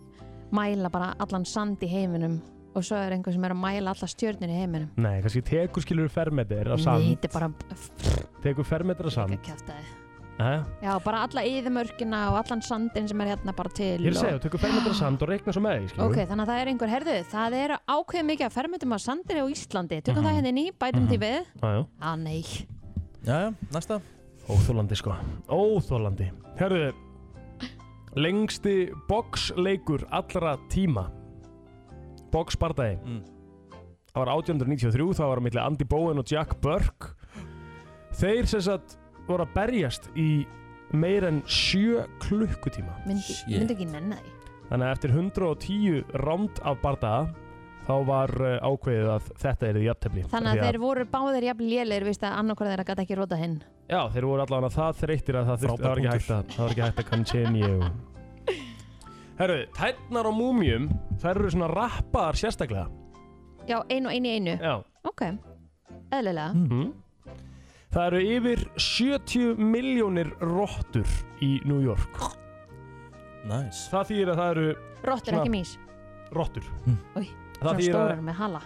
mæla bara allan sand í heiminum og svo er einhver sem er að mæla alla stjörnir í heiminum Nei, kannski tekur skilur fermetir af sand Nei, þetta er bara Tekur fermetra sand kjæftæði Jæja. Já, bara alla yðumörkina og allan sandin sem er hérna bara til Ég er að segja, og... þú tekur fermetra sand og reikna svo með því skilur Ok, við. þannig að það er einhver, herðu, það er ákveð mikið að fermetum á sandinu á Íslandi Tökum Mhm. það hérna inn í, bætum því við Já, já. Á nei Jæja, næsta Óþólandi sko Óþólandi Herðu Lengsti boxleikur allra tíma Boxbardagi Það var 1893 Það var á milli Andy Bowen og Jack Burke Þeir sem sagt voru að berjast í meir en sjö klukkutíma Myndi, myndi ekki nenni því Þannig að eftir 110 ránd af bardaga þá var uh, ákveðið að þetta er því jafntefli Þannig Því að þeir voru báðir jafn lélir, víst að annarkvæða þeirra gæti ekki róta hinn. Já, þeir voru allavega það þreyttir að það, þyrfti- Frábær það var ekki punktur. hægt að það var ekki hægt að continue Herru, tærnar á múmjum þær eru svona rappaðar sérstaklega Já, einu og einu í einu. Já. Mm. Ok, eðlilega. Mhm. Það eru yfir 70 miljónir rottur í New York nice. Það þýðir að það eru Rottur, svona ekki mís. Rottur Új, Það svona þýðir að- stórar með hala.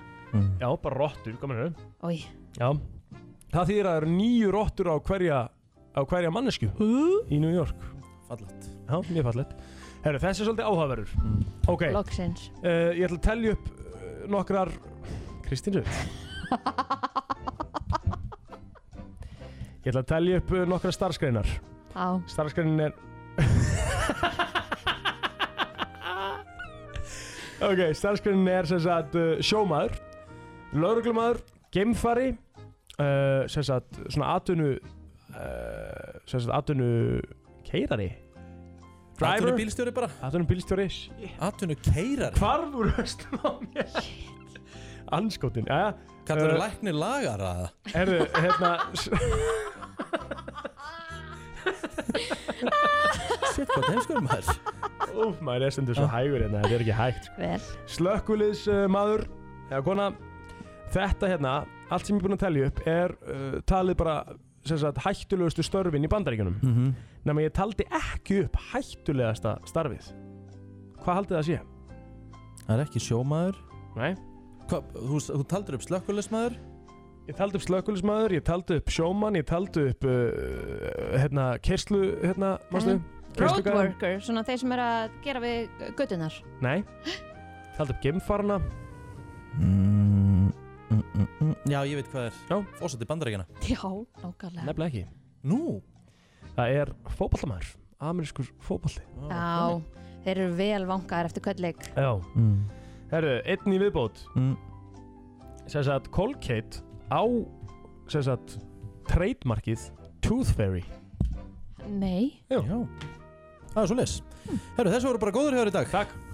Já, bara rottur, komin hérna Új, Já Það þýðir að það eru nýju rottur á hverja, á hverja mannesku í New York Fallett Já, mjög fallett Herru, þessi er svolítið áhugaverður Ok loksins. uh, Ég ætla að telja upp uh, nokkrar Kristín Rut Ég ætla að telja upp uh, nokkrar starfskreinar Já. Starfskreinin er Ok, starfskreinin er sem sagt uh, sjómaður, lauruglumaður, geimfari, uh, sem sagt svona atvinnu, uh, sem sagt atvinnu keirari. Atvinnubílstjóri bara? Atvinnu bílstjóri. Atvinnu keirari? Hvar voru höstum á mér? Anskotin, jæja. Kallar þú lækni lagara? Eh, Herðu, hérna... s- Sitt hvað heimskur maður Ah. Úf, maður er stendur svo hægur hérna, þetta er ekki hægt Vel. Slökkulis uh, maður, eða kona Þetta hérna, allt sem ég er búinn að telja upp er uh, talið bara sem sagt, hættulegustu störfin í bandaríkjunum mm Mhm. -hmm. Nefnum ég taldi ekki upp hættulegasta starfið Hvað haldið það að sé? Það er ekki sjómaður Nei Hva, þú, þú taldir upp slökkulismæður Ég taldi upp slökkulismæður, ég taldi upp sjómann, ég taldi upp uh, hérna, kerslu, hérna, mástu? Mhm. Roadworker, svona þeir sem er að gera við göttunar. Nei, taldi upp gemfarna mm, mm, mm, mm. Já, ég veit hvað er Já. Fósati bandarækjana Já, nákvæmlega. Nefnilega ekki Nú? Það er fótballamæður Amerískur fótballi Ah, Já, þeir eru vel vangaðar eftir kvöldleik. Já Mm. Herru, einn í viðbót mm. Sem sagt, Colgate á sem sagt, trademarkið Tooth Fairy Nei. Já, Já. Það er svo les Herru, þessi voru bara góður hjá þér í dag Takk